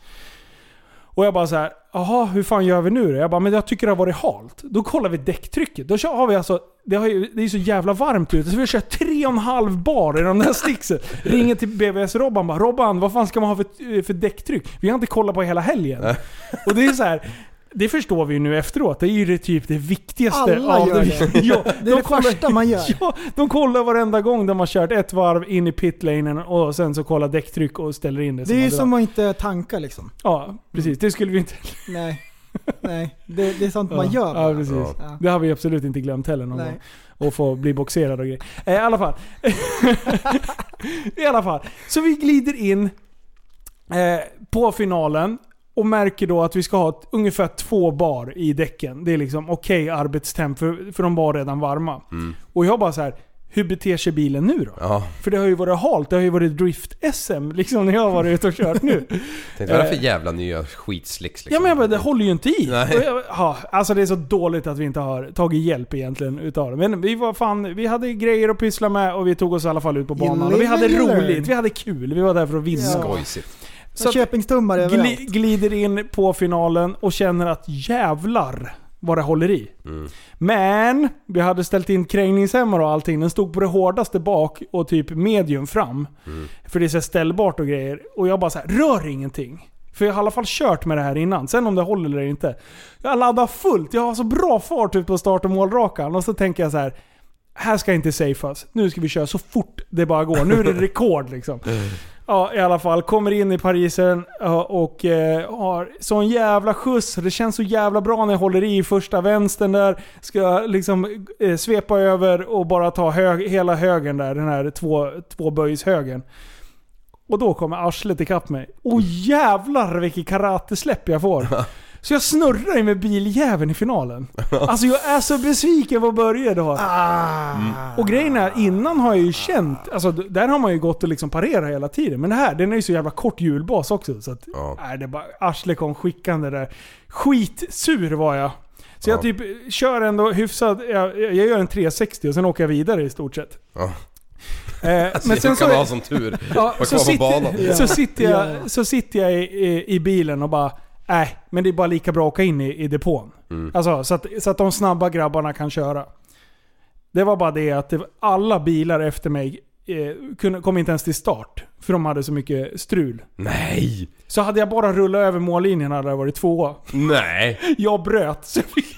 [SPEAKER 3] Och jag bara så här, jaha hur fan gör vi nu då? Jag bara, men jag tycker det har varit halt. Då kollar vi däcktrycket. Då kör- har vi alltså, det, har ju, det är så jävla varmt ute så vi kör 3,5 bar i de där sticksen. Ringer till BVS-Robban bara, Robban vad fan ska man ha för, för däcktryck? Vi har inte kollat på hela helgen. Och det är så här. Det förstår vi ju nu efteråt. Det är ju det typ det viktigaste
[SPEAKER 6] Alla
[SPEAKER 3] av
[SPEAKER 6] gör
[SPEAKER 3] vik-
[SPEAKER 6] det.
[SPEAKER 3] Ja,
[SPEAKER 6] Det är
[SPEAKER 3] de
[SPEAKER 6] det första man gör.
[SPEAKER 3] Ja, de kollar varenda gång de har kört ett varv in i pitlanen och sen så kollar däcktryck och ställer in det.
[SPEAKER 6] Det är ju
[SPEAKER 3] man drar.
[SPEAKER 6] som att inte tanka liksom.
[SPEAKER 3] Ja, precis. Det skulle vi inte
[SPEAKER 6] Nej. Nej. Det, det är sånt man
[SPEAKER 3] Ja,
[SPEAKER 6] gör.
[SPEAKER 3] Ja,
[SPEAKER 6] bara.
[SPEAKER 3] precis.
[SPEAKER 6] Ja.
[SPEAKER 3] Det har vi absolut inte glömt heller någon
[SPEAKER 6] Nej.
[SPEAKER 3] gång. Och få bli boxerad och grejer. Eh, I alla fall. I alla fall. Så vi glider in eh, på finalen och märker då att vi ska ha ett, ungefär två bar i däcken. Det är liksom okej arbetstemp, för, för de var redan varma.
[SPEAKER 4] Mm.
[SPEAKER 3] Och jag bara så här. hur beter sig bilen nu då?
[SPEAKER 4] Ja.
[SPEAKER 3] För det har ju varit halt, det har ju varit drift-SM liksom när jag har varit ute och kört nu.
[SPEAKER 4] Tänkte vad är det
[SPEAKER 3] Eh.
[SPEAKER 4] för jävla nya skitslicks liksom?
[SPEAKER 3] Ja men jag bara, det håller ju inte i.
[SPEAKER 4] Nej.
[SPEAKER 3] Och jag- Ja, alltså det är så dåligt att vi inte har tagit hjälp egentligen utav det. Men vi var fan, vi hade grejer att pyssla med och vi tog oss i alla fall ut på
[SPEAKER 6] You
[SPEAKER 3] banan. Och vi
[SPEAKER 6] live
[SPEAKER 3] hade
[SPEAKER 6] and you learn.
[SPEAKER 3] roligt, vi hade kul, vi var där för att vinna.
[SPEAKER 4] Skojsigt.
[SPEAKER 3] Så att-
[SPEAKER 6] Köpingstummar överallt.
[SPEAKER 3] Gli, glider in på finalen och känner att jävlar vad det håller i.
[SPEAKER 4] Mm.
[SPEAKER 3] Men vi hade ställt in krängningshämmar och allting. Den stod på det hårdaste bak och typ medium fram. För det är så här ställbart och grejer. Och jag bara så här, rör ingenting. För jag har i alla fall kört med det här innan. Sen om det håller eller inte. Jag laddar fullt. Jag har så bra fart ut på start och målrakan. Och så tänker jag så här. Här ska jag inte safeas. Nu ska vi köra så fort det bara går. Nu är det rekord liksom. Ja, i alla fall. Kommer in i Parisen ja, och eh, har sån jävla skjuts. Det känns så jävla bra när jag håller i första vänstern där. Ska liksom eh, svepa över och bara ta hög, hela högen där. Den här två, två högen. Och då kommer arslet ikapp mig. Och jävlar vilket karatesläpp jag får. Så jag snurrar ju med biljäveln i finalen. Alltså jag är så besviken på Börje då. Och grejen är, innan har jag ju känt, alltså d- där har man ju gått och liksom parerat hela tiden. Men det här, den är ju så jävla kort hjulbas också. Så att,
[SPEAKER 4] Ja.
[SPEAKER 3] nej, det är bara, arslet kom skickande där. Skitsur var jag. Så jag
[SPEAKER 4] Ja.
[SPEAKER 3] typ eh, kör ändå hyfsat, jag, jag gör en 360 och sen åker jag vidare i stort sett.
[SPEAKER 4] Ja.
[SPEAKER 3] Eh,
[SPEAKER 4] Alltså, men sen jag kan ha som tur.
[SPEAKER 3] Ja,
[SPEAKER 4] Ja,
[SPEAKER 3] så,
[SPEAKER 4] kvar på banan.
[SPEAKER 3] sitter, så sitter jag, så sitter jag i, i, i bilen och bara Nej, men det är bara lika bra att åka in i, i depån.
[SPEAKER 4] Mm.
[SPEAKER 3] Alltså, så, att, så att de snabba grabbarna kan köra. Det var bara det att det, var- alla bilar efter mig eh, kunde, kom inte ens till start. För de hade så mycket strul.
[SPEAKER 4] Nej!
[SPEAKER 3] Så hade jag bara rullat över mållinjen hade jag varit tvåa.
[SPEAKER 4] Nej!
[SPEAKER 3] Jag bröt, så jag, fick,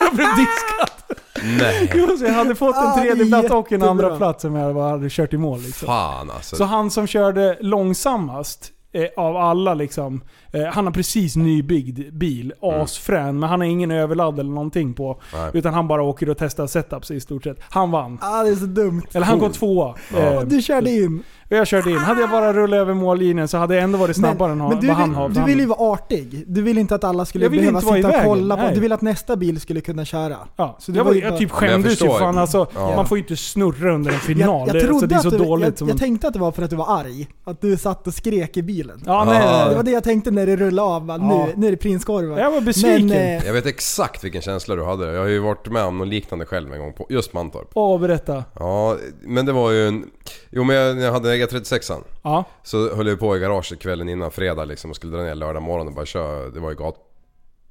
[SPEAKER 3] jag blev diskad.
[SPEAKER 4] Nej!
[SPEAKER 3] Jo, så jag hade fått
[SPEAKER 6] Ah,
[SPEAKER 3] en tredje plats och en
[SPEAKER 6] jättebra.
[SPEAKER 3] andra plats som jag bara hade kört i mål. Liksom.
[SPEAKER 4] Fan alltså.
[SPEAKER 3] Så han som körde långsammast eh, av alla liksom. Eh, han har precis nybyggd bil, asfrän, men han har ingen överladd eller någonting på.
[SPEAKER 4] Mm. Nej.
[SPEAKER 3] Utan han bara åker och testar setups i stort sett. Han vann.
[SPEAKER 6] Ah, det är så dumt.
[SPEAKER 3] Eller han går tvåa. Eh,
[SPEAKER 6] Du körde in.
[SPEAKER 3] Och jag körde in. Hade jag bara rullat över mållinjen så hade jag ändå varit snabbare än ha-
[SPEAKER 6] men du,
[SPEAKER 3] vad han
[SPEAKER 6] vill,
[SPEAKER 3] har.
[SPEAKER 6] du vill ju vara artig. Du vill inte att alla skulle
[SPEAKER 3] Jag vill
[SPEAKER 6] behöva
[SPEAKER 3] inte vara i
[SPEAKER 6] sitta och
[SPEAKER 3] vägen,
[SPEAKER 6] kolla på.
[SPEAKER 3] nej.
[SPEAKER 6] Du vill att nästa bil skulle kunna köra.
[SPEAKER 3] Ja,
[SPEAKER 6] Så det
[SPEAKER 3] jag,
[SPEAKER 6] var
[SPEAKER 3] var,
[SPEAKER 6] ju
[SPEAKER 3] jag
[SPEAKER 6] bara-
[SPEAKER 3] typ
[SPEAKER 4] Men jag
[SPEAKER 3] skämdes ju
[SPEAKER 4] förstår.
[SPEAKER 3] fan alltså.
[SPEAKER 4] Ja.
[SPEAKER 3] Man får ju inte snurra under en final.
[SPEAKER 6] Jag,
[SPEAKER 3] Det-
[SPEAKER 6] jag,
[SPEAKER 3] alltså,
[SPEAKER 6] trodde
[SPEAKER 3] det är så
[SPEAKER 6] att du,
[SPEAKER 3] dåligt.
[SPEAKER 6] jag,
[SPEAKER 3] som
[SPEAKER 6] jag
[SPEAKER 3] man,
[SPEAKER 6] tänkte att det var för att du var arg. Att du satt och skrek i bilen.
[SPEAKER 3] Ja, nej, nej, nej.
[SPEAKER 4] Ah.
[SPEAKER 6] Det var det jag tänkte när det rullade av. Bara,
[SPEAKER 3] Ja.
[SPEAKER 6] nu, nu är det prinskorvar.
[SPEAKER 3] Jag var besviken.
[SPEAKER 6] Men, eh,
[SPEAKER 4] Jag vet exakt vilken känsla du hade. Jag har ju varit med om något liknande själv en gång på just Mantorp.
[SPEAKER 3] Åh, berätta.
[SPEAKER 4] Ja, men det var ju en... Jo men jag, när jag hade E36an
[SPEAKER 3] Ja.
[SPEAKER 4] så höll jag på i garaget kvällen innan fredag liksom och skulle dra ner lördag morgon och bara köra. Det var ju gat...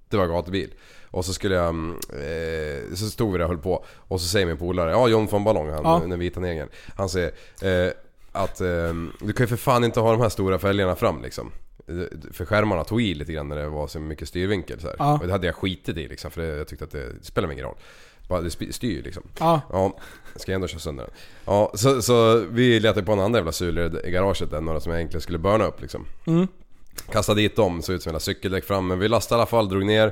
[SPEAKER 4] Det var gatubil. Och så skulle jag... mm, Eh, så stod vi där och höll på och så säger min polare, ja John von Ballong han,
[SPEAKER 3] Ja.
[SPEAKER 4] den vita negern. Han säger eh, att eh, du kan ju för fan inte ha de här stora fälgarna fram liksom. Eh, För skärmarna tog i lite grann när det var så mycket styrvinkel så här.
[SPEAKER 3] Ja.
[SPEAKER 4] Och det hade jag skitit i liksom för det, jag tyckte att det, det spelar mig ingen roll. Bara det sp- styr liksom.
[SPEAKER 3] Ja.
[SPEAKER 4] Ja, ska jag ändå köra sönder den. Ja, så, så vi letade på en annan jävla sulor i garaget där, några som jag egentligen skulle burna upp liksom.
[SPEAKER 3] Mm.
[SPEAKER 4] Kastade dit dem, såg ut som hela cykeldäck fram. Men vi lastade i alla fall, drog ner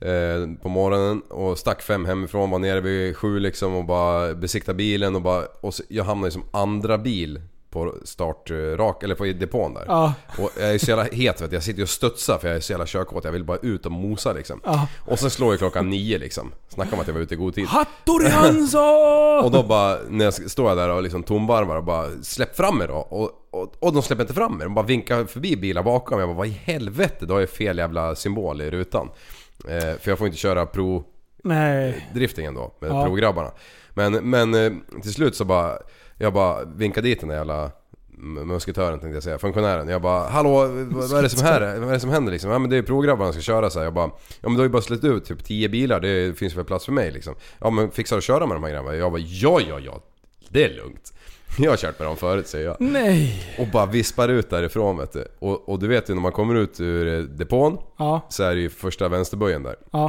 [SPEAKER 4] eh, på morgonen och stack fem hemifrån. Var nere vid sju liksom och bara besiktade bilen och bara... Och så, jag hamnade ju som andra bil på startrak, eller på i depån där.
[SPEAKER 3] Ja.
[SPEAKER 4] Och jag är så jävla het vet du. jag sitter ju och studsar för jag är så jävla körkåt. Jag vill bara ut och mosa liksom.
[SPEAKER 3] Ja.
[SPEAKER 4] Och sen slår ju klockan nio liksom. Snacka om att jag var ute i god tid.
[SPEAKER 3] Hattori Hansson!
[SPEAKER 4] Och då bara, när jag står jag där och liksom tombarvar och bara släpp fram mig då. Och, och, och de släpper inte fram mig, de bara vinkar förbi bilar bakom. Jag bara vad i helvete, då har jag fel jävla symbol i rutan. Eh, för jag får inte köra pro
[SPEAKER 3] Nej.
[SPEAKER 4] driftingen då med
[SPEAKER 3] Ja.
[SPEAKER 4] provgrabbarna. Men, men eh, till slut så bara, jag bara vinkade dit den där jävla m- musketören tänkte jag säga, funktionären. Jag bara hallå vad, vad är det som här? Vad är det som händer liksom? Ja men det är ju provgrabbarna som ska köra så här. Jag bara ja men du har ju bara släppt ut typ 10 bilar, det finns väl plats för mig liksom. Ja men fixar du att köra med de här grabbarna? Jag bara ja ja ja, det är lugnt. Jag har kört med dem förut säger jag.
[SPEAKER 3] Nej.
[SPEAKER 4] Och bara vispar ut därifrån vet du. Och, och du vet ju när man kommer ut ur eh, depån
[SPEAKER 3] Ja.
[SPEAKER 4] så är det ju första vänsterböjen där.
[SPEAKER 3] Ja.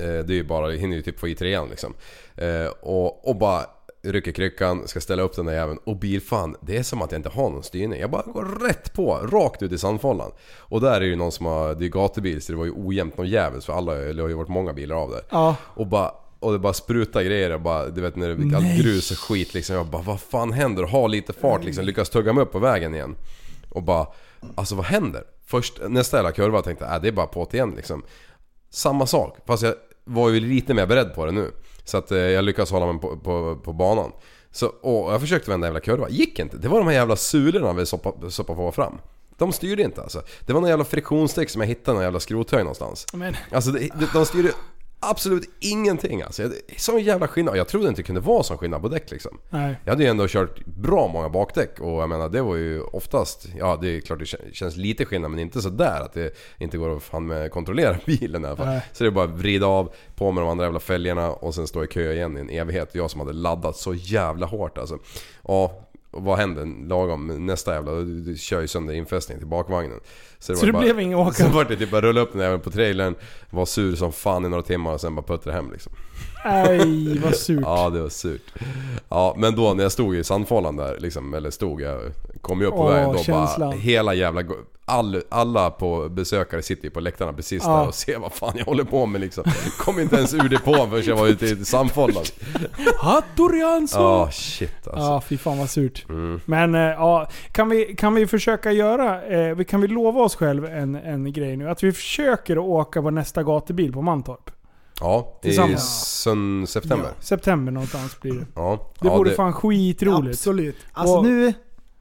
[SPEAKER 4] Eh, Det är ju bara, jag hinner ju typ få i trean liksom. Eh, Och, och bara rycker kryckan, ska ställa upp den där jäveln och bilfan, det är som att jag inte har någon styrning. Jag bara går rätt på, rakt ut i sandfållan. Och där är ju någon som har, det är ju gatubil så det var ju ojämnt någon jävels för alla, eller det har ju varit många bilar av där.
[SPEAKER 3] Ja.
[SPEAKER 4] Och bara och det bara sprutar grejer och bara, du vet när det blir
[SPEAKER 3] Nej.
[SPEAKER 4] allt grus och skit liksom. Jag bara, vad fan händer? Och har lite fart
[SPEAKER 3] Mm.
[SPEAKER 4] liksom, lyckas tugga mig upp på vägen igen. Och bara, alltså vad händer? Först nästa jävla kurva tänkte jag, äh, det är bara på igen liksom. Samma sak, fast jag var ju lite mer beredd på det nu. Så att eh, jag lyckades hålla mig på, på, på banan. Så, och jag försökte vända jävla kurva, gick inte. Det var de här jävla sulorna vi soppade soppa på fram. De styrde inte alltså. Det var någon jävla friktionsdäck som jag hittade i någon jävla skrothög någonstans.
[SPEAKER 3] Men-
[SPEAKER 4] Alltså det, det- de styrde absolut ingenting alltså. Det är Sån jävla skillnad. Jag trodde inte det kunde vara sån skillnad på däck liksom.
[SPEAKER 3] Nej.
[SPEAKER 4] Jag hade ju ändå kört bra många bakdäck och jag menar det var ju oftast, ja det är klart det kän- känns lite skillnad men inte sådär att det inte går att fan med kontrollera bilen i alla fall.
[SPEAKER 3] Nej.
[SPEAKER 4] Så det är bara att vrida av, på med de andra jävla fälgarna och sen stå i kö igen i en evighet. Jag som hade laddat så jävla hårt alltså. Ja, och vad händer lagom nästa jävla, du du kör ju sönder infästningen till bakvagnen.
[SPEAKER 3] Så
[SPEAKER 4] var
[SPEAKER 3] det
[SPEAKER 4] bara-
[SPEAKER 3] blev ingen åka?
[SPEAKER 4] Så var det typ bara rulla upp den även på trailern, var sur som fan i några timmar och sen bara puttra hem liksom.
[SPEAKER 3] Nej, vad surt.
[SPEAKER 4] Ja, det var surt. Ja, men då när jag stod i sandfållan där liksom, eller stod, jag kom ju upp på
[SPEAKER 3] Åh,
[SPEAKER 4] vägen då bara
[SPEAKER 3] känslan.
[SPEAKER 4] hela jävla... go- All, alla på besökare sitter ju på läktarna precis
[SPEAKER 3] Ja.
[SPEAKER 4] där och ser vad fan jag håller på med liksom. Kom inte ens ur depån förrän jag var ute i sandfållan.
[SPEAKER 3] Hattori Hansson!
[SPEAKER 4] Ja, shit alltså.
[SPEAKER 3] Ja, fy fan vad surt.
[SPEAKER 4] Mm.
[SPEAKER 3] Men eh, ja, kan vi, kan vi försöka göra, eh, vi- kan vi lova oss själv en, en grej nu? Att vi försöker att åka vår nästa gatubil på Mantorp.
[SPEAKER 4] Ja, i
[SPEAKER 3] Tillsammans.
[SPEAKER 4] sön- september.
[SPEAKER 3] September någonstans blir det.
[SPEAKER 4] Ja.
[SPEAKER 3] Det
[SPEAKER 4] ja,
[SPEAKER 3] vore fan skitroligt.
[SPEAKER 6] Absolut. Alltså
[SPEAKER 3] Och-
[SPEAKER 6] nu,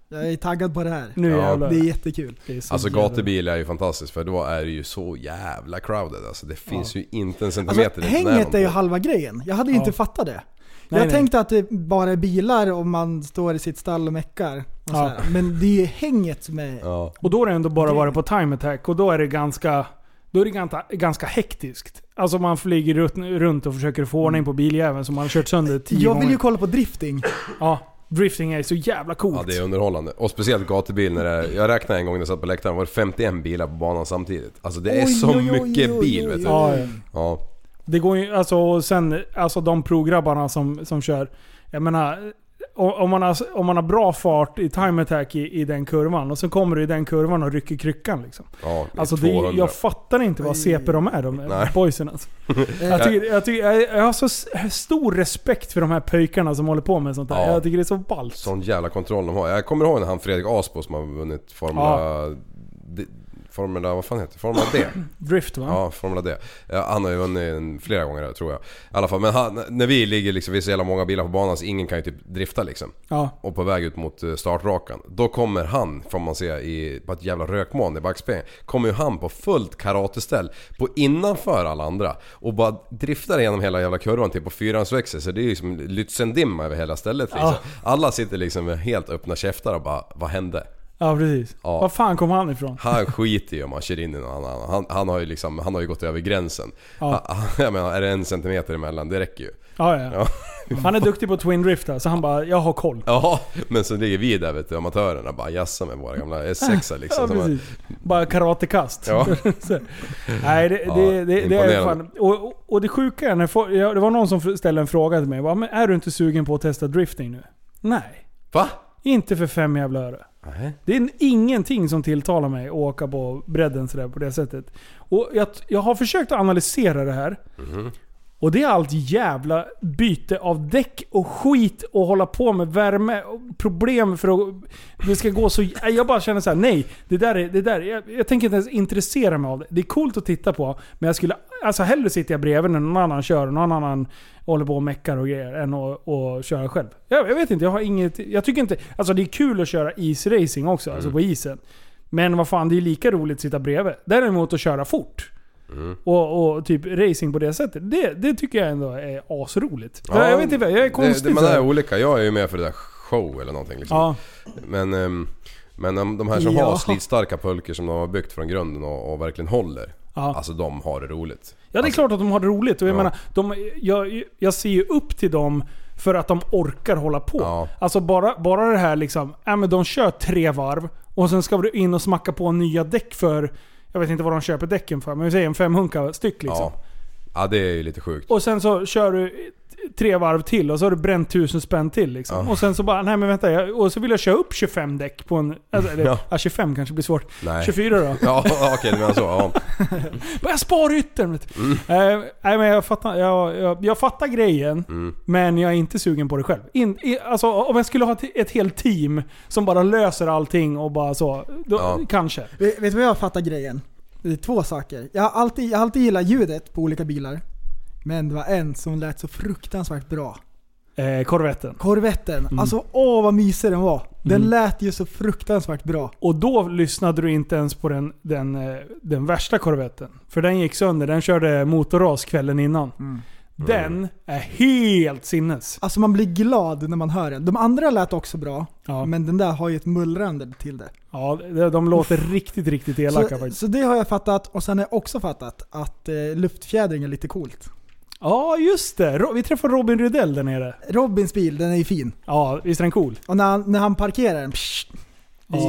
[SPEAKER 6] jag är taggad på det här.
[SPEAKER 3] Nu
[SPEAKER 4] Ja.
[SPEAKER 3] jävlar.
[SPEAKER 6] Det är jättekul.
[SPEAKER 3] Det är så
[SPEAKER 4] Alltså
[SPEAKER 3] jävla-
[SPEAKER 4] gatubil är ju fantastiskt för då är det ju så jävla crowded alltså. Det finns ju inte en centimeter
[SPEAKER 6] Alltså,
[SPEAKER 4] det inte
[SPEAKER 6] hänget
[SPEAKER 4] någon
[SPEAKER 6] är ju
[SPEAKER 4] på.
[SPEAKER 6] halva grejen. Jag hade ju
[SPEAKER 3] Ja.
[SPEAKER 6] inte fattat det.
[SPEAKER 3] Nej,
[SPEAKER 6] jag
[SPEAKER 3] nej.
[SPEAKER 6] tänkte att det bara är bilar om man står i sitt stall och meckar. Och så
[SPEAKER 3] Ja.
[SPEAKER 6] här. Men det är ju hänget som är...
[SPEAKER 4] Ja.
[SPEAKER 3] Och då har det ändå bara varit på time attack och då är det ganska, då är det ganska, ganska hektiskt. Alltså man flyger runt, runt och försöker få ordning på biljäveln som man har kört sönder tio
[SPEAKER 6] Jag
[SPEAKER 3] gånger.
[SPEAKER 6] vill ju kolla på drifting.
[SPEAKER 3] Ja, drifting är så jävla coolt.
[SPEAKER 4] Ja det är underhållande. Och speciellt gatubil när det är, Jag räknade en gång när jag satt på läktaren, var det 51 bilar på banan samtidigt. Alltså det är
[SPEAKER 6] Oj,
[SPEAKER 4] så
[SPEAKER 6] oj, oj,
[SPEAKER 4] mycket
[SPEAKER 6] oj,
[SPEAKER 4] bil
[SPEAKER 6] oj,
[SPEAKER 4] vet du. Ja.
[SPEAKER 3] Ja, ja. Det går ju, alltså och sen, alltså de provgrabbarna som, som kör. Jag menar, o- om, man har, om man har bra fart i time attack i, i den kurvan och så kommer du i den kurvan och rycker kryckan liksom.
[SPEAKER 4] Ja, det är
[SPEAKER 3] Alltså det, är-
[SPEAKER 4] 200.
[SPEAKER 3] jag fattar inte vad CP de är de
[SPEAKER 4] Nej.
[SPEAKER 3] där boysen alltså. jag, tycker, jag, tycker, jag, jag har så s- stor respekt för de här pöjkarna som håller på med sånt där.
[SPEAKER 4] Ja.
[SPEAKER 3] Jag tycker det är så ballt.
[SPEAKER 4] Sån jävla kontroll de har. Jag kommer ihåg när han Fredrik Aspo som har vunnit Formula... D, Formula... Vad fan heter det? Formula D?
[SPEAKER 3] Drift va?
[SPEAKER 4] Ja, Formula D. Ja, han har ju vunnit en- flera gånger där tror jag. I alla fall, men han, när vi ligger liksom, vi är så jävla många bilar på banan så ingen kan ju typ drifta liksom.
[SPEAKER 3] Ja.
[SPEAKER 4] Och på väg ut mot eh, startrakan. Då kommer han, får man se i, på ett jävla rökmoln i backspegeln. Kommer ju han på fullt karateställ på innanför alla andra. Och bara driftar igenom hela jävla kurvan till på fyrhjulsväxel. Så det är ju liksom Lützendimma över hela stället liksom. Alla sitter liksom med helt öppna käftar och bara, vad hände?
[SPEAKER 3] Ja precis.
[SPEAKER 4] Ja.
[SPEAKER 3] Var fan kom han ifrån?
[SPEAKER 4] Han skiter ju om han kör in i någon annan. Han, han, har ju liksom, han har ju gått över gränsen.
[SPEAKER 3] Ja.
[SPEAKER 4] Han, Ah, jag menar, är det en centimeter emellan, det räcker ju.
[SPEAKER 3] Ja, ja.
[SPEAKER 4] Ja.
[SPEAKER 3] Han är duktig på Twin Drift här, så han bara 'Jag har koll'
[SPEAKER 4] Ja, men så ligger vi där vet du, amatörerna bara jassar med våra gamla S6 liksom.
[SPEAKER 3] Ah, Ja,
[SPEAKER 4] som man,
[SPEAKER 3] precis. Bara karatekast.
[SPEAKER 4] Ja.
[SPEAKER 3] Så. Nej, det,
[SPEAKER 4] Ja,
[SPEAKER 3] det, det, det är
[SPEAKER 4] imponerande.
[SPEAKER 3] fan... Och, och- och det sjuka är när folk- ja, Det var någon som ställde en fråga till mig. Bara, men är du inte sugen på att testa drifting nu? Nej.
[SPEAKER 4] Va?
[SPEAKER 3] Inte för fem jävla öre.
[SPEAKER 4] Nej.
[SPEAKER 3] Det är ingenting som tilltalar mig att åka på bredden sådär på det sättet. Och jag, jag har försökt att analysera det här. Och det är allt jävla byte av däck och skit och hålla på med värme och problem för att det ska gå så... Nej, Jag bara känner så här: nej. Det där är, det där, är- jag, jag tänker inte ens intressera mig av det. Det är coolt att titta på, men jag skulle... Alltså hellre sitter jag bredvid när någon annan kör och någon annan håller på och meckar och grejer än att att köra själv. Jag, jag vet inte, jag har inget... Jag tycker inte... Alltså det är kul att köra isracing också, alltså på isen. Men vad fan, det är lika roligt att sitta bredvid. Däremot att köra fort. Och, och typ racing på det sättet. Det, det tycker jag ändå är asroligt.
[SPEAKER 4] Ja,
[SPEAKER 3] jag vet inte, jag är konstig.
[SPEAKER 4] det, det, man
[SPEAKER 3] så här.
[SPEAKER 4] är olika, jag är ju med för det där show eller någonting liksom.
[SPEAKER 3] Ja.
[SPEAKER 4] Men, ehm, men de- de här som
[SPEAKER 3] Ja.
[SPEAKER 4] har slitstarka pulker som de har byggt från grunden och, och verkligen håller.
[SPEAKER 3] Ja.
[SPEAKER 4] Alltså de har det roligt.
[SPEAKER 3] Ja, det är klart att de har det roligt. Och jag,
[SPEAKER 4] Alltså- Ja.
[SPEAKER 3] menar, de, jag, jag ser ju upp till dem för att de orkar hålla på. Alltså bara, bara det här liksom, äh, men de kör tre varv och sen ska du in och smacka på nya däck för, jag vet inte vad de köper däcken för, men vi säger en femhunka styck liksom.
[SPEAKER 4] Ja. ja, det är ju lite sjukt.
[SPEAKER 3] Och sen så kör du tre varv till och så har du bränt tusen spänn till liksom.
[SPEAKER 4] Ja.
[SPEAKER 3] Och sen så bara, nej men vänta, jag, och så vill jag köra upp 25 däck på en... Alltså, eller, ja.
[SPEAKER 4] Ja.
[SPEAKER 3] 25 kanske blir svårt.
[SPEAKER 4] Nej.
[SPEAKER 3] 24 då?
[SPEAKER 4] Ja, okej du menar så. Ja.
[SPEAKER 3] Bara jag sparar yttern vet
[SPEAKER 4] Mm.
[SPEAKER 3] du. Eh, nej men jag fattar, jag, jag, jag fattar grejen.
[SPEAKER 4] Mm.
[SPEAKER 3] Men jag är inte sugen på det själv. In, i, alltså, om jag skulle ha ett, ett helt team som bara löser allting och bara så. Då,
[SPEAKER 4] Ja.
[SPEAKER 3] Kanske.
[SPEAKER 6] Vet vet du vad jag fattar grejen? Det är två saker. Jag har alltid, jag har alltid gillat ljudet på olika bilar. Men det var en som lät så fruktansvärt bra.
[SPEAKER 3] Eh, korvetten.
[SPEAKER 6] Corvetten.
[SPEAKER 3] Mm.
[SPEAKER 6] Alltså åh vad mysig den var. Den
[SPEAKER 3] Mm.
[SPEAKER 6] lät ju så fruktansvärt bra.
[SPEAKER 3] Och då lyssnade du inte ens på den, den, eh, den värsta korvetten. För den gick sönder. Den körde motorras kvällen innan.
[SPEAKER 6] Mm.
[SPEAKER 3] Den är helt sinnes.
[SPEAKER 6] Alltså man blir glad när man hör den. De andra lät också bra.
[SPEAKER 3] Ja.
[SPEAKER 6] Men den där har ju ett mullrande till det.
[SPEAKER 3] Ja, de- de låter riktigt, riktigt elaka
[SPEAKER 6] så,
[SPEAKER 3] faktiskt.
[SPEAKER 6] så det har jag fattat och sen har jag också fattat att eh, luftfjädring är lite coolt.
[SPEAKER 3] Ja, just det. Ro- Vi träffade Robin Rydell där nere.
[SPEAKER 6] Robins bil, den är ju fin.
[SPEAKER 3] Ja, visst är den cool?
[SPEAKER 6] Och när han, när han parkerar den, psh,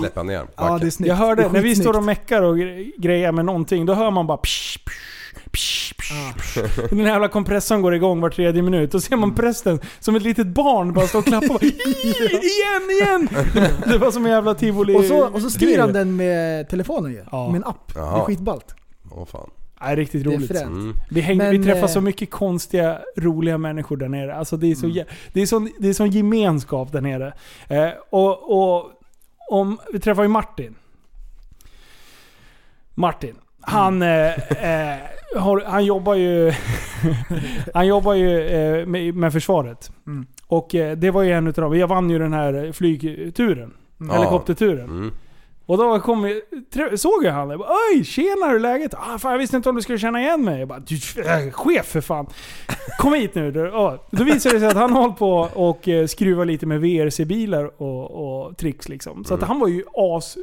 [SPEAKER 4] Släppa ner backen.
[SPEAKER 6] Ja, det är snyggt.
[SPEAKER 3] Jag hörde,
[SPEAKER 6] Det är
[SPEAKER 3] när vi
[SPEAKER 6] skitsnyggt.
[SPEAKER 3] står och meckar och gre- grejer med någonting, då hör man bara psh, psh, psh, psh,
[SPEAKER 6] Ah.
[SPEAKER 3] psh. Den här jävla kompressorn går igång var tredje minut. Då ser
[SPEAKER 6] Mm.
[SPEAKER 3] man prästen som ett litet barn bara stå och klappa. och bara, "Ih, igen, igen! Det var som en jävla tivoli
[SPEAKER 6] Och så, och så styr han
[SPEAKER 3] grej.
[SPEAKER 6] den med telefonen ju.
[SPEAKER 3] Ja.
[SPEAKER 6] Med en app. Det är
[SPEAKER 4] Jaha.
[SPEAKER 6] skitballt.
[SPEAKER 4] Åh fan.
[SPEAKER 3] Nej, riktigt
[SPEAKER 6] Det är
[SPEAKER 3] roligt.
[SPEAKER 6] fränt.
[SPEAKER 4] Mm.
[SPEAKER 3] Vi, hängde, vi
[SPEAKER 6] Men,
[SPEAKER 3] träffar
[SPEAKER 6] eh,
[SPEAKER 3] så mycket konstiga, roliga människor där nere. Alltså det, är
[SPEAKER 6] Mm.
[SPEAKER 3] så, jä- det, är sån, det är sån gemenskap där nere. Eh, och, och, om, vi träffar ju Martin. Martin. Han,
[SPEAKER 6] Mm.
[SPEAKER 3] eh, eh, har, han jobbar ju, han jobbar ju eh, med, med försvaret.
[SPEAKER 6] Mm.
[SPEAKER 3] Och eh, det var ju en utav dem. Jag vann ju den här flygturen.
[SPEAKER 4] Ja.
[SPEAKER 3] Helikopterturen.
[SPEAKER 4] Mm.
[SPEAKER 3] Och då kom jag, trä- såg jag han jag bara, Oj, tjena hur är läget? Ah, fan, jag visste inte om du skulle känna igen mig. Jag bara, du äh, chef för fan. Kom hit nu. Då, ja. då visade det sig att han håller på och eh, skruvar lite med VRC-bilar och, och tricks liksom.
[SPEAKER 4] Mm.
[SPEAKER 3] Så att han var ju as...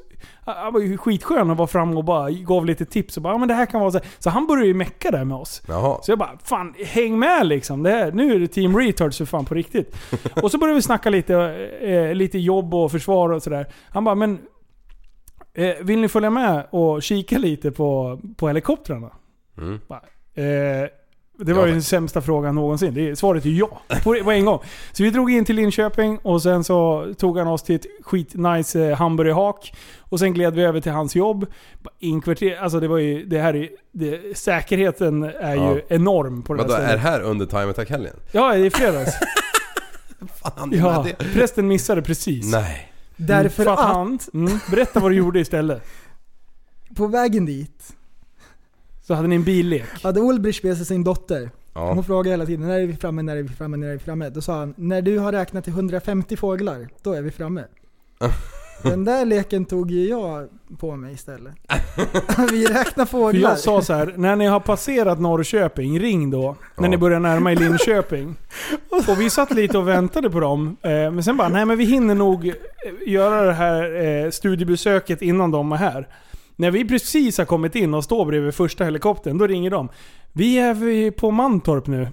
[SPEAKER 3] Han var ju skitskön och var fram och bara gav lite tips och bara, ah, men det här kan vara så här." Så han började ju mecka där med oss.
[SPEAKER 4] Jaha.
[SPEAKER 3] Så jag bara, fan häng med liksom. Det här, nu är det team retards för fan på riktigt. och så började vi snacka lite, eh, lite jobb och försvar och sådär. Han bara, men eh, vill ni följa med och kika lite på, på helikoptrarna?
[SPEAKER 4] Mm.
[SPEAKER 3] Bara, eh, Det var ju den sämsta frågan någonsin. Det, är- svaret är ja. På, på en gång. Så vi drog in till Linköping och sen så tog han oss till ett skitnice eh, hamburgerhak. Och sen gled vi över till hans jobb. Inkvarter, alltså det var ju, det här är, det, säkerheten är
[SPEAKER 4] Ja.
[SPEAKER 3] ju enorm på det
[SPEAKER 4] Vadå,
[SPEAKER 3] här
[SPEAKER 4] är
[SPEAKER 3] stället.
[SPEAKER 4] det här under Time Attack-helgen?
[SPEAKER 3] Ja, det är fredags.
[SPEAKER 4] Fan,
[SPEAKER 3] ja,
[SPEAKER 4] med det.
[SPEAKER 3] prästen missade precis.
[SPEAKER 4] Nej.
[SPEAKER 6] Därför
[SPEAKER 3] För att
[SPEAKER 6] att-
[SPEAKER 3] han, mm, berätta vad du gjorde istället.
[SPEAKER 6] På vägen dit
[SPEAKER 3] så hade ni en billek.
[SPEAKER 6] hade Ulbrich med sig sin dotter.
[SPEAKER 4] Ja.
[SPEAKER 6] Hon frågade hela tiden när är vi framme, när är vi framme, när är vi framme? Då sa han när du har räknat till 150 fåglar, då är vi framme. Den där leken tog ju jag på mig istället. vi räknar
[SPEAKER 3] För
[SPEAKER 6] fåglar.
[SPEAKER 3] jag sa så här, när ni har passerat Norrköping, ring då. När ni börjar närma er Linköping. Och vi satt lite och väntade på dem. eh, Men sen bara, nej men vi hinner nog eh, göra det här eh, studiebesöket innan de är här. När vi precis har kommit in och står bredvid första helikoptern, då ringer de. Vi är vi på Mantorp nu.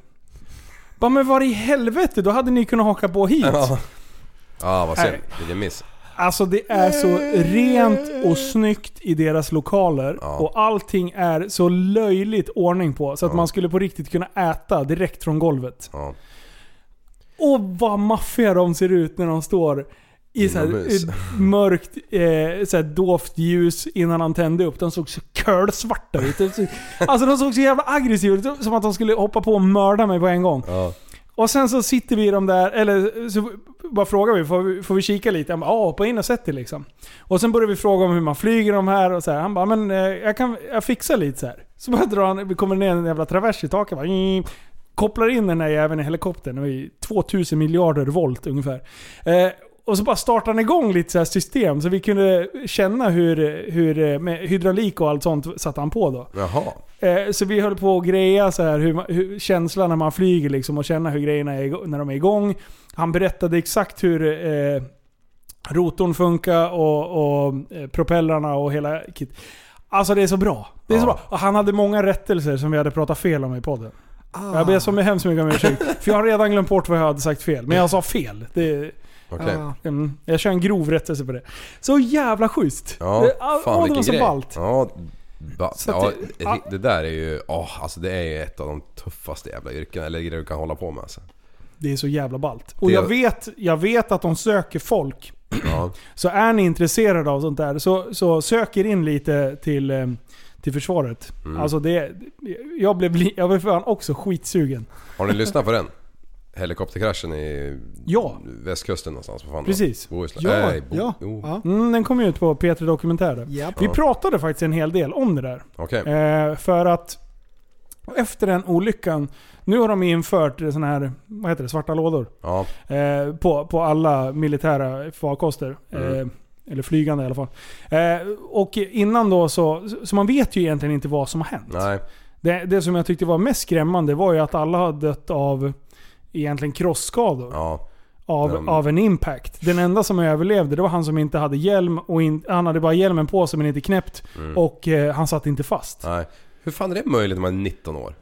[SPEAKER 3] Bara, men var i helvete? Då hade ni kunnat haka på hit.
[SPEAKER 4] Ja, ja vad synd.
[SPEAKER 3] Nej.
[SPEAKER 4] Vilken miss.
[SPEAKER 3] Alltså det är så rent och snyggt i deras lokaler. Och allting är så löjligt ordning på. Så att man skulle på riktigt kunna äta direkt från golvet. Och vad maffiga de ser ut när de står i så här,
[SPEAKER 4] Inomhus.
[SPEAKER 3] eh, mörkt, eh, så här dovt ljus innan han tände upp. De såg så kölsvarta ut. De såg- Alltså de såg så jävla aggressiva ut. Som att de skulle hoppa på och mörda mig på en gång.
[SPEAKER 4] Ja.
[SPEAKER 3] Och sen så sitter vi i de där, eller så bara frågar vi, får vi, får vi kika lite? Han bara, ja hoppa in och sätt dig liksom. Och sen börjar vi fråga om hur man flyger de här och så här. Han bara, men eh, jag kan, jag fixar lite så här. Så bara drar han, vi kommer ner en jävla travers i taket bara, "Mm." Kopplar in den här jäveln i helikoptern, det var ju 2000 miljarder volt ungefär. Eh, och så bara startade han igång lite så här system så vi kunde känna hur, hur eh, med hydraulik och allt sånt satte han på då.
[SPEAKER 4] Jaha.
[SPEAKER 3] Eh, så vi höll på att greja så här, hur, ma- hur, känslan när man flyger liksom, och känna hur grejerna är igång, när de är igång. Han berättade exakt hur eh, rotorn funkar och, och eh, propellrarna och hela kit. Alltså det är så bra. Det är så bra. Och han hade många rättelser som vi hade pratat fel om i podden.
[SPEAKER 4] Ah.
[SPEAKER 3] Jag ber så hemskt mycket om ursäkt. För jag har redan glömt bort vad jag hade sagt fel. Men jag sa fel. Det,
[SPEAKER 4] Okej.
[SPEAKER 3] mm, jag kör en grov rättelse på det. Så jävla schysst.
[SPEAKER 4] Ja,
[SPEAKER 3] Det- ah,
[SPEAKER 4] fan
[SPEAKER 3] åh, det var
[SPEAKER 4] vilken
[SPEAKER 3] så
[SPEAKER 4] grej.
[SPEAKER 3] ballt.
[SPEAKER 4] Ja, ba,
[SPEAKER 3] Så
[SPEAKER 4] ja,
[SPEAKER 3] att det-
[SPEAKER 4] det, det där är ju... åh, alltså det är ju ett av de tuffaste jävla yrkena, eller grejer du kan hålla på med alltså.
[SPEAKER 3] Det är så jävla ballt. Och
[SPEAKER 4] Det-
[SPEAKER 3] jag vet, jag vet att de söker folk.
[SPEAKER 4] Ja.
[SPEAKER 3] Så är ni intresserade av sånt där, så, så sök er in lite till, eh, till försvaret.
[SPEAKER 4] Mm.
[SPEAKER 3] Alltså det... Jag blev, li- jag blev fan också skitsugen.
[SPEAKER 4] Har ni lyssnat på den? Helikopterkraschen i
[SPEAKER 3] Ja.
[SPEAKER 4] västkusten någonstans. Vad fan då?
[SPEAKER 3] Precis.
[SPEAKER 4] Bohuslän.
[SPEAKER 3] Ja,
[SPEAKER 4] Nej, Bo-
[SPEAKER 3] ja.
[SPEAKER 4] Jo.
[SPEAKER 3] Mm, den kom ju ut på P3 Dokumentär. där.
[SPEAKER 4] Japp.
[SPEAKER 3] Vi
[SPEAKER 4] Ja.
[SPEAKER 3] pratade faktiskt en hel del om det där.
[SPEAKER 4] Okej.
[SPEAKER 3] Eh, för att efter den olyckan, nu har de infört såna här, vad heter det, svarta lådor.
[SPEAKER 4] Ja.
[SPEAKER 3] Eh, på, på alla militära farkoster.
[SPEAKER 4] Mm.
[SPEAKER 3] Eh, eller flygande i alla fall. Eh, och innan då så, så man vet ju egentligen inte vad som har hänt.
[SPEAKER 4] Nej.
[SPEAKER 3] Det, det som jag tyckte var mest skrämmande var ju att alla har dött av egentligen krossskador. Av,
[SPEAKER 4] Mm.
[SPEAKER 3] av en impact. Den enda som överlevde det var han som inte hade hjälm. Och in, han hade bara hjälmen på sig men inte knäppt.
[SPEAKER 4] Mm.
[SPEAKER 3] Och eh, han satt inte fast.
[SPEAKER 4] Nej. Hur fan är det möjligt när man är 19 år?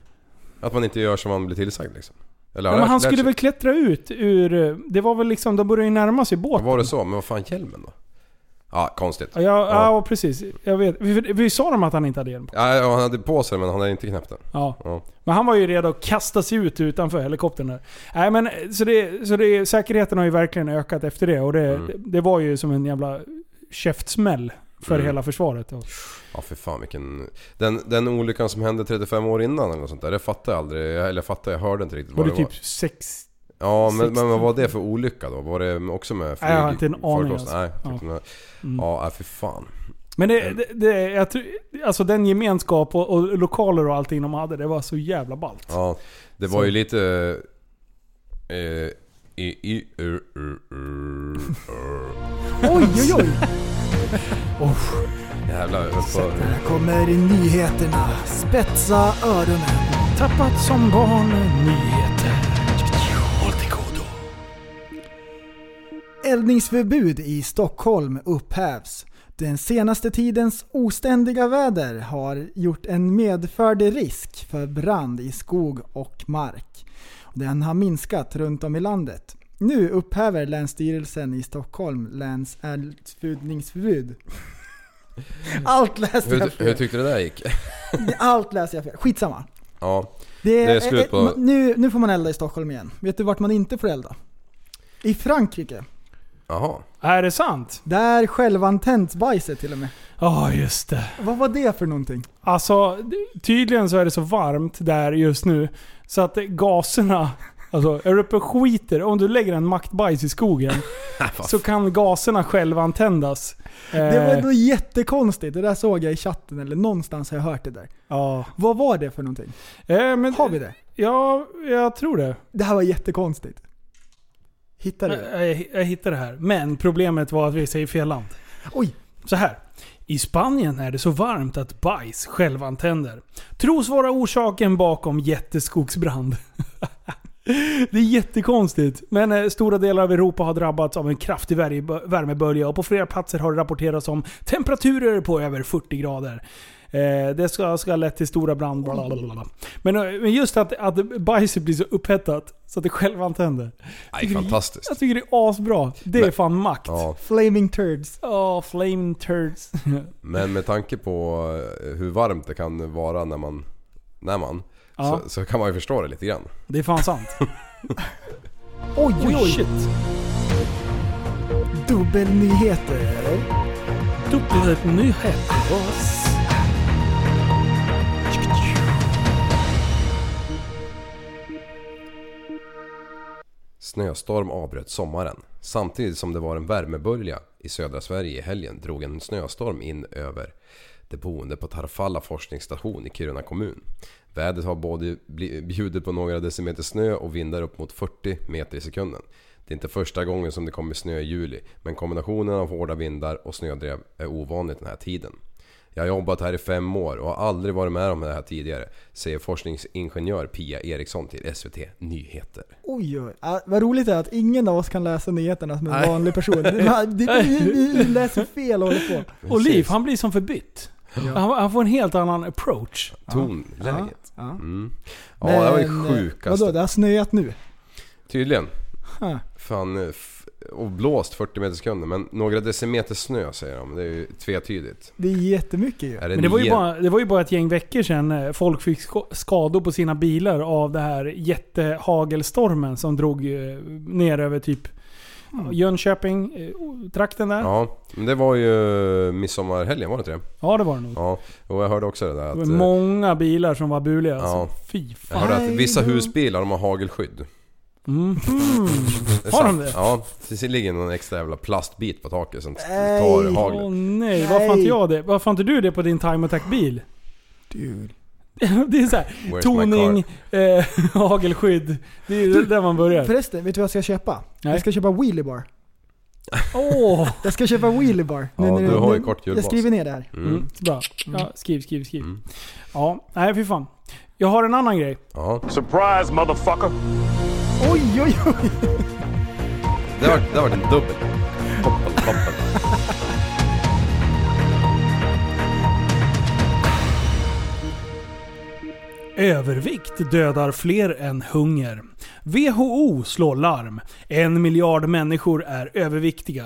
[SPEAKER 4] Att man inte gör som man blir tillsagd liksom? Eller har
[SPEAKER 3] Ja, men
[SPEAKER 4] lärt-
[SPEAKER 3] han
[SPEAKER 4] lärt
[SPEAKER 3] skulle
[SPEAKER 4] sig?
[SPEAKER 3] väl klättra ut ur... eh, Det var väl liksom, de började ju närma sig båten.
[SPEAKER 4] Var det så? Men vad fan hjälmen då? Ja, konstigt.
[SPEAKER 3] Ja, ja. ja precis. Jag vet. Vi, vi sa dem att han inte hade hjälm.
[SPEAKER 4] Ja, han hade på sig men han hade inte knäppt den.
[SPEAKER 3] Ja.
[SPEAKER 4] Ja.
[SPEAKER 3] Men han var ju redo att kasta sig ut utanför helikoptern där. Nej, men, eh, så det, så det, säkerheten har ju verkligen ökat efter det. Och det,
[SPEAKER 4] Mm.
[SPEAKER 3] det, det var ju som en jävla käftsmäll för
[SPEAKER 4] Mm.
[SPEAKER 3] hela försvaret. Och,
[SPEAKER 4] Ja för fan vilken... Den, den olyckan som hände 35 år innan eller något sånt där, det fattar jag aldrig. Jag- Eller fattar, jag hörde inte riktigt
[SPEAKER 3] var
[SPEAKER 4] vad
[SPEAKER 3] det
[SPEAKER 4] det var.
[SPEAKER 3] typ sex...
[SPEAKER 4] Ja men, men vad
[SPEAKER 3] 16?
[SPEAKER 4] var det för olycka då? Var det också med
[SPEAKER 3] Nej, jag har inte en aning
[SPEAKER 4] farkost?
[SPEAKER 3] alltså.
[SPEAKER 4] Nej, typ
[SPEAKER 3] Ja.
[SPEAKER 4] ja.
[SPEAKER 3] Mm.
[SPEAKER 4] ja, nej, för fan.
[SPEAKER 3] Men det,
[SPEAKER 4] Mm.
[SPEAKER 3] det, det, jag tror, alltså den gemenskap och, och lokaler och allting de hade, det var så jävla ballt.
[SPEAKER 4] Ja, det var
[SPEAKER 3] Så.
[SPEAKER 4] ju lite... Eh, i, i, ur, ur, ur, ur.
[SPEAKER 6] Oj, oj, oj.
[SPEAKER 4] Jävlar, jag höll på...
[SPEAKER 6] Här kommer nyheterna. Spetsa öronen.
[SPEAKER 3] Tappat som barn, nyheter.
[SPEAKER 6] Eldningsförbud i Stockholm upphävs. Den senaste tidens oständiga väder har gjort en medförd risk för brand i skog och mark. Den har minskat runt om i landet. Nu upphäver Länsstyrelsen i Stockholm läns eldningsförbud. Allt läste jag
[SPEAKER 4] Hur, hur
[SPEAKER 6] fel.
[SPEAKER 4] tyckte du det där gick?
[SPEAKER 6] Allt läser jag fel. Skitsamma.
[SPEAKER 4] Ja.
[SPEAKER 6] Det är,
[SPEAKER 4] Det är slut på-
[SPEAKER 6] eh, eh, Nu, nu får man elda i Stockholm igen. Vet du vart man inte får elda? I Frankrike.
[SPEAKER 4] Jaha.
[SPEAKER 3] Är det sant?
[SPEAKER 6] Där självantänds bajset till och med.
[SPEAKER 3] Ja, just det.
[SPEAKER 6] Vad var det för någonting?
[SPEAKER 3] Alltså, d- tydligen så är det så varmt där just nu så att eh, gaserna... Alltså, är du uppe och skiter, om du lägger en maktbajs i skogen så kan gaserna självantändas.
[SPEAKER 6] Det var
[SPEAKER 3] Eh,
[SPEAKER 6] ändå jättekonstigt. Det där såg jag i chatten, eller någonstans har jag hört det där.
[SPEAKER 3] Ja. Eh,
[SPEAKER 6] Vad var det för någonting? har vi det?
[SPEAKER 3] Ja, jag tror det.
[SPEAKER 6] Det här var jättekonstigt. Hittade du det?
[SPEAKER 3] Jag, jag, jag hittade det här. Men problemet var att vi säger fel land.
[SPEAKER 6] Oj.
[SPEAKER 3] Så här. I Spanien är det så varmt att bajs självantänder. Tros vara orsaken bakom jätteskogsbrand. Det är jättekonstigt. Men eh, stora delar av Europa har drabbats av en kraftig värme- värmebölja och på flera platser har det rapporterats om temperaturer på över 40 grader. Eh, det ska, ska ha lett till stora brand... Bla bla bla bla. Men, eh, men just att, att bajset blir så upphettat så att det självantänder.
[SPEAKER 4] Nej, fantastiskt.
[SPEAKER 3] Jag tycker det är asbra. Det är
[SPEAKER 4] Men-
[SPEAKER 3] fan makt.
[SPEAKER 4] Ja.
[SPEAKER 6] Flaming turds.
[SPEAKER 3] Ja, flame turds.
[SPEAKER 4] Men med tanke på eh, hur varmt det kan vara när man... När man
[SPEAKER 3] Ja.
[SPEAKER 4] så, så kan man ju förstå det lite grann.
[SPEAKER 3] Det är fan sant.
[SPEAKER 6] Oj, oj, oj.
[SPEAKER 3] Shit.
[SPEAKER 6] Dubbelnyheter, eller?
[SPEAKER 3] Dubbelnyheter.
[SPEAKER 4] Snöstorm avbröt sommaren. Samtidigt som det var en värmebölja i södra Sverige i helgen drog en snöstorm in över de boende på Tarfalla forskningsstation i Kiruna kommun. Vädret har både bli- bjudit på några decimeter snö och vindar upp mot 40 meter i sekunden. Det är inte första gången som det kommer snö i juli men kombinationen av hårda vindar och snödrev är ovanligt den här tiden. Jag har jobbat här i fem år och har aldrig varit med om det här tidigare, säger forskningsingenjör Pia Eriksson till SVT Nyheter.
[SPEAKER 6] Oj, oj. Ah, vad roligt det är att ingen av oss kan läsa nyheterna som en
[SPEAKER 4] Nej.
[SPEAKER 6] vanlig person. Det- det- Vi vi läser fel och håller på.
[SPEAKER 3] Och Liv, han blir som förbytt. Han, han får en helt annan approach.
[SPEAKER 4] Tonläget.
[SPEAKER 6] Ja.
[SPEAKER 4] Mm. Ja, det var
[SPEAKER 6] Men,
[SPEAKER 4] det
[SPEAKER 6] eh, Vadå,
[SPEAKER 4] sjukaste.
[SPEAKER 6] det har snöat nu?
[SPEAKER 4] Tydligen.
[SPEAKER 6] Huh.
[SPEAKER 4] Fan, eh, f- och blåst 40 meter i sekunden. Men några decimeter snö säger de. Det är ju tvetydigt.
[SPEAKER 6] Det är jättemycket ju.
[SPEAKER 4] Är
[SPEAKER 3] Men det var, ju
[SPEAKER 4] nio-
[SPEAKER 3] bara, det var ju bara ett gäng veckor sedan eh, folk fick sk- skador på sina bilar av den här jättehagelstormen som drog eh, ner över typ ja, Jönköping, eh, trakten där. Ja.
[SPEAKER 4] Ja, men det var ju eh, midsommarhelgen var det inte det?
[SPEAKER 3] det var det nog.
[SPEAKER 4] Ja, och jag hörde också det där
[SPEAKER 3] Det
[SPEAKER 4] att...
[SPEAKER 3] var
[SPEAKER 4] eh,
[SPEAKER 3] många bilar som var buliga.
[SPEAKER 4] Ja.
[SPEAKER 3] Alltså. Fy
[SPEAKER 4] Jag
[SPEAKER 3] fan.
[SPEAKER 4] hörde att vissa husbilar de har hagelskydd.
[SPEAKER 3] Mhm.
[SPEAKER 4] Det är
[SPEAKER 3] Har de
[SPEAKER 4] sant.
[SPEAKER 3] det?
[SPEAKER 4] Ja, det ligger någon extra jävla plastbit på taket som
[SPEAKER 6] Nej.
[SPEAKER 4] tar
[SPEAKER 3] Åh
[SPEAKER 4] haglet.
[SPEAKER 3] nej, varför har
[SPEAKER 6] Nej.
[SPEAKER 3] inte jag det? Varför har inte du det på din Time Attack-bil?
[SPEAKER 6] Dude.
[SPEAKER 3] Det är så här,
[SPEAKER 4] my
[SPEAKER 3] toning, eh, hagelskydd. Det är ju där man börjar.
[SPEAKER 6] Förresten, vet du vad jag ska köpa?
[SPEAKER 3] Nej.
[SPEAKER 6] Jag ska köpa wheelie bar.
[SPEAKER 3] Åh!
[SPEAKER 6] Jag ska köpa wheelie bar.
[SPEAKER 4] Ja,
[SPEAKER 6] när
[SPEAKER 4] du har ju
[SPEAKER 6] nu-
[SPEAKER 4] kort
[SPEAKER 6] Jag
[SPEAKER 4] hjulbas.
[SPEAKER 6] skriver ner det här.
[SPEAKER 4] Mm.
[SPEAKER 3] Bra. Ja, skriv, skriv, skriv.
[SPEAKER 4] Mm.
[SPEAKER 3] Ja, nej fy fan. Jag har en annan grej.
[SPEAKER 4] Ja,
[SPEAKER 12] Surprise, motherfucker!
[SPEAKER 6] Oj, oj, oj.
[SPEAKER 4] det har, det har varit en dubbel. Toppel, toppel.
[SPEAKER 3] Övervikt dödar fler än hunger. WHO slår larm. En miljard människor är överviktiga.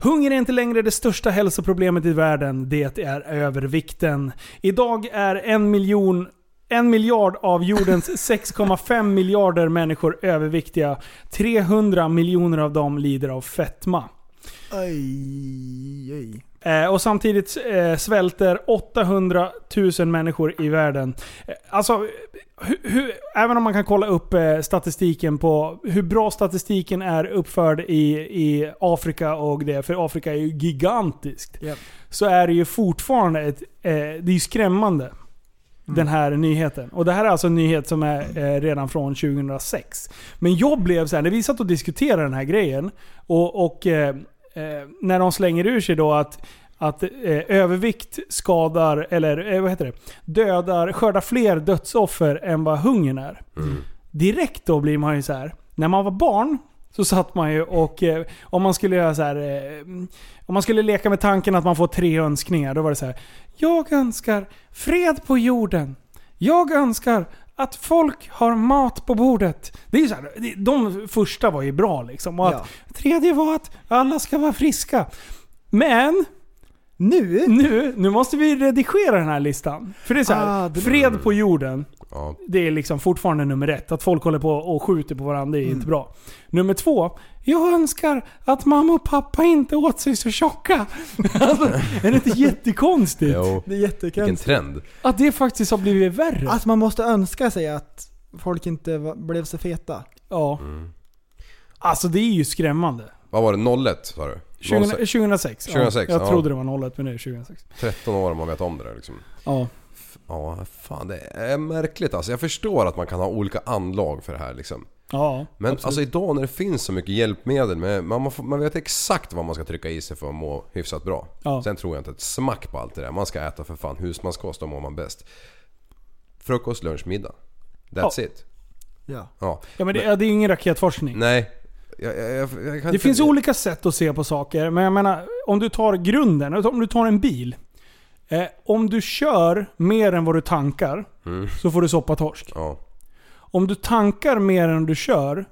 [SPEAKER 3] Hunger är inte längre det största hälsoproblemet i världen. Det är övervikten. Idag är en miljon en miljard av jordens 6,5 miljarder människor överviktiga. 300 miljoner av dem lider av fetma.
[SPEAKER 6] Oj, oj.
[SPEAKER 3] Eh, och samtidigt eh, svälter 800 000 människor i världen. Eh, alltså, hur, hur, även om man kan kolla upp eh, statistiken på hur bra statistiken är uppförd i, i Afrika och det, för Afrika är ju gigantiskt.
[SPEAKER 6] Japp.
[SPEAKER 3] Så är det ju fortfarande ett, eh, det är ju skrämmande. Den här nyheten. Och det här är alltså en nyhet som är eh, redan från 2006. Men jag blev så här, när vi satt och diskuterade den här grejen och, och eh, eh, när de slänger ur sig då att, att eh, övervikt skadar, eller eh, vad heter det, dödar, skördar fler dödsoffer än vad hungern är. Direkt då blir man ju så här. när man var barn så satt man ju och eh, om man skulle göra så här, eh, om man skulle leka med tanken att man får tre önskningar, då var det så här. Jag önskar fred på jorden. Jag önskar att folk har mat på bordet. Det är ju så här, det- de första var ju bra liksom. Och att,
[SPEAKER 6] Ja.
[SPEAKER 3] Tredje var att alla ska vara friska. Men
[SPEAKER 6] Nu?
[SPEAKER 3] nu, nu måste vi redigera den här listan. För det är så här,
[SPEAKER 6] Ah, det-
[SPEAKER 3] fred på jorden.
[SPEAKER 4] Ja.
[SPEAKER 3] Det är liksom fortfarande nummer ett. Att folk håller på och skjuter på varandra, det
[SPEAKER 6] Mm.
[SPEAKER 3] är inte bra. Nummer två. Jag önskar att mamma och pappa inte åt sig så tjocka. alltså, är det inte jättekonstigt?
[SPEAKER 4] Jo.
[SPEAKER 6] Det är jättekonstigt.
[SPEAKER 4] Vilken trend.
[SPEAKER 3] Att det faktiskt har blivit värre.
[SPEAKER 6] Att man måste önska sig att folk inte var- blev så feta.
[SPEAKER 3] Ja. Alltså det är ju skrämmande.
[SPEAKER 4] Vad var det? 01 sa du?
[SPEAKER 3] 20,
[SPEAKER 4] 06.
[SPEAKER 3] 2006.
[SPEAKER 4] 2006,
[SPEAKER 3] ja. Jag
[SPEAKER 4] ja.
[SPEAKER 3] trodde det var 01 men det är 2006.
[SPEAKER 4] 13 år om man vet om det där liksom.
[SPEAKER 3] Ja.
[SPEAKER 4] F- Ja, fan det är märkligt alltså. Jag förstår att man kan ha olika anlag för det här liksom.
[SPEAKER 3] Ja.
[SPEAKER 4] Men alltså idag när det finns så mycket hjälpmedel, med, man, man, får- man vet exakt vad man ska trycka i sig för att må hyfsat bra.
[SPEAKER 3] Ja.
[SPEAKER 4] Sen tror jag inte ett smack på allt det där. Man ska äta för fan husmanskost, då mår man bäst. Frukost, lunch, middag. That's it.
[SPEAKER 6] Ja.
[SPEAKER 4] Ja.
[SPEAKER 3] Ja men det, ja, det är ju ingen raketforskning.
[SPEAKER 4] Nej. Jag, jag, jag, jag kan
[SPEAKER 3] Det
[SPEAKER 4] inte-
[SPEAKER 3] finns olika sätt att se på saker, men jag menar om du tar grunden, om du tar en bil. Eh, om du kör mer än vad du tankar
[SPEAKER 4] Mm.
[SPEAKER 3] så får du soppatorsk.
[SPEAKER 4] Ja.
[SPEAKER 3] Om du tankar mer än du kör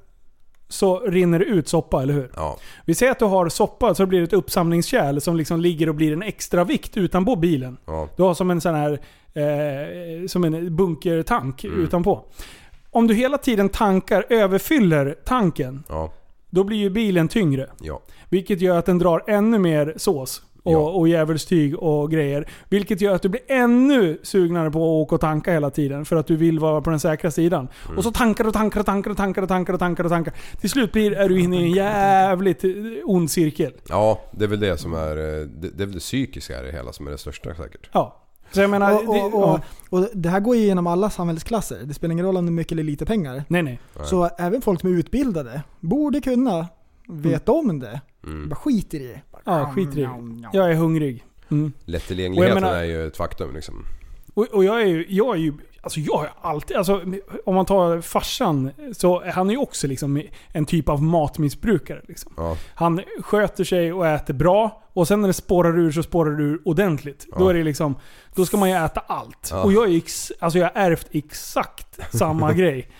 [SPEAKER 3] så rinner det ut soppa, eller hur?
[SPEAKER 4] Ja.
[SPEAKER 3] Vi säger att du har soppa så blir det ett uppsamlingskärl som liksom ligger och blir en extra vikt utanpå bilen.
[SPEAKER 4] Ja.
[SPEAKER 3] Du har som en sån här eh, som en bunkertank
[SPEAKER 4] Mm.
[SPEAKER 3] utanpå. Om du hela tiden tankar, överfyller tanken,
[SPEAKER 4] Ja.
[SPEAKER 3] då blir ju bilen tyngre.
[SPEAKER 4] Ja.
[SPEAKER 3] Vilket gör att den drar ännu mer sås och,
[SPEAKER 4] Ja.
[SPEAKER 3] och djävulstyg och grejer. Vilket gör att du blir ännu sugnare på att åka och tanka hela tiden. För att du vill vara på den säkra sidan.
[SPEAKER 6] Mm.
[SPEAKER 3] Och så tankar och tankar och tankar och tankar och tankar och tankar och tankar. Till slut blir, är du inne i en jävligt eh, ond cirkel.
[SPEAKER 4] Ja, det är väl det som är... eh, Det, det är väl det psykiska i det hela som är det största säkert.
[SPEAKER 3] Ja. Så jag menar...
[SPEAKER 6] och,
[SPEAKER 3] det,
[SPEAKER 6] och, och,
[SPEAKER 3] ja.
[SPEAKER 6] och det här går ju genom alla samhällsklasser. Det spelar ingen roll om det är mycket eller lite pengar.
[SPEAKER 3] Nej nej.
[SPEAKER 6] Så även folk som är utbildade borde kunna veta om det.
[SPEAKER 4] Mm.
[SPEAKER 6] Bara skiter i det.
[SPEAKER 3] Ja, skit i det. Jag är hungrig. Mm.
[SPEAKER 4] Lättillgängligheten
[SPEAKER 3] Och jag menar-
[SPEAKER 4] är ju ett faktum liksom.
[SPEAKER 3] Och, och jag är ju... Jag är ju Alltså jag har ju alltid, alltså, om man tar farsan, så han är ju också liksom en typ av matmissbrukare. Liksom.
[SPEAKER 4] Ja.
[SPEAKER 3] Han sköter sig och äter bra. Och sen när det spårar ur så spårar det ur ordentligt. Då
[SPEAKER 4] Ja.
[SPEAKER 3] är det liksom... Då ska man ju äta allt.
[SPEAKER 4] Ja.
[SPEAKER 3] Och jag är ex, alltså jag har ärvt exakt samma grej.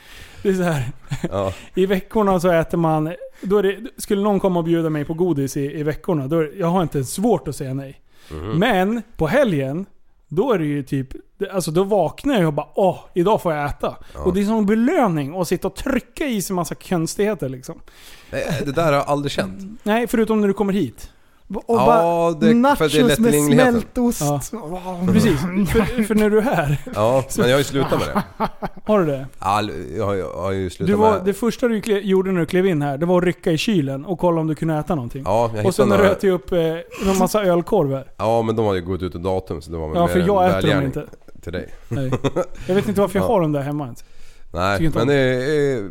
[SPEAKER 3] Det är så här,
[SPEAKER 4] Ja.
[SPEAKER 3] I veckorna så äter man... Då är det, skulle någon komma och bjuda mig på godis i, i veckorna, då är, det- jag har inte ens svårt att säga nej.
[SPEAKER 4] Mhm.
[SPEAKER 3] Men på helgen, då är det ju typ... Alltså då vaknar jag och bara åh, idag får jag äta. Och det är som belöning att sitta och trycka i sig massa konstigheter liksom.
[SPEAKER 4] Nej, Eh, Det där har jag aldrig känt.
[SPEAKER 3] Nej, förutom när du kommer hit.
[SPEAKER 6] Och
[SPEAKER 4] Ja,
[SPEAKER 6] bara
[SPEAKER 4] det- för det är
[SPEAKER 6] nachos med
[SPEAKER 4] lättillgängligheten.
[SPEAKER 6] smältost.
[SPEAKER 3] Ja.
[SPEAKER 6] Wow.
[SPEAKER 3] Precis, för, för när du är här.
[SPEAKER 4] Ja, men jag har ju slutat med det.
[SPEAKER 3] Har du det?
[SPEAKER 4] All, jag, har, jag har ju slutat
[SPEAKER 3] Du var,
[SPEAKER 4] med
[SPEAKER 3] det första du kle, gjorde när du klev in här, det var att rycka i kylen och kolla om du kunde äta någonting.
[SPEAKER 4] Ja, jag
[SPEAKER 3] och sen
[SPEAKER 4] hittade några-
[SPEAKER 3] röt jag upp eh, en massa ölkorvar.
[SPEAKER 4] Ja, men de har ju gått ut ur datum så det var väl
[SPEAKER 3] Ja,
[SPEAKER 4] mer
[SPEAKER 3] för
[SPEAKER 4] en
[SPEAKER 3] jag äter dem
[SPEAKER 4] välgärning
[SPEAKER 3] inte.
[SPEAKER 4] Till dig.
[SPEAKER 3] Nej. Jag vet inte varför jag
[SPEAKER 4] Ja.
[SPEAKER 3] har dem där hemma ens. Tycker
[SPEAKER 4] Nej,
[SPEAKER 3] inte
[SPEAKER 4] men, det
[SPEAKER 3] om
[SPEAKER 4] är, eh,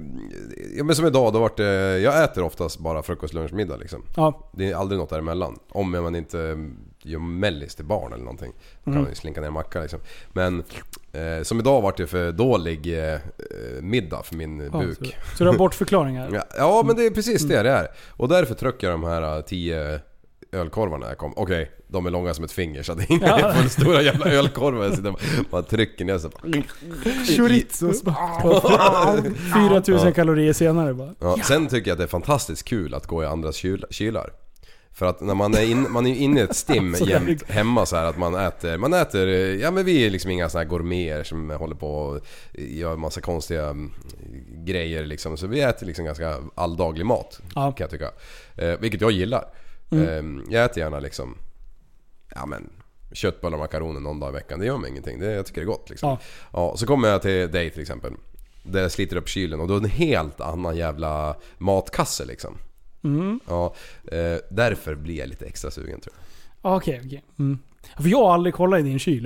[SPEAKER 4] ja, men som idag, då vart det, jag äter oftast bara frukost, lunch, middag liksom.
[SPEAKER 3] Ja.
[SPEAKER 4] Det är aldrig något däremellan. Om man inte gör mellis till barn eller någonting. Då kan
[SPEAKER 3] Mm.
[SPEAKER 4] man ju slinka ner en macka liksom. Men eh, som idag vart det för dålig eh, middag för min
[SPEAKER 3] ja
[SPEAKER 4] buk.
[SPEAKER 3] så, så du har bortförklaringar?
[SPEAKER 4] Ja, ja men det är precis det det är. Och därför tryckte jag de här eh, 10 ölkorvarna jag kom. Okej, de är långa som ett finger så att det är inga
[SPEAKER 3] Ja.
[SPEAKER 4] stora jävla ölkorvar. Jag sitter och bara trycker ner så bara...
[SPEAKER 6] Chorizos.
[SPEAKER 3] Ja. 4000
[SPEAKER 4] Ja.
[SPEAKER 3] kalorier senare bara.
[SPEAKER 4] Ja, sen tycker jag att det är fantastiskt kul att gå i andras kyl- kylar. För att när man är, in, man är ju inne i ett stim
[SPEAKER 3] Alltså, det är-
[SPEAKER 4] jämt hemma så här att man äter, man äter, eh, ja men vi är liksom inga såna här gourmeter som håller på och gör massa konstiga mm, grejer liksom. Så vi äter liksom ganska alldaglig mat
[SPEAKER 3] Ja. Mm.
[SPEAKER 4] kan jag tycka. Eh, vilket jag gillar. Eh, jag äter gärna liksom, ja men köttbullar och makaroner någon dag i veckan. Det gör mig ingenting, det, jag tycker det är gott liksom.
[SPEAKER 3] Ja.
[SPEAKER 4] Ja. så kommer jag till dig till exempel. Där jag sliter upp kylen och då är det en helt annan jävla matkasse liksom.
[SPEAKER 3] Mm.
[SPEAKER 4] Ja, eh, därför blir jag lite extra sugen tror jag.
[SPEAKER 3] Ja, Okej, okej. Mm. För jag har aldrig kollat i din kyl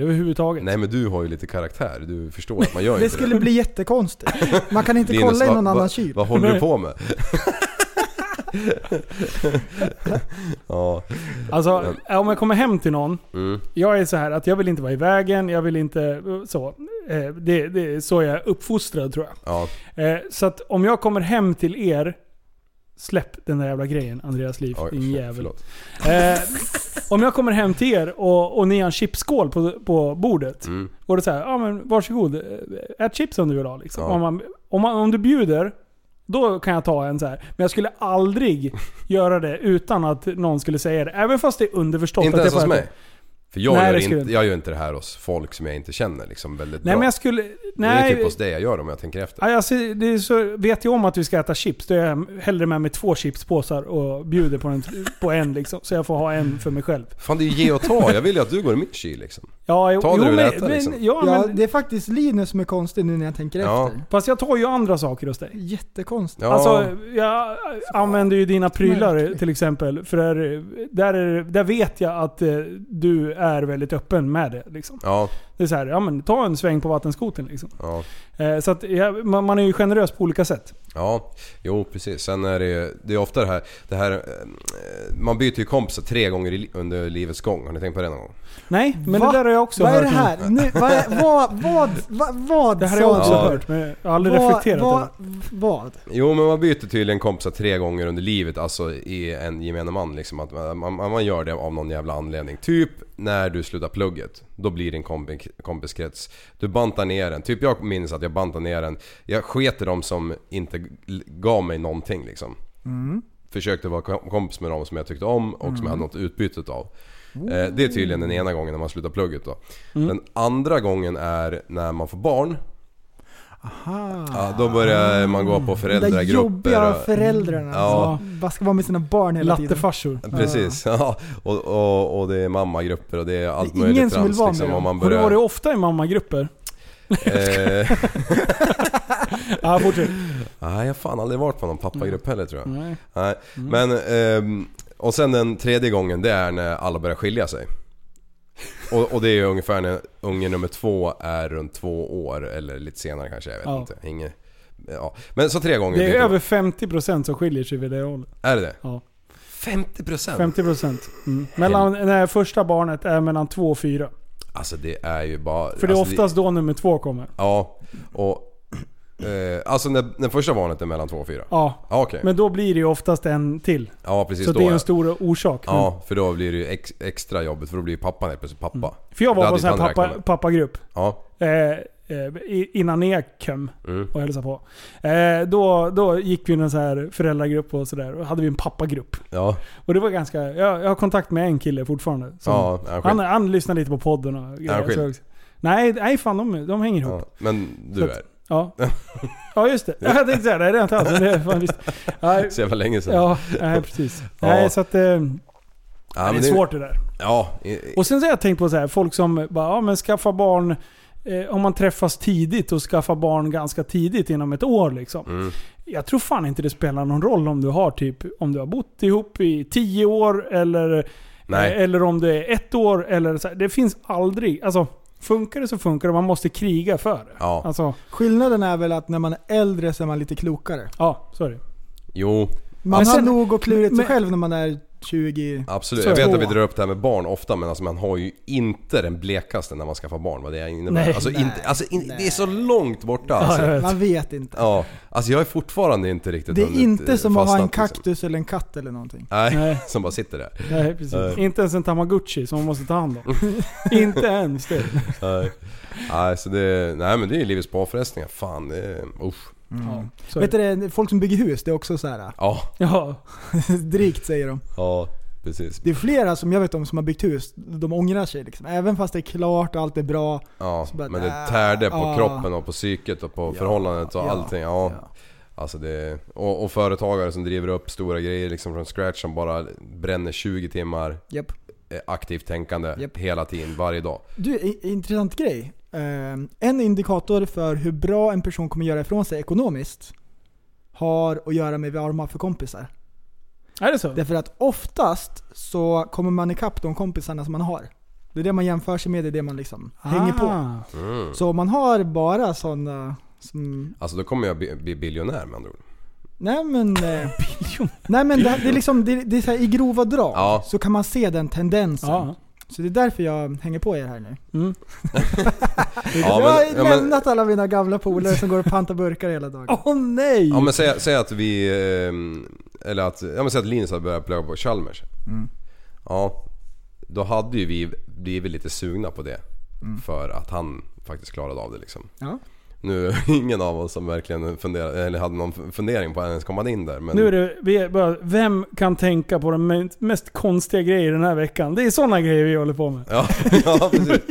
[SPEAKER 3] överhuvudtaget.
[SPEAKER 4] Nej men du har ju lite karaktär, du förstår att man gör
[SPEAKER 6] Det
[SPEAKER 4] inte
[SPEAKER 6] skulle bli jättekonstigt. Man kan inte kolla i
[SPEAKER 4] vad-
[SPEAKER 6] någon
[SPEAKER 4] vad-
[SPEAKER 6] annan kyl.
[SPEAKER 4] Vad håller
[SPEAKER 3] Nej.
[SPEAKER 4] du på med? ja,
[SPEAKER 3] Alltså, om jag kommer hem till någon.
[SPEAKER 4] mm,
[SPEAKER 3] Jag är så här att jag vill inte vara i vägen, jag vill inte så. Eh, Det, det är så jag är uppfostrad tror jag.
[SPEAKER 4] ja,
[SPEAKER 3] Eh, Så att om jag kommer hem till er, släpp den där jävla grejen Andreas Liv,
[SPEAKER 4] oj,
[SPEAKER 3] din
[SPEAKER 4] för-
[SPEAKER 3] jävel.
[SPEAKER 4] förlåt.
[SPEAKER 3] Eh, om jag kommer hem till er och, och ni har en chipsskål på, på bordet.
[SPEAKER 4] Mm,
[SPEAKER 3] Och det så här, ja men varsågod, eh, ät chips om du vill ha liksom.
[SPEAKER 4] Ja.
[SPEAKER 3] Om, man, om, man, om du bjuder, då kan jag ta en så här. Men jag skulle aldrig göra det utan att någon skulle säga det. Även fast det är underförstått.
[SPEAKER 4] inte ens
[SPEAKER 3] att jag
[SPEAKER 4] hos
[SPEAKER 3] får äta.
[SPEAKER 4] mig. För jag,
[SPEAKER 3] Nej, det
[SPEAKER 4] gör
[SPEAKER 3] skulle
[SPEAKER 4] inte, jag gör inte det här hos folk som jag inte känner liksom väldigt
[SPEAKER 3] Nej
[SPEAKER 4] bra.
[SPEAKER 3] men jag skulle...
[SPEAKER 4] Det är
[SPEAKER 3] Nej.
[SPEAKER 4] typ hos dig jag gör om jag tänker efter.
[SPEAKER 3] Aj, Alltså, det är så, vet jag om att vi ska äta chips, då är jag hellre med mig två chipspåsar och bjuder på en, på en liksom. Så jag får ha en för mig själv.
[SPEAKER 4] Fan det är ju ge och ta, jag vill ju att du går i min kyl liksom.
[SPEAKER 3] Ja, jo,
[SPEAKER 4] Ta det
[SPEAKER 3] jo,
[SPEAKER 4] du vill
[SPEAKER 3] men,
[SPEAKER 4] äta liksom.
[SPEAKER 3] men, ja,
[SPEAKER 6] Ja,
[SPEAKER 3] men,
[SPEAKER 6] det är faktiskt Linus som är konstig nu när jag tänker
[SPEAKER 4] Ja.
[SPEAKER 6] efter.
[SPEAKER 3] Fast jag tar ju andra saker hos dig.
[SPEAKER 6] Jättekonstigt.
[SPEAKER 4] Ja.
[SPEAKER 3] Alltså, jag använder ju dina prylar till exempel. För där, där, är- där vet jag att eh, du är väldigt öppen med det. Liksom.
[SPEAKER 4] Ja,
[SPEAKER 3] Det är så här, ja men ta en sväng på vattenskoten liksom.
[SPEAKER 4] ja,
[SPEAKER 3] Eh, så att, ja, man, man är ju generös på olika sätt.
[SPEAKER 4] ja. Jo precis. Sen är det ju- det är ofta det här, det här eh, man byter ju kompisar tre gånger i li- under livets gång. Har ni tänkt på det någon gång?
[SPEAKER 3] Nej, men
[SPEAKER 6] Va?
[SPEAKER 3] det där har jag också
[SPEAKER 6] Vad är
[SPEAKER 3] hört.
[SPEAKER 6] det
[SPEAKER 3] nu.
[SPEAKER 6] här? Nu, vad, är- vad, vad, vad, vad
[SPEAKER 3] Det här har jag
[SPEAKER 6] sa
[SPEAKER 3] också
[SPEAKER 6] du?
[SPEAKER 4] Ja.
[SPEAKER 3] hört, men jag har aldrig
[SPEAKER 6] Vad-
[SPEAKER 3] reflekterat över
[SPEAKER 6] vad,
[SPEAKER 3] det.
[SPEAKER 6] vad?
[SPEAKER 4] Jo men man byter tydligen kompisar tre gånger under livet, alltså i en gemene man liksom. Att man, man, man gör det av någon jävla anledning. Typ när du slutar plugget, då blir din kombi, kompiskrets. Du bantar ner den. Typ jag minns att jag bantade ner den. Jag sket i dem som inte l- gav mig någonting liksom.
[SPEAKER 6] Mm.
[SPEAKER 4] Försökte vara kom- kompis med dem som jag tyckte om och som jag hade något utbyte av. Eh, Det är tydligen den ena gången när man slutar plugget då. Den andra gången är när man får barn. Ja, då börjar man gå på
[SPEAKER 6] De Ah. där
[SPEAKER 4] föräldragrupper.
[SPEAKER 6] jobbiga
[SPEAKER 4] och-
[SPEAKER 6] föräldrarna
[SPEAKER 4] Ja.
[SPEAKER 6] som bara ska vara med sina barn hela tiden.
[SPEAKER 3] Lattefarsor.
[SPEAKER 4] Precis, ja. Och, och, och det är mammagrupper och det är allt
[SPEAKER 6] Det är ingen
[SPEAKER 4] möjligt
[SPEAKER 6] som vill
[SPEAKER 4] trams
[SPEAKER 6] vara med
[SPEAKER 4] liksom.
[SPEAKER 6] dem.
[SPEAKER 4] Om man
[SPEAKER 3] Har du
[SPEAKER 4] börjar...
[SPEAKER 3] varit ofta i mammagrupper?
[SPEAKER 4] eh,
[SPEAKER 3] Ja, fortsätt.
[SPEAKER 4] nej, jag har fan aldrig varit på någon pappagrupp heller tror jag.
[SPEAKER 3] Nej.
[SPEAKER 4] Nej. Men, ehm, och sen den tredje gången det är när alla börjar skilja sig. Och, och det är ju ungefär när unge nummer två är runt två år eller lite senare kanske, jag vet
[SPEAKER 3] Ja.
[SPEAKER 4] inte. Inget, ja. Men så tre gånger.
[SPEAKER 3] Det
[SPEAKER 4] byter
[SPEAKER 3] är
[SPEAKER 4] man.
[SPEAKER 3] över 50% som skiljer sig vid det hållet.
[SPEAKER 4] Är det det?
[SPEAKER 3] Ja.
[SPEAKER 4] 50%?
[SPEAKER 3] 50%. Mm. Mellan, när första barnet är mellan 2 och 4.
[SPEAKER 4] Alltså det är ju bara...
[SPEAKER 3] För det är
[SPEAKER 4] alltså,
[SPEAKER 3] oftast då nummer två kommer.
[SPEAKER 4] Ja, och... Eh, alltså när, när första barnet är mellan två och fyra?
[SPEAKER 3] Ja.
[SPEAKER 4] Ja okej.
[SPEAKER 3] Men då blir det ju oftast en till.
[SPEAKER 4] Ja precis
[SPEAKER 3] Så
[SPEAKER 4] då.
[SPEAKER 3] det är ju
[SPEAKER 4] ja.
[SPEAKER 3] en stor orsak. Mm.
[SPEAKER 4] Ja, för då blir det ju ex, extra jobbigt för då blir ju pappan helt plötsligt pappa.
[SPEAKER 3] Mm. För
[SPEAKER 4] Det
[SPEAKER 3] jag var på
[SPEAKER 4] hade
[SPEAKER 3] en sån här
[SPEAKER 4] inte han
[SPEAKER 3] pappa,
[SPEAKER 4] räknat med.
[SPEAKER 3] pappagrupp.
[SPEAKER 4] Ja.
[SPEAKER 3] Eh, eh, i- innan jag kom
[SPEAKER 4] Mm.
[SPEAKER 3] och hälsade på. Eh, då, då gick vi i en sån här föräldragrupp och sådär. Och hade vi en pappagrupp.
[SPEAKER 4] Ja.
[SPEAKER 3] Och det var ganska... Jag, jag har kontakt med en kille fortfarande. Som,
[SPEAKER 4] Ja, är han
[SPEAKER 3] han,
[SPEAKER 4] skild?
[SPEAKER 3] han lyssnar lite på podden och
[SPEAKER 4] han
[SPEAKER 3] grejer.
[SPEAKER 4] skild?
[SPEAKER 3] Så också. Nej, nej fan de, de hänger ihop.
[SPEAKER 4] ja. Men du
[SPEAKER 3] Så att-
[SPEAKER 4] är.
[SPEAKER 3] Ja. Ja just det. Jag tänkte säga det. Det är inte alls. men Det är fan visst. Ja,
[SPEAKER 4] Så jävla länge sedan.
[SPEAKER 3] ja nej, precis.
[SPEAKER 4] Ja.
[SPEAKER 3] Nej, så att, eh,
[SPEAKER 4] Ja,
[SPEAKER 3] det är
[SPEAKER 4] men
[SPEAKER 3] svårt det där.
[SPEAKER 4] Ja. i- i-
[SPEAKER 3] Och sen så har jag tänkt på så här, folk som bara, ja men skaffa barn. Eh, om man träffas tidigt och skaffa barn ganska tidigt inom ett år liksom.
[SPEAKER 4] Mm.
[SPEAKER 3] Jag tror fan inte det spelar någon roll om du har typ, om du har bott ihop i tio år eller,
[SPEAKER 4] Nej.
[SPEAKER 3] eh, eller om det är ett år eller så här. Det finns aldrig, alltså funkar det så funkar det. Man måste kriga för det.
[SPEAKER 4] Ja.
[SPEAKER 3] Alltså,
[SPEAKER 6] Skillnaden är väl att när man är äldre så är man lite klokare.
[SPEAKER 3] ja, sorry.
[SPEAKER 4] Jo,
[SPEAKER 6] Man
[SPEAKER 3] Men sen-
[SPEAKER 6] har nog och klurat sig
[SPEAKER 3] men-
[SPEAKER 6] själv när man är 20.
[SPEAKER 4] absolut.
[SPEAKER 3] Så
[SPEAKER 4] jag
[SPEAKER 3] är det.
[SPEAKER 4] vet att vi drar upp det här med barn ofta men alltså man har ju inte den blekaste när man skaffar barn vad det innebär.
[SPEAKER 3] Nej.
[SPEAKER 4] alltså inte, alltså in, det är så långt borta alltså.
[SPEAKER 3] Ja, jag
[SPEAKER 4] Ja,
[SPEAKER 3] vet.
[SPEAKER 6] Man vet inte.
[SPEAKER 4] alltså jag är fortfarande inte riktigt
[SPEAKER 6] Det är
[SPEAKER 4] hunnit, eh,
[SPEAKER 6] inte som att ha en
[SPEAKER 4] fastnat, liksom.
[SPEAKER 6] kaktus eller en katt eller någonting.
[SPEAKER 4] Nej,
[SPEAKER 3] Nej.
[SPEAKER 4] som bara sitter där.
[SPEAKER 3] Nej, precis.
[SPEAKER 4] Nej.
[SPEAKER 3] Inte ens en tamagotchi som man måste ta hand om. inte ens det.
[SPEAKER 4] Nej. Nej, så det, nej men det är ju livets påfrestningar. Fan, det är, usch.
[SPEAKER 3] Ja, så är
[SPEAKER 6] Vet
[SPEAKER 3] det.
[SPEAKER 6] du det, folk som bygger hus, det är också så här.
[SPEAKER 4] Ja,
[SPEAKER 3] Ja,
[SPEAKER 6] drygt säger de.
[SPEAKER 4] ja precis.
[SPEAKER 6] Det är flera som jag vet om som har byggt hus, de ångrar sig liksom. Även fast det är klart och allt är bra.
[SPEAKER 4] Ja,
[SPEAKER 6] Så bara,
[SPEAKER 4] men det
[SPEAKER 6] nä,
[SPEAKER 4] tärde på
[SPEAKER 6] ja.
[SPEAKER 4] kroppen och på psyket och på förhållandet och
[SPEAKER 6] ja,
[SPEAKER 4] allting. Ja. Alltså det, och, och företagare som driver upp stora grejer liksom från scratch som bara bränner 20 timmar
[SPEAKER 6] Japp.
[SPEAKER 4] eh, aktivt tänkande
[SPEAKER 6] Japp.
[SPEAKER 4] hela tiden, varje dag.
[SPEAKER 6] Du, i- intressant grej. Ehm, En indikator för hur bra en person kommer göra ifrån sig ekonomiskt har att göra med vad de har för kompisar.
[SPEAKER 3] är det så?
[SPEAKER 6] Därför att oftast så kommer man ikapp de kompisarna som man har. Det är det man jämför sig med, det är det man liksom hänger på.
[SPEAKER 3] Ah.
[SPEAKER 4] Mm.
[SPEAKER 6] Så om man har bara sådana som...
[SPEAKER 4] Alltså då kommer jag bli, bli biljonär med andra ord.
[SPEAKER 6] Nej men... eh, nej men det, det är liksom, det, det är så här, i grova drag
[SPEAKER 4] Ja.
[SPEAKER 6] så kan man se den tendensen.
[SPEAKER 3] Ja.
[SPEAKER 6] Så det är därför jag hänger på er här nu.
[SPEAKER 3] Mm.
[SPEAKER 4] Ja,
[SPEAKER 6] jag har
[SPEAKER 4] men, ja, men,
[SPEAKER 6] lämnat alla mina gamla polare som går och pantar burkar hela dagen.
[SPEAKER 3] Åh oh, nej!
[SPEAKER 4] ja, men säg, säg att vi... ehm, Eller att, ja, men säg att Linus hade börjat plugga på Chalmers.
[SPEAKER 6] Mm.
[SPEAKER 4] Ja, då hade ju vi blivit lite sugna på det. För att han faktiskt klarade av det liksom.
[SPEAKER 6] Mm. Ja.
[SPEAKER 4] Nu är ingen av oss som verkligen funderade, eller hade någon fundering på att ens komma in där. Men
[SPEAKER 3] Nu är det, vi är bara, vem kan tänka på de me- mest konstiga grejer den här veckan? Det är sådana grejer vi håller på med.
[SPEAKER 4] Ja, ja precis.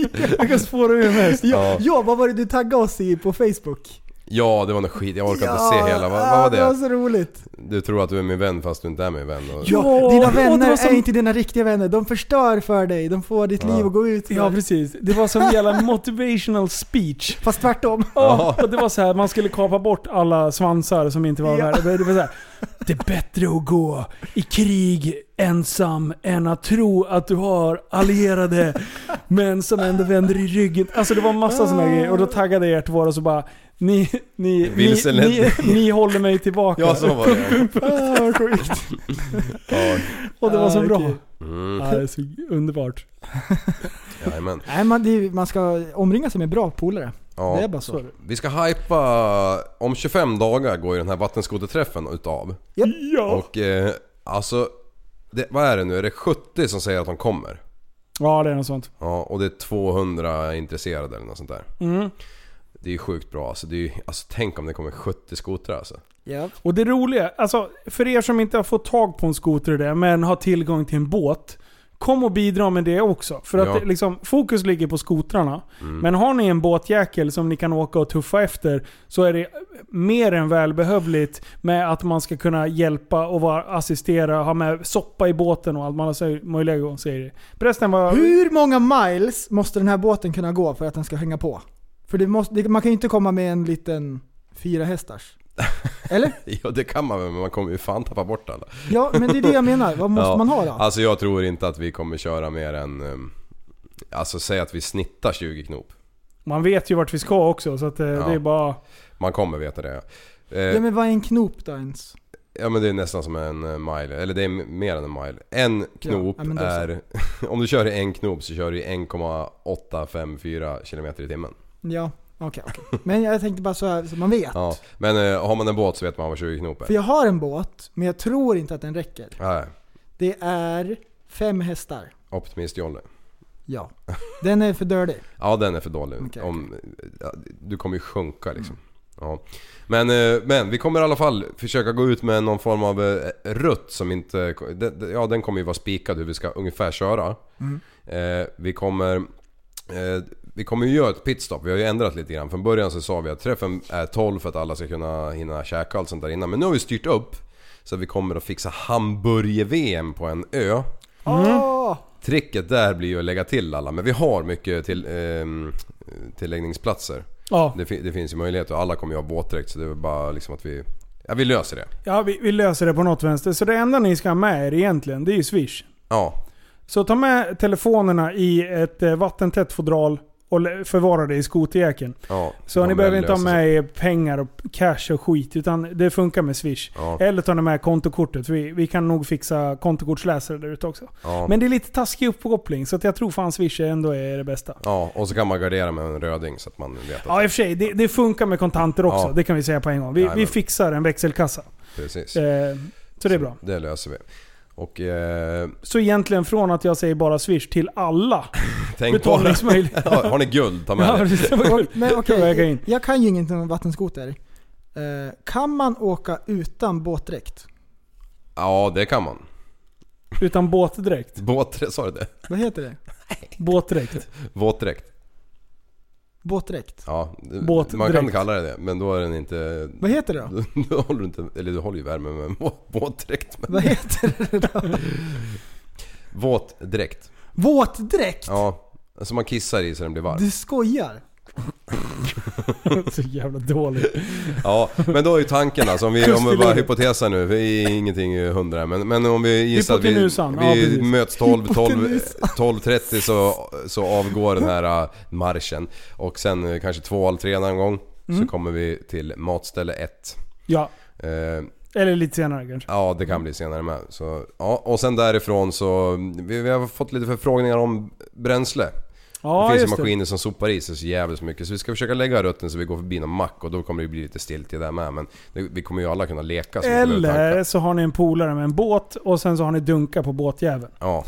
[SPEAKER 3] Vilka spår du är mest?
[SPEAKER 6] Ja, ja, vad var det du taggade oss i på Facebook?
[SPEAKER 4] Ja, det var något skit. Jag orkar
[SPEAKER 6] Ja,
[SPEAKER 4] inte se hela. Vad, vad var
[SPEAKER 6] ah, Det var
[SPEAKER 4] det?
[SPEAKER 6] så roligt.
[SPEAKER 4] Du tror att du är min vän fast du inte är min vän. Och...
[SPEAKER 6] Ja, dina
[SPEAKER 3] det
[SPEAKER 6] vänner
[SPEAKER 3] var som-
[SPEAKER 6] är inte dina riktiga vänner. De förstör för dig. De får ditt
[SPEAKER 4] Ja.
[SPEAKER 6] liv att gå ut.
[SPEAKER 3] Ja precis. Det var som en jävla motivational speech.
[SPEAKER 6] Fast tvärtom.
[SPEAKER 3] Ja, och det var så här, man skulle kapa bort alla svansar som inte var
[SPEAKER 6] Ja.
[SPEAKER 3] där. Det var så här, det är bättre att gå i krig ensam än att tro att du har allierade men som ändå vänder i ryggen. Alltså det var massa sådana grejer och då taggade jag er två och så bara ni, ni, ni,
[SPEAKER 4] Vilseledd.
[SPEAKER 3] ni, ni håller mig tillbaka.
[SPEAKER 4] Ja, så var det.
[SPEAKER 6] Ah, vad sjukt.
[SPEAKER 4] Ja,
[SPEAKER 3] Och det var så
[SPEAKER 6] Ah,
[SPEAKER 3] bra.
[SPEAKER 6] okej.
[SPEAKER 4] mm.
[SPEAKER 3] Ja, det är så underbart.
[SPEAKER 4] Jajamän.
[SPEAKER 6] Nej, man, det, är- man ska omringa sig med bra polare. Det är
[SPEAKER 4] Ja.
[SPEAKER 6] bara så.
[SPEAKER 4] Vi ska hypa... Om 25 dagar går ju den här vattenskoterträffen utav.
[SPEAKER 6] Oh.
[SPEAKER 3] Ja.
[SPEAKER 4] Och eh, alltså... Det, vad är det nu? Är det 70 som säger att de kommer?
[SPEAKER 3] Ja, det är något sånt.
[SPEAKER 4] Ja, och det är 200 intresserade eller något sånt där. Det är ju sjukt bra alltså, det är ju, alltså. Tänk om det kommer 70 skotrar alltså.
[SPEAKER 6] Ja.
[SPEAKER 3] Och det roliga, alltså för er som inte har fått tag på en skoter och det, men har tillgång till en båt. Kom och bidra med det också. För att
[SPEAKER 4] Ja. Mm.
[SPEAKER 3] det, liksom, fokus ligger på skotrarna. Men har ni en båtjäkel som ni kan åka och tuffa efter så är det mer än välbehövligt med att man ska kunna hjälpa och vara, assistera, ha med soppa i båten och allt. Man har så- möjliga gånger säger det. Förresten var...
[SPEAKER 6] Hur många miles måste den här båten kunna gå för att den ska hänga på? För det måste, det, man kan ju inte komma med en liten fyra hästars. Eller?
[SPEAKER 4] Ja det kan man väl men man kommer ju fan tappa bort alla.
[SPEAKER 6] Ja, men det är det jag menar. Vad måste
[SPEAKER 4] Ja.
[SPEAKER 6] man ha då?
[SPEAKER 4] Alltså jag tror inte att vi kommer köra mer än... ehm, Alltså säg att vi snittar 20 knop.
[SPEAKER 3] Man vet ju vart vi ska också så att, eh, det är bara...
[SPEAKER 4] Man kommer veta det. Eh,
[SPEAKER 6] Ja, men vad är en knop då ens?
[SPEAKER 4] Ja men det är nästan som en eh, mile, eller det är m- mer än en mile. En knop
[SPEAKER 6] ja, men då så.
[SPEAKER 4] är... om du kör i en knop så kör du i 1,854 km i timmen.
[SPEAKER 6] Ja, okej. okej. Men jag tänkte bara så, här, så man vet.
[SPEAKER 4] Ja. Men eh, har man en båt så vet man vad 20 knop är.
[SPEAKER 6] För jag har en båt, men jag tror inte att den räcker.
[SPEAKER 4] Nej,
[SPEAKER 6] Det är fem hästar.
[SPEAKER 4] optimist Jolle.
[SPEAKER 6] Ja. Den är för dirty.
[SPEAKER 4] Ja den är för dålig.
[SPEAKER 6] Okej,
[SPEAKER 4] Om, ja, du kommer ju sjunka liksom. Ja. Men, eh, men vi kommer i alla fall försöka gå ut med någon form av eh, rutt som inte... den- den- Ja den kommer ju vara spikad hur vi ska ungefär köra.
[SPEAKER 6] Mm.
[SPEAKER 4] Eh, vi kommer... eh, Vi kommer ju göra ett pitstop, vi har ju ändrat lite grann. Från början så sa vi att träffen är 12 för att alla ska kunna hinna käka och allt sånt där innan. Men nu har vi styrt upp. Så vi kommer att fixa hamburger-VM på en ö.
[SPEAKER 3] Mm.
[SPEAKER 6] Åh!
[SPEAKER 4] Tricket där blir ju att lägga till alla, men vi har mycket till, ehm, tilläggningsplatser.
[SPEAKER 3] Ja.
[SPEAKER 4] Det, fi- det finns ju möjlighet och alla kommer ju ha våtdräkt så det är väl bara liksom att vi... Ja, vi löser det.
[SPEAKER 3] Ja, vi, vi löser det på något vänster. Så det enda ni ska ha med er egentligen, det är ju Swish.
[SPEAKER 4] Ja,
[SPEAKER 3] Så ta med telefonerna i ett eh, vattentätt fodral och lä- förvara det i skoterjäkeln.
[SPEAKER 4] ja.
[SPEAKER 3] Så
[SPEAKER 4] De
[SPEAKER 3] ni behöver inte ha
[SPEAKER 4] löser
[SPEAKER 3] med er pengar och cash och skit, utan det funkar med Swish.
[SPEAKER 4] Ja.
[SPEAKER 3] Eller ta ni med kontokortet, vi, vi kan nog fixa kontokortsläsare där ute också.
[SPEAKER 4] sig. Ja.
[SPEAKER 3] Men det är lite taskig uppkoppling, så att jag tror fan Swish ändå är det bästa.
[SPEAKER 4] ja, och så kan man gardera med en röding så att man vet att...
[SPEAKER 3] Ja i och för sig, det, det funkar med kontanter också.
[SPEAKER 4] Ja.
[SPEAKER 3] Det kan vi säga på en gång. Vi, vi
[SPEAKER 4] Jajamän.
[SPEAKER 3] fixar en växelkassa.
[SPEAKER 4] Precis.
[SPEAKER 3] Eh, så det är bra.
[SPEAKER 4] Det löser vi. Och eh,
[SPEAKER 3] Så egentligen från att jag säger bara Swish till alla
[SPEAKER 4] tänk på det.
[SPEAKER 3] betalningsmöjligheter.
[SPEAKER 4] Ja, har ni guld, ta med
[SPEAKER 3] Ja,
[SPEAKER 4] det.
[SPEAKER 3] precis. Det var kul.
[SPEAKER 6] Men
[SPEAKER 3] Kan väga
[SPEAKER 6] okej,
[SPEAKER 3] in.
[SPEAKER 6] jag kan ju ingenting om vattenskoter. Eh, kan man åka utan båtdräkt?
[SPEAKER 4] Ja, det kan man.
[SPEAKER 3] Utan båtdräkt.
[SPEAKER 4] Båtdräkt, sa du det?
[SPEAKER 6] Vad heter det?
[SPEAKER 3] Båtdräkt.
[SPEAKER 4] Våtdräkt.
[SPEAKER 6] Båtdräkt?
[SPEAKER 4] Ja, det-
[SPEAKER 3] Båtdräkt.
[SPEAKER 4] man kan kalla det det, men då är den inte...
[SPEAKER 6] Vad heter det då?
[SPEAKER 4] Du, du håller du inte, eller du håller ju värmen med en vå- våtdräkt. Men
[SPEAKER 6] Vad heter det då?
[SPEAKER 4] våtdräkt.
[SPEAKER 6] Våtdräkt?
[SPEAKER 4] Ja. Alltså man kissar i så den blir varm.
[SPEAKER 6] Du skojar?
[SPEAKER 3] Så jävla dålig.
[SPEAKER 4] Ja, men då är ju tanken alltså om vi, om vi bara
[SPEAKER 3] Kustiluret.
[SPEAKER 4] hypotesar nu, vi är ingenting hundra men, men om vi gissar att vi,
[SPEAKER 3] Hypotenusan, ja,
[SPEAKER 4] vi
[SPEAKER 3] precis.
[SPEAKER 4] möts 12, 12,
[SPEAKER 6] Hypotenusan.
[SPEAKER 4] 12.30 så, så avgår den här äh, marschen. Och sen eh, kanske två halv tre någon gång
[SPEAKER 3] Mm.
[SPEAKER 4] så kommer vi till matställe 1.
[SPEAKER 3] Ja,
[SPEAKER 4] Eh,
[SPEAKER 3] eller lite senare kanske.
[SPEAKER 4] Ja, det kan bli senare med. Så, ja, och sen därifrån så... Vi, vi har fått lite förfrågningar om bränsle.
[SPEAKER 3] Ja,
[SPEAKER 4] det finns
[SPEAKER 3] just
[SPEAKER 4] ju maskiner som sopar i sig så jävligt mycket. Så vi ska försöka lägga rutten så vi går förbi någon mack och då kommer det bli lite stiltje där med. Men det, vi kommer ju alla kunna leka så
[SPEAKER 3] det.
[SPEAKER 4] vi behöver tanka.
[SPEAKER 3] Eller så har ni en polare med en båt och sen så har ni dunkar på båtjäveln.
[SPEAKER 4] Ja,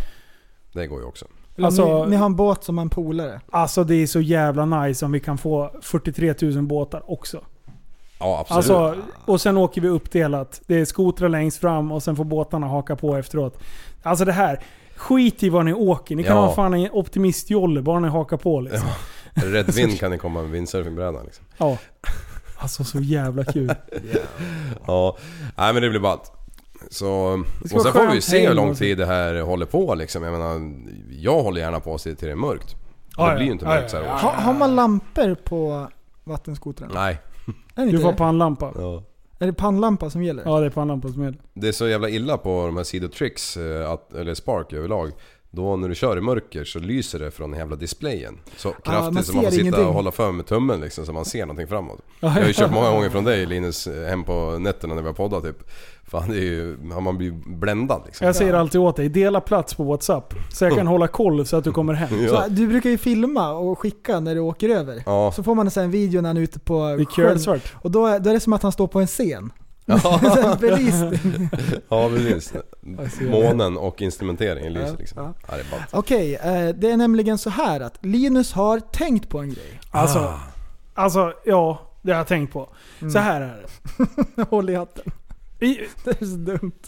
[SPEAKER 4] det går ju också.
[SPEAKER 6] Eller
[SPEAKER 3] Alltså-
[SPEAKER 6] ni, ni har en båt som en polare.
[SPEAKER 3] Alltså det är så jävla nice om vi kan få 43 000 båtar också.
[SPEAKER 4] Ja, absolut.
[SPEAKER 3] Alltså, och sen åker vi uppdelat. Det är skotrar längst fram och sen får båtarna haka på efteråt. Alltså det här. Skit i var ni åker. Ni kan
[SPEAKER 4] Ja.
[SPEAKER 3] ha fan en optimistjolle bara ni hakar på liksom.
[SPEAKER 4] Rätt vind kan det komma med windsurfingbrädan liksom.
[SPEAKER 3] Ja. Alltså så jävla kul.
[SPEAKER 4] Ja, nej men det blir ballt. Så, och
[SPEAKER 3] Det ska
[SPEAKER 4] sen
[SPEAKER 3] vara
[SPEAKER 4] får vi ju
[SPEAKER 3] skönt
[SPEAKER 4] se
[SPEAKER 3] häng
[SPEAKER 4] hur lång
[SPEAKER 3] och så.
[SPEAKER 4] tid det här håller på liksom. Jag menar, jag håller gärna på sig till det är mörkt.
[SPEAKER 3] Ja,
[SPEAKER 4] det
[SPEAKER 3] ja.
[SPEAKER 4] blir ju inte
[SPEAKER 3] Ja,
[SPEAKER 4] mörkt
[SPEAKER 3] ja,
[SPEAKER 4] så här
[SPEAKER 3] ja.
[SPEAKER 4] års.
[SPEAKER 6] Ha, har man lampor på vattenskotrarna?
[SPEAKER 4] Nej.
[SPEAKER 6] Är
[SPEAKER 3] Du
[SPEAKER 6] det inte
[SPEAKER 3] får
[SPEAKER 6] det?
[SPEAKER 3] pannlampa.
[SPEAKER 4] Ja.
[SPEAKER 6] Är det pannlampa som gäller?
[SPEAKER 3] Ja det är pannlampa som gäller.
[SPEAKER 4] Det är så jävla illa på de här sidotricks, eh, att, eller spark överlag. Då när du kör i mörker så lyser det från den jävla displayen. Så kraftigt
[SPEAKER 6] Ah, man
[SPEAKER 4] så man får
[SPEAKER 6] ser
[SPEAKER 4] sitta
[SPEAKER 6] ingenting.
[SPEAKER 4] och hålla för med tummen liksom så man ser någonting framåt.
[SPEAKER 3] Ja,
[SPEAKER 4] jag har ju
[SPEAKER 3] ja.
[SPEAKER 4] kört många gånger från dig Linus, eh, hem på nätterna när vi har poddat typ. Fan det är ju, har man blivit bländad liksom.
[SPEAKER 3] Jag säger alltid åt dig, dela plats på WhatsApp. Så jag kan hålla koll så att du kommer hem.
[SPEAKER 4] Ja.
[SPEAKER 6] Så, här, du brukar ju filma och skicka när du åker över.
[SPEAKER 4] Ja.
[SPEAKER 6] Så får man sen en video när han är ute på
[SPEAKER 3] Det är kölsvart.
[SPEAKER 6] Och då är, då är det som att han står på en scen.
[SPEAKER 4] Ja.
[SPEAKER 6] Belysning.
[SPEAKER 4] Ja precis.
[SPEAKER 3] Alltså, jag-
[SPEAKER 4] Månen och instrumenteringen lyser
[SPEAKER 6] Ja,
[SPEAKER 4] liksom.
[SPEAKER 6] ja.
[SPEAKER 4] Ja, det är ballt.
[SPEAKER 6] Okej, eh, det är nämligen så här att Linus har tänkt på en grej.
[SPEAKER 3] Alltså, alltså ja. Det har jag tänkt på. Mm. Så här är det.
[SPEAKER 6] Håll i hatten.
[SPEAKER 3] I-
[SPEAKER 6] Det är så dumt.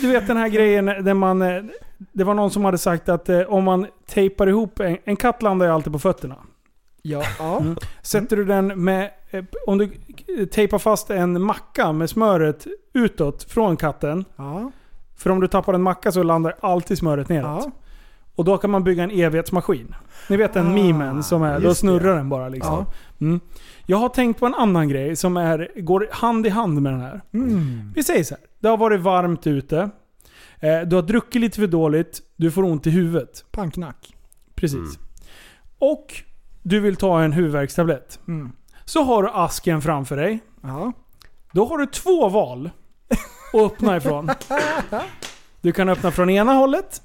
[SPEAKER 3] Du vet den här grejen där man... eh, Det var någon som hade sagt att eh, om man tejpar ihop... En, en katt landar ju alltid på fötterna.
[SPEAKER 6] Ja, ja.
[SPEAKER 3] Mm. Sätter du den med... eh, Om du eh, tejpar fast en macka med smöret utåt från katten.
[SPEAKER 6] ja.
[SPEAKER 3] För om du tappar en macka så landar alltid smöret neråt.
[SPEAKER 6] ja.
[SPEAKER 3] Och då kan man bygga en evighetsmaskin. Ni vet den
[SPEAKER 6] Ah,
[SPEAKER 3] memen som är, då
[SPEAKER 6] just
[SPEAKER 3] snurrar den bara liksom. Mm. Jag har tänkt på en annan grej som är, går hand i hand med den här.
[SPEAKER 6] Mm.
[SPEAKER 4] Mm.
[SPEAKER 3] Vi säger så här. Det har varit varmt ute. Eh, Du har druckit lite för dåligt. Du får ont i huvudet.
[SPEAKER 6] Panknack.
[SPEAKER 3] Precis. Och du vill ta en huvudvärkstablett.
[SPEAKER 6] Mm.
[SPEAKER 3] Så har du asken framför dig.
[SPEAKER 6] Ja.
[SPEAKER 3] Då har du två val att öppna ifrån. Du kan öppna från ena hållet,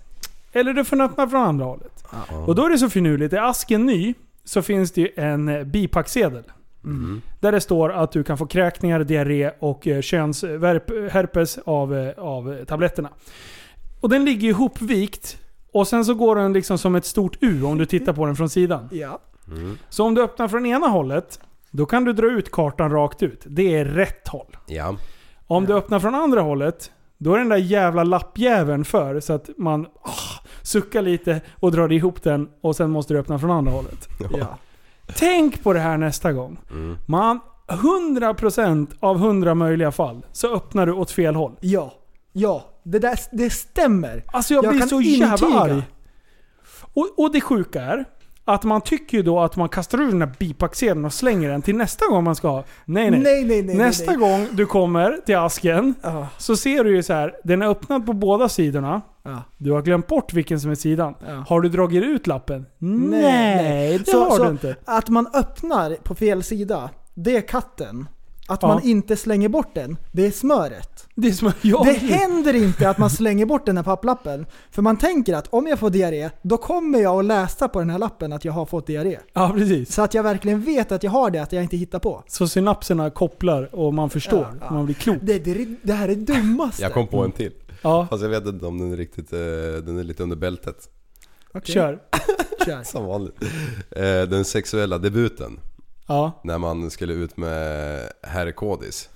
[SPEAKER 3] eller du kan öppna från andra hållet. Och då är det så finurligt, är asken ny så finns det ju en eh, bipacksedel.
[SPEAKER 6] Mm.
[SPEAKER 3] Där det står att du kan få kräkningar, diarré och eh, könsherpes av, eh, av eh, tabletterna. Och den ligger ju ihopvikt och sen så går den liksom som ett stort U om du tittar på den från sidan.
[SPEAKER 6] Ja.
[SPEAKER 4] Mm.
[SPEAKER 3] Så om du öppnar från ena hållet, då kan du dra ut kartan rakt ut. Det är rätt håll.
[SPEAKER 4] Ja.
[SPEAKER 3] Om du öppnar från andra hållet, då är den där jävla lappjäveln för så att man ah, suckar lite och drar ihop den och sen måste du öppna från andra hållet.
[SPEAKER 6] Ja.
[SPEAKER 3] Tänk på det här nästa gång. Man, 100% av 100 möjliga fall så öppnar du åt fel håll.
[SPEAKER 6] Ja. Ja. Det där det stämmer.
[SPEAKER 3] Alltså jag,
[SPEAKER 6] Jag
[SPEAKER 3] blir
[SPEAKER 6] kan
[SPEAKER 3] så jävla
[SPEAKER 6] intyga.
[SPEAKER 3] arg. Och, och det sjuka är att man tycker ju då att man kastar ur den här bipacksedeln och slänger den till nästa gång man ska ha. Nej nej.
[SPEAKER 6] Nej, nej, nej.
[SPEAKER 3] nästa
[SPEAKER 6] nej, nej.
[SPEAKER 3] gång du kommer till asken
[SPEAKER 6] Ja.
[SPEAKER 3] så ser du ju så här, den är öppnad på båda sidorna.
[SPEAKER 6] Ja.
[SPEAKER 3] Du har glömt bort vilken som är sidan.
[SPEAKER 6] Ja.
[SPEAKER 3] Har du dragit ut lappen? Nej, det
[SPEAKER 6] så,
[SPEAKER 3] har
[SPEAKER 6] så
[SPEAKER 3] du inte.
[SPEAKER 6] Att man öppnar på fel sida, det är katten. Att
[SPEAKER 3] Ja.
[SPEAKER 6] man inte slänger bort den, det är smöret.
[SPEAKER 3] Det, är som, ja,
[SPEAKER 6] Det händer inte att man slänger bort den här papplappen. För man tänker att om jag får diarré, då kommer jag att läsa på den här lappen att jag har fått diarré.
[SPEAKER 3] ja, precis.
[SPEAKER 6] Så att jag verkligen vet att jag har det, att jag inte hittar på.
[SPEAKER 3] Så synapserna kopplar och man förstår.
[SPEAKER 6] Ja, ja.
[SPEAKER 3] Man blir klok.
[SPEAKER 6] Det, det, det här är det dummaste.
[SPEAKER 4] Jag kom på en till.
[SPEAKER 3] Ja,
[SPEAKER 4] Fast jag vet inte om den är riktigt, eh, den är lite under bältet.
[SPEAKER 6] Okej,
[SPEAKER 3] kör.
[SPEAKER 6] kör.
[SPEAKER 4] Som vanligt. Eh, Den sexuella debuten.
[SPEAKER 3] Ja.
[SPEAKER 4] När man skulle ut med herrkodis.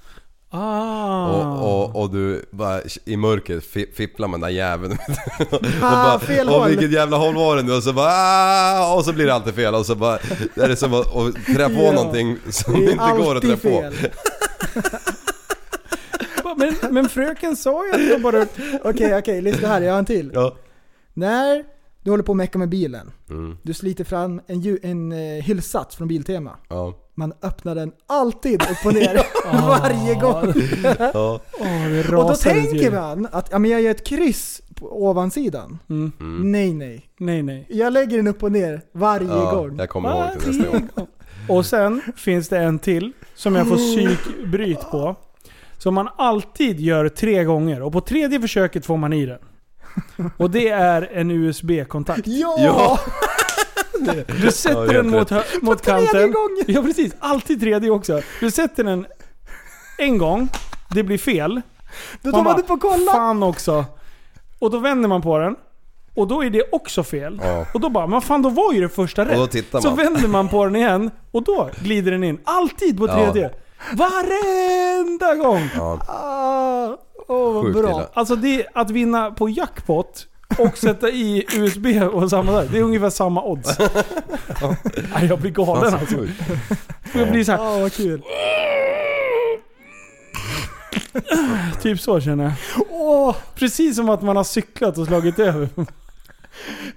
[SPEAKER 3] Ah.
[SPEAKER 4] Och, och, och du bara i mörkret fi- fipplar med den där jäveln. och
[SPEAKER 6] Ah, fel
[SPEAKER 4] och
[SPEAKER 6] håll."
[SPEAKER 4] vilket jävla håll var det nu? Och så bara "Ah!" Och så blir det alltid fel. Och så bara, det är det som att och trä på
[SPEAKER 6] Ja.
[SPEAKER 4] någonting som
[SPEAKER 6] Det är
[SPEAKER 4] inte går att trä
[SPEAKER 6] alltid
[SPEAKER 4] på.
[SPEAKER 6] fel.
[SPEAKER 3] Men, men fröken sa ju att jag bara...
[SPEAKER 6] Okej, okej, lyssna här, jag har en till.
[SPEAKER 4] Ja.
[SPEAKER 6] När du håller på och mecka med bilen,
[SPEAKER 4] Mm,
[SPEAKER 6] du sliter fram en, ju- en eh, hyllsats från Biltema.
[SPEAKER 4] ja.
[SPEAKER 6] Man öppnar den alltid upp och ner varje gång.
[SPEAKER 4] ja.
[SPEAKER 3] Åh, det
[SPEAKER 6] Och då
[SPEAKER 3] rasades ju.
[SPEAKER 6] tänker man att ja, men jag gör ett kryss på ovansidan.
[SPEAKER 3] Mm.
[SPEAKER 6] Nej, nej.
[SPEAKER 3] Nej, nej.
[SPEAKER 6] Jag lägger den upp och ner varje
[SPEAKER 4] ja.
[SPEAKER 6] gång.
[SPEAKER 4] Jag kommer ihåg det nästa gång.
[SPEAKER 3] Och sen finns det en till som jag får psykbryt på. Som man alltid gör tre gånger och på tredje försöket får man i den. Och det är en USB-kontakt.
[SPEAKER 6] Ja!
[SPEAKER 4] Ja.
[SPEAKER 3] Du
[SPEAKER 4] Ja,
[SPEAKER 3] sätter
[SPEAKER 4] helt
[SPEAKER 3] den mot, hö- mot kanten.
[SPEAKER 6] Tredje gången!
[SPEAKER 3] Ja precis, alltid tredje också. Du sätter den en gång, det blir fel.
[SPEAKER 6] Då
[SPEAKER 3] Man
[SPEAKER 6] tar man
[SPEAKER 3] bara,
[SPEAKER 6] upp och kollar.
[SPEAKER 3] Fan också. Och då vänder man på den. Och då är det också fel.
[SPEAKER 4] Ja.
[SPEAKER 3] Och då bara, men fan då var ju det första rätt.
[SPEAKER 4] då tittar
[SPEAKER 3] Så
[SPEAKER 4] man.
[SPEAKER 3] vänder man på den igen och då glider den in. Alltid på
[SPEAKER 4] Ja.
[SPEAKER 3] tredje. Varenda gång!
[SPEAKER 4] Ja.
[SPEAKER 3] Ah, åh, vad
[SPEAKER 4] Sjukt
[SPEAKER 3] bra.
[SPEAKER 4] illa.
[SPEAKER 3] Alltså det, att vinna på jackpot och sätta i USB och samma där. Det är ungefär samma odds. Nej, jag blir
[SPEAKER 4] Fan,
[SPEAKER 3] galen
[SPEAKER 4] så
[SPEAKER 3] alltså.
[SPEAKER 4] sjukt.
[SPEAKER 3] Jag blir så här,
[SPEAKER 6] Ja, vad kul.
[SPEAKER 3] typ så känner jag.
[SPEAKER 6] Åh,
[SPEAKER 3] Precis som att man har cyklat och slagit över.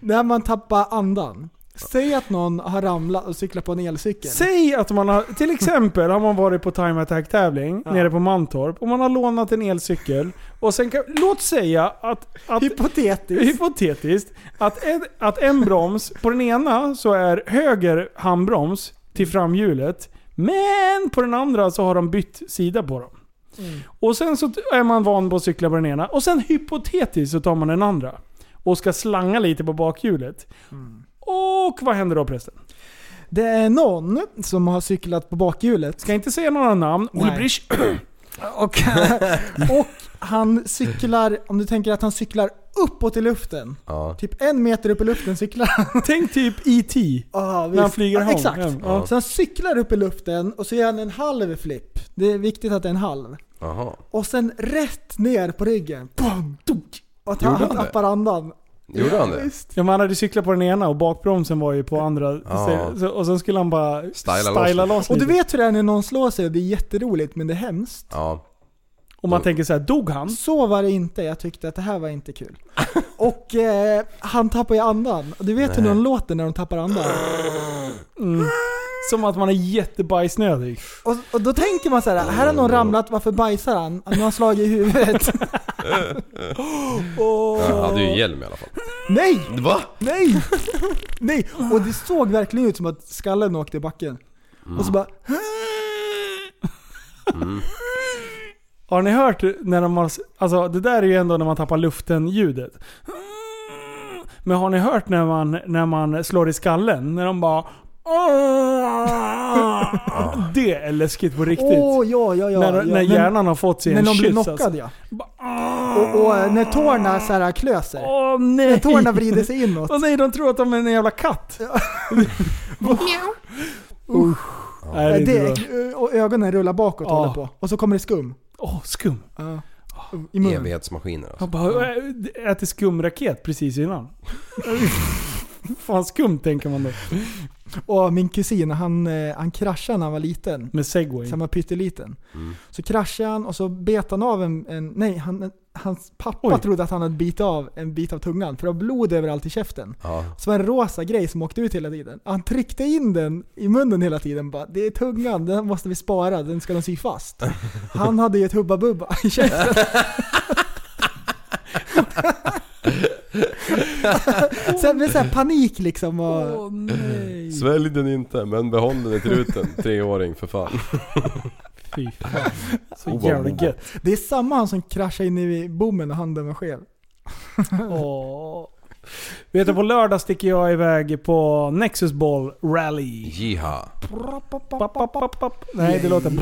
[SPEAKER 6] när man tappar andan. Säg att någon har ramlat och cyklat på en elcykel.
[SPEAKER 3] Säg att man har, till exempel har man varit på Time Attack tävling
[SPEAKER 6] Ja.
[SPEAKER 3] nere på Mantorp och man har lånat en elcykel och sen kan, låt säga att, att
[SPEAKER 6] Hypotetiskt.
[SPEAKER 3] hypotetiskt, att en, att en broms, på den ena så är höger handbroms
[SPEAKER 6] Mm.
[SPEAKER 3] till framhjulet men på den andra så har de bytt sida på dem.
[SPEAKER 6] Mm.
[SPEAKER 3] Och sen så är man van på att cykla på den ena och sen hypotetiskt så tar man den andra och ska slanga lite på bakhjulet.
[SPEAKER 6] Mm.
[SPEAKER 3] Och vad händer då prästen?
[SPEAKER 6] Det är någon som har cyklat på bakhjulet.
[SPEAKER 3] Ska inte säga några namn.
[SPEAKER 6] Nej.
[SPEAKER 3] Ulbrich
[SPEAKER 6] Och, och han cyklar, om du tänker att han cyklar uppåt i luften.
[SPEAKER 4] Ja.
[SPEAKER 6] Typ en meter upp i luften cyklar han.
[SPEAKER 3] Tänk typ E.T.
[SPEAKER 6] Ah,
[SPEAKER 3] När han flyger
[SPEAKER 6] ja,
[SPEAKER 3] home.
[SPEAKER 6] Exakt.
[SPEAKER 3] Hem.
[SPEAKER 6] Ja. Så han cyklar upp i luften och så gör han en halv flipp. Det är viktigt att det är en halv.
[SPEAKER 4] Jaha.
[SPEAKER 6] Och sen rätt ner på ryggen. Bam, dunk. Och att
[SPEAKER 4] Gjorde
[SPEAKER 6] han
[SPEAKER 4] han det?
[SPEAKER 6] tappar andan.
[SPEAKER 4] Gjorde han det?
[SPEAKER 6] Visst.
[SPEAKER 3] Ja, man hade cyklat på den ena och bakbromsen var ju på andra.
[SPEAKER 4] Ja.
[SPEAKER 3] Så- så- Och sen skulle han bara
[SPEAKER 4] Styla
[SPEAKER 3] styla loss,
[SPEAKER 4] loss.
[SPEAKER 6] Och du
[SPEAKER 3] lite.
[SPEAKER 6] vet hur det är när någon slår sig och det är jätteroligt men det är hemskt.
[SPEAKER 4] Ja.
[SPEAKER 3] Och man tänker så här, dog han?
[SPEAKER 6] Så var det inte. Jag tyckte att det här var inte kul. Och eh, han tappar ju andan. Och Du vet hur någon låter när de tappar andan?
[SPEAKER 3] Som att man är jättebajsnödig.
[SPEAKER 6] Och, och då tänker man så här, här har någon ramlat, varför bajsar han? Nu har han slagit i huvudet.
[SPEAKER 4] Han hade ju hjälm i alla fall.
[SPEAKER 6] Nej!
[SPEAKER 4] Va?
[SPEAKER 6] Nej! Nej! Och det såg verkligen ut som att skallen åkte i backen. Och så bara...
[SPEAKER 3] Har ni hört när de har... Alltså det där är ju ändå när man tappar luften-ljudet. Men har ni hört när man, när man slår i skallen? När de bara... Det är läskigt på riktigt.
[SPEAKER 6] Åh ja, ja, ja.
[SPEAKER 3] när,
[SPEAKER 6] ja.
[SPEAKER 3] när hjärnan har fått sig
[SPEAKER 6] när
[SPEAKER 3] en
[SPEAKER 6] någon blir
[SPEAKER 3] kyss
[SPEAKER 6] knockad
[SPEAKER 3] alltså. eh,
[SPEAKER 6] ja. Och, och när tårna så här klöser.
[SPEAKER 3] Åh nej!
[SPEAKER 6] När tårna vrider sig inåt.
[SPEAKER 3] Åh nej, de tror att de är en jävla katt. Usch. Nej, det är
[SPEAKER 6] Det
[SPEAKER 3] inte bra.
[SPEAKER 6] är, och ögonen rullar bakåt
[SPEAKER 3] Ja.
[SPEAKER 6] håller på. Och så kommer det skum.
[SPEAKER 3] Åh, skum.
[SPEAKER 6] Ja. I munnen.
[SPEAKER 4] Evighetsmaskiner alltså.
[SPEAKER 3] Han bara, "Äh, äter skumraket precis innan. Fan skumt tänker man då.
[SPEAKER 6] Och min kusin, han, eh, han kraschade när han var liten.
[SPEAKER 3] Med segway.
[SPEAKER 6] Så han var pytteliten. Så kraschade han och så bet han av en... en nej, han, hans pappa
[SPEAKER 3] Oj.
[SPEAKER 6] trodde att han hade bitit av en bit av tungan. För det var blod överallt i käften.
[SPEAKER 4] Ja.
[SPEAKER 6] Så var det en rosa grej som åkte ut hela tiden. Han tryckte in den i munnen hela tiden. Bara, det är tungan, den måste vi spara, den ska de sy fast. Han hade ju ett Hubba Bubba i käften. Sen blev det så här panik liksom. Och,
[SPEAKER 4] Svälj den inte, men behåll den i truten. Treåring för fan.
[SPEAKER 3] Fy fan. Så
[SPEAKER 4] Oh,
[SPEAKER 3] jävla
[SPEAKER 4] oh, oh.
[SPEAKER 3] gött.
[SPEAKER 6] det är samma han som kraschade in i bommen och handen var skev.
[SPEAKER 3] Åh. Vet du, på lördag sticker jag iväg på Nexus Ball Rally.
[SPEAKER 4] Jiha.
[SPEAKER 3] Papp, papp, papp, papp. Nej, det låter...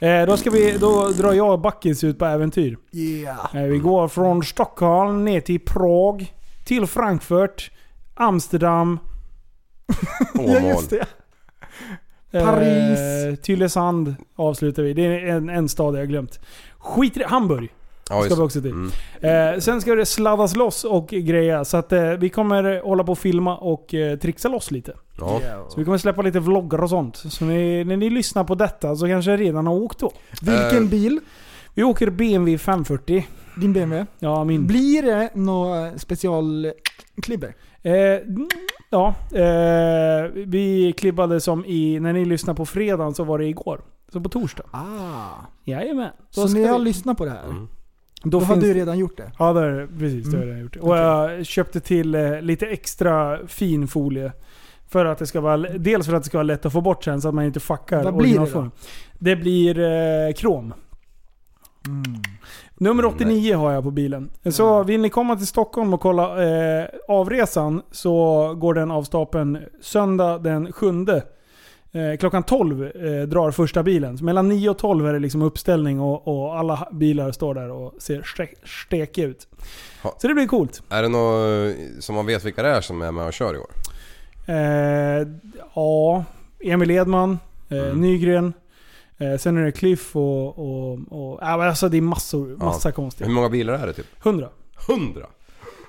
[SPEAKER 3] Eh, då, ska vi, då drar jag och Backis ut på äventyr.
[SPEAKER 6] Yeah.
[SPEAKER 3] Eh, Vi går från Stockholm ner till Prag, till Frankfurt, Amsterdam,
[SPEAKER 6] Ja
[SPEAKER 4] Åmål.
[SPEAKER 6] just det.
[SPEAKER 3] eh,
[SPEAKER 6] Paris.
[SPEAKER 3] Tylösand avslutar vi. Det är en, en stad jag har glömt. Skit i det. Hamburg
[SPEAKER 4] Ja,
[SPEAKER 3] ska
[SPEAKER 4] just
[SPEAKER 3] vi
[SPEAKER 4] det.
[SPEAKER 3] också till.
[SPEAKER 4] Mm.
[SPEAKER 3] Eh, sen ska det sladdas loss och greja. Så att, eh, vi kommer hålla på och filma och eh, trixa loss lite.
[SPEAKER 4] Ja.
[SPEAKER 3] Så vi kommer släppa lite vloggar och sånt. Så ni, när ni lyssnar på detta så kanske jag redan har åkt då.
[SPEAKER 6] Vilken bil?
[SPEAKER 3] Vi åker BMW 540.
[SPEAKER 6] Din BMW?
[SPEAKER 3] Ja, min.
[SPEAKER 6] Blir det något specialklibber?
[SPEAKER 3] Eh, mm, ja, eh, vi klibbade som i... När ni lyssnar på fredagen så var det igår. Så på torsdag.
[SPEAKER 6] Ah.
[SPEAKER 3] Jajamän.
[SPEAKER 6] Så när jag lyssnar på det här, Mm. då, Mm.
[SPEAKER 3] Då
[SPEAKER 6] har
[SPEAKER 3] finns-
[SPEAKER 6] du redan gjort det?
[SPEAKER 3] Ja, det är det. Precis. Det har jag gjort. Och jag köpte till eh, lite extra fin folie. För att det ska vara, dels för att det ska vara lätt att få bort sen så att man inte fuckar
[SPEAKER 6] Vad blir det då?
[SPEAKER 3] originalformen. Det blir eh, krom.
[SPEAKER 6] Mm.
[SPEAKER 3] Nummer
[SPEAKER 4] Mm,
[SPEAKER 3] 89 har jag på bilen. Så vill ni komma till Stockholm och kolla eh, avresan så går den av stapeln söndag den 7 Eh, klockan 12 eh, drar första bilen. Så mellan 9 och 12 är det liksom uppställning och, och alla bilar står där och ser stek, stekiga ut.
[SPEAKER 4] Ha.
[SPEAKER 3] Så det blir coolt.
[SPEAKER 4] Är det något som man vet vilka det är som är med och kör i år?
[SPEAKER 3] Eh, ja, Emil Edman, eh,
[SPEAKER 4] Mm.
[SPEAKER 3] Nygren. Eh, sen är det Cliff och... och, och ja, men alltså det är massor, massa
[SPEAKER 4] Ja.
[SPEAKER 3] konstiga.
[SPEAKER 4] Hur många bilar är det typ?
[SPEAKER 3] 100.
[SPEAKER 4] 100?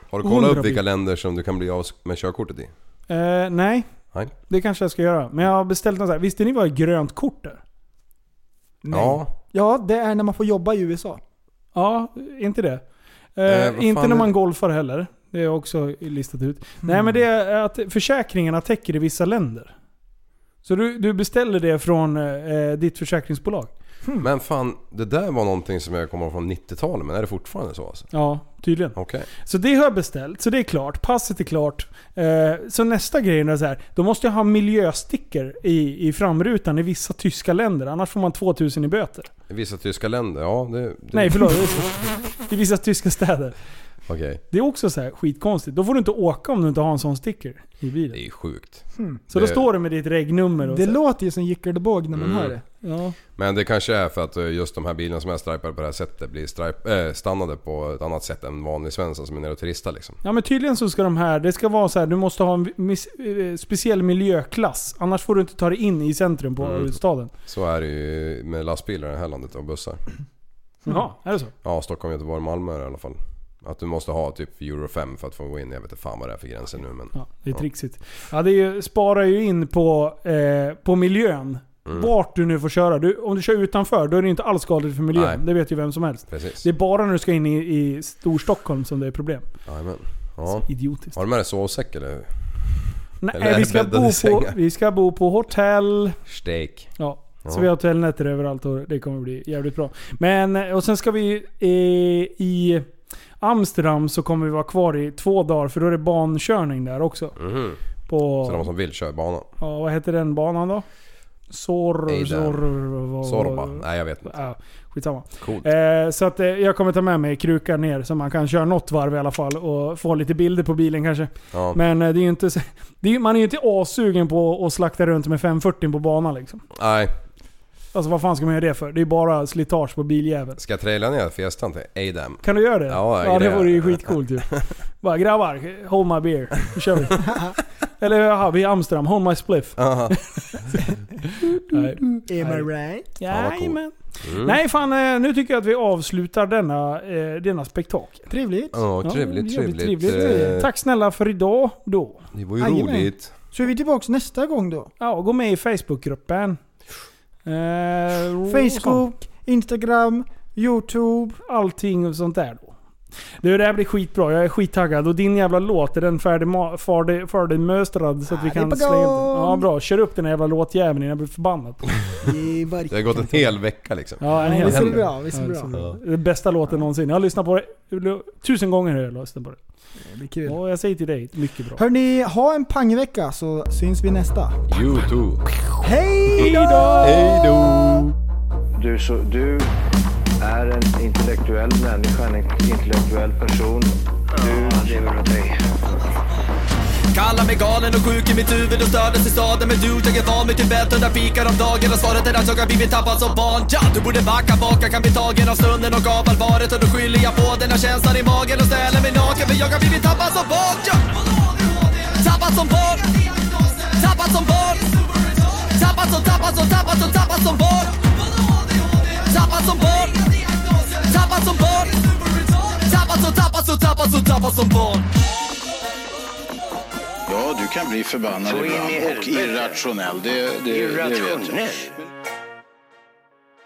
[SPEAKER 4] Har du kollat
[SPEAKER 3] 100
[SPEAKER 4] upp vilka
[SPEAKER 3] bil-
[SPEAKER 4] länder som du kan bli av med körkortet i?
[SPEAKER 3] Eh, nej,
[SPEAKER 4] Nej.
[SPEAKER 3] det kanske jag ska göra. Men jag har beställt något så här. Visste ni vad ett grönt kort är?
[SPEAKER 4] Nej. Ja.
[SPEAKER 6] Ja, det är när man får jobba i USA.
[SPEAKER 3] Ja, inte det.
[SPEAKER 4] Eh,
[SPEAKER 3] Eh,
[SPEAKER 4] vad
[SPEAKER 3] inte
[SPEAKER 4] fan
[SPEAKER 3] när
[SPEAKER 4] är
[SPEAKER 3] man
[SPEAKER 4] det? Mm.
[SPEAKER 3] golfar heller. Det har jag också listat ut. Nej men det är att försäkringarna täcker i vissa länder. Så du, du beställer det från eh, ditt försäkringsbolag?
[SPEAKER 4] Men fan, det där var någonting som jag kommer ihåg från 90-talet men är det fortfarande så alltså?
[SPEAKER 3] Ja, tydligen.
[SPEAKER 4] Okej.
[SPEAKER 3] Så det har jag beställt, så det är klart. Passet är klart. Eh, så nästa grej är så här. Då måste jag ha miljösticker i, i framrutan i vissa tyska länder. Annars får man 2000 i böter.
[SPEAKER 4] I vissa tyska länder, ja det... det...
[SPEAKER 3] Nej förlåt. I vissa tyska städer.
[SPEAKER 4] Okej.
[SPEAKER 3] Det är också så här skitkonstigt. Då får du inte åka om du inte har en sån sticker i bilen.
[SPEAKER 4] Det är sjukt.
[SPEAKER 3] Så då
[SPEAKER 4] Det-
[SPEAKER 3] står det med ditt regnummer och
[SPEAKER 6] Det
[SPEAKER 3] så.
[SPEAKER 6] låter ju som Jyckelbåg när man
[SPEAKER 4] Mm.
[SPEAKER 6] hör det.
[SPEAKER 3] Ja.
[SPEAKER 4] Men det kanske är för att eh, just de här bilarna som är stripade på det här sättet blir stripe, eh, stannade på ett annat sätt än vanlig svensson som är nere och turistar liksom.
[SPEAKER 3] ja men tydligen så ska de här, det ska vara så här, du måste ha en vi- mis, eh, speciell miljöklass. Annars får du inte ta dig in i centrum på
[SPEAKER 4] Mm.
[SPEAKER 3] huvudstaden.
[SPEAKER 4] Så är det ju med lastbilar i det här landet och bussar. Mm.
[SPEAKER 3] Jaha, är det så?
[SPEAKER 4] Ja, Stockholm, Göteborg, Malmö är det i alla fall. Att du måste ha typ Euro 5 för att få gå in. Jag vet inte fan vad det är för gränser nu men...
[SPEAKER 3] Ja, det är
[SPEAKER 4] Ja.
[SPEAKER 3] trixigt. Ja, det är ju, sparar ju in på, eh, på miljön.
[SPEAKER 4] Mm.
[SPEAKER 3] Vart du nu får köra. Du, om du kör utanför, då är det inte alls skadligt för miljön.
[SPEAKER 4] Nej.
[SPEAKER 3] Det vet ju vem som helst.
[SPEAKER 4] Precis.
[SPEAKER 3] Det är bara när du ska in i, i Storstockholm som det är problem.
[SPEAKER 4] Jajamän. Ja.
[SPEAKER 3] Idiotiskt.
[SPEAKER 4] Har du med dig sovsäck eller? Eller
[SPEAKER 3] Nej,
[SPEAKER 4] är
[SPEAKER 3] vi
[SPEAKER 4] det
[SPEAKER 3] ska,
[SPEAKER 4] bäddade
[SPEAKER 3] bo på,
[SPEAKER 4] sängar?
[SPEAKER 3] vi ska bo på hotell.
[SPEAKER 4] Steak.
[SPEAKER 3] Ja.
[SPEAKER 4] Ja.
[SPEAKER 3] Så vi har hotellnätter överallt och det kommer bli jävligt bra. Men, eh, och sen ska vi eh, i Amsterdam så kommer vi vara kvar i två dagar för då är det bankörning där också.
[SPEAKER 4] Mhm. Så de
[SPEAKER 3] På,
[SPEAKER 4] som vill kör banan.
[SPEAKER 3] ja, vad heter den banan då? Sor...
[SPEAKER 4] Ejder.
[SPEAKER 3] Sor...
[SPEAKER 4] Zorba? Nej jag vet inte.
[SPEAKER 3] Ja, skitsamma.
[SPEAKER 4] Coolt.
[SPEAKER 3] Eh, så att, eh, jag kommer ta med mig krukan ner så man kan köra något varv i alla fall och få lite bilder på bilen kanske.
[SPEAKER 4] Ja.
[SPEAKER 3] Men eh, det är ju inte, så- det är, ju- man är ju inte assugen på att slakta runt med 540 på banan liksom.
[SPEAKER 4] Nej.
[SPEAKER 3] Alltså vad fan ska man göra det för? Det är bara slitage på biljäveln.
[SPEAKER 4] Ska jag traila ner Fiestan till Adam?
[SPEAKER 3] Kan du göra det?
[SPEAKER 4] Ja, jag
[SPEAKER 3] det
[SPEAKER 4] grejer.
[SPEAKER 3] vore ju skitcoolt ju. Bara grabbar, hold my beer. Nu kör vi. Eller jaha, vi är i Amsterdam. Hold my spliff.
[SPEAKER 4] Aha.
[SPEAKER 3] Nej.
[SPEAKER 6] Am I right?
[SPEAKER 4] Fan, Mm. vad coolt.
[SPEAKER 3] Jajamän.
[SPEAKER 4] Mm.
[SPEAKER 3] Nej fan, eh, nu tycker jag att vi avslutar denna, eh, denna spektakel.
[SPEAKER 6] Trevligt.
[SPEAKER 4] Ja,
[SPEAKER 3] Ja,
[SPEAKER 4] trevligt,
[SPEAKER 3] jävligt
[SPEAKER 4] trevligt.
[SPEAKER 3] trevligt.
[SPEAKER 4] Eh,
[SPEAKER 3] Tack snälla för idag då.
[SPEAKER 4] Det var ju
[SPEAKER 6] Jajamän.
[SPEAKER 4] roligt.
[SPEAKER 6] Så är vi tillbaka nästa gång då.
[SPEAKER 3] Ja, gå med i Facebookgruppen.
[SPEAKER 6] Mm.
[SPEAKER 3] Eh, sånt.
[SPEAKER 6] Facebook, Instagram, Youtube.
[SPEAKER 3] Allting och sånt där då. Du, det här blir skitbra. Jag är skittaggad. Och din jävla låt, är den färdigmöstrad så att vi
[SPEAKER 6] Ja, det är
[SPEAKER 3] kan
[SPEAKER 6] på
[SPEAKER 3] slänga upp den?
[SPEAKER 6] gång.
[SPEAKER 3] Ja, bra. Kör upp den här jävla låtjäveln innan jag blir förbannad.
[SPEAKER 6] Det är bara-
[SPEAKER 4] Det har gått en hel vecka liksom.
[SPEAKER 3] Ja, en
[SPEAKER 6] Ja,
[SPEAKER 3] hel
[SPEAKER 6] Visst är det
[SPEAKER 4] händer.
[SPEAKER 6] bra? Visst är det bra?
[SPEAKER 4] Ja.
[SPEAKER 3] Den bästa låten någonsin. Jag har lyssnat på det tusen gånger. Har jag lyssnat på det.
[SPEAKER 6] Det blir kul.
[SPEAKER 3] Och jag säger till dig, mycket bra.
[SPEAKER 6] Hörni, ha en pangvecka så syns vi nästa.
[SPEAKER 4] YouTube.
[SPEAKER 6] Hej då!
[SPEAKER 4] Hejdå!
[SPEAKER 1] Du, så, du är en intellektuell människa, en intellektuell person. Du lever av dig.
[SPEAKER 2] Kallar mig galen och sjuk i mitt huvud och stördes i staden Men du, jag är van vid Tibet och där fikar om dagen Och svaret är att jag har blivit tappad som barn ja, Du borde backa bak, jag kan bli tagen av stunden och av allvaret Och då skyller jag på den här känslan i magen och ställer mig naken För jag har blivit tappad som barn ja. Tappad som barn Tappad som barn Tappad som, tappad som, tappad som, tappad som barn Tappad som barn Tappad som barn Tappad som, tappad som, tappad som, tappad som barn
[SPEAKER 8] Ja, du kan bli förbannad
[SPEAKER 7] Så in i
[SPEAKER 8] ibland och
[SPEAKER 7] helvete.
[SPEAKER 8] irrationell. Det, det, det vet jag.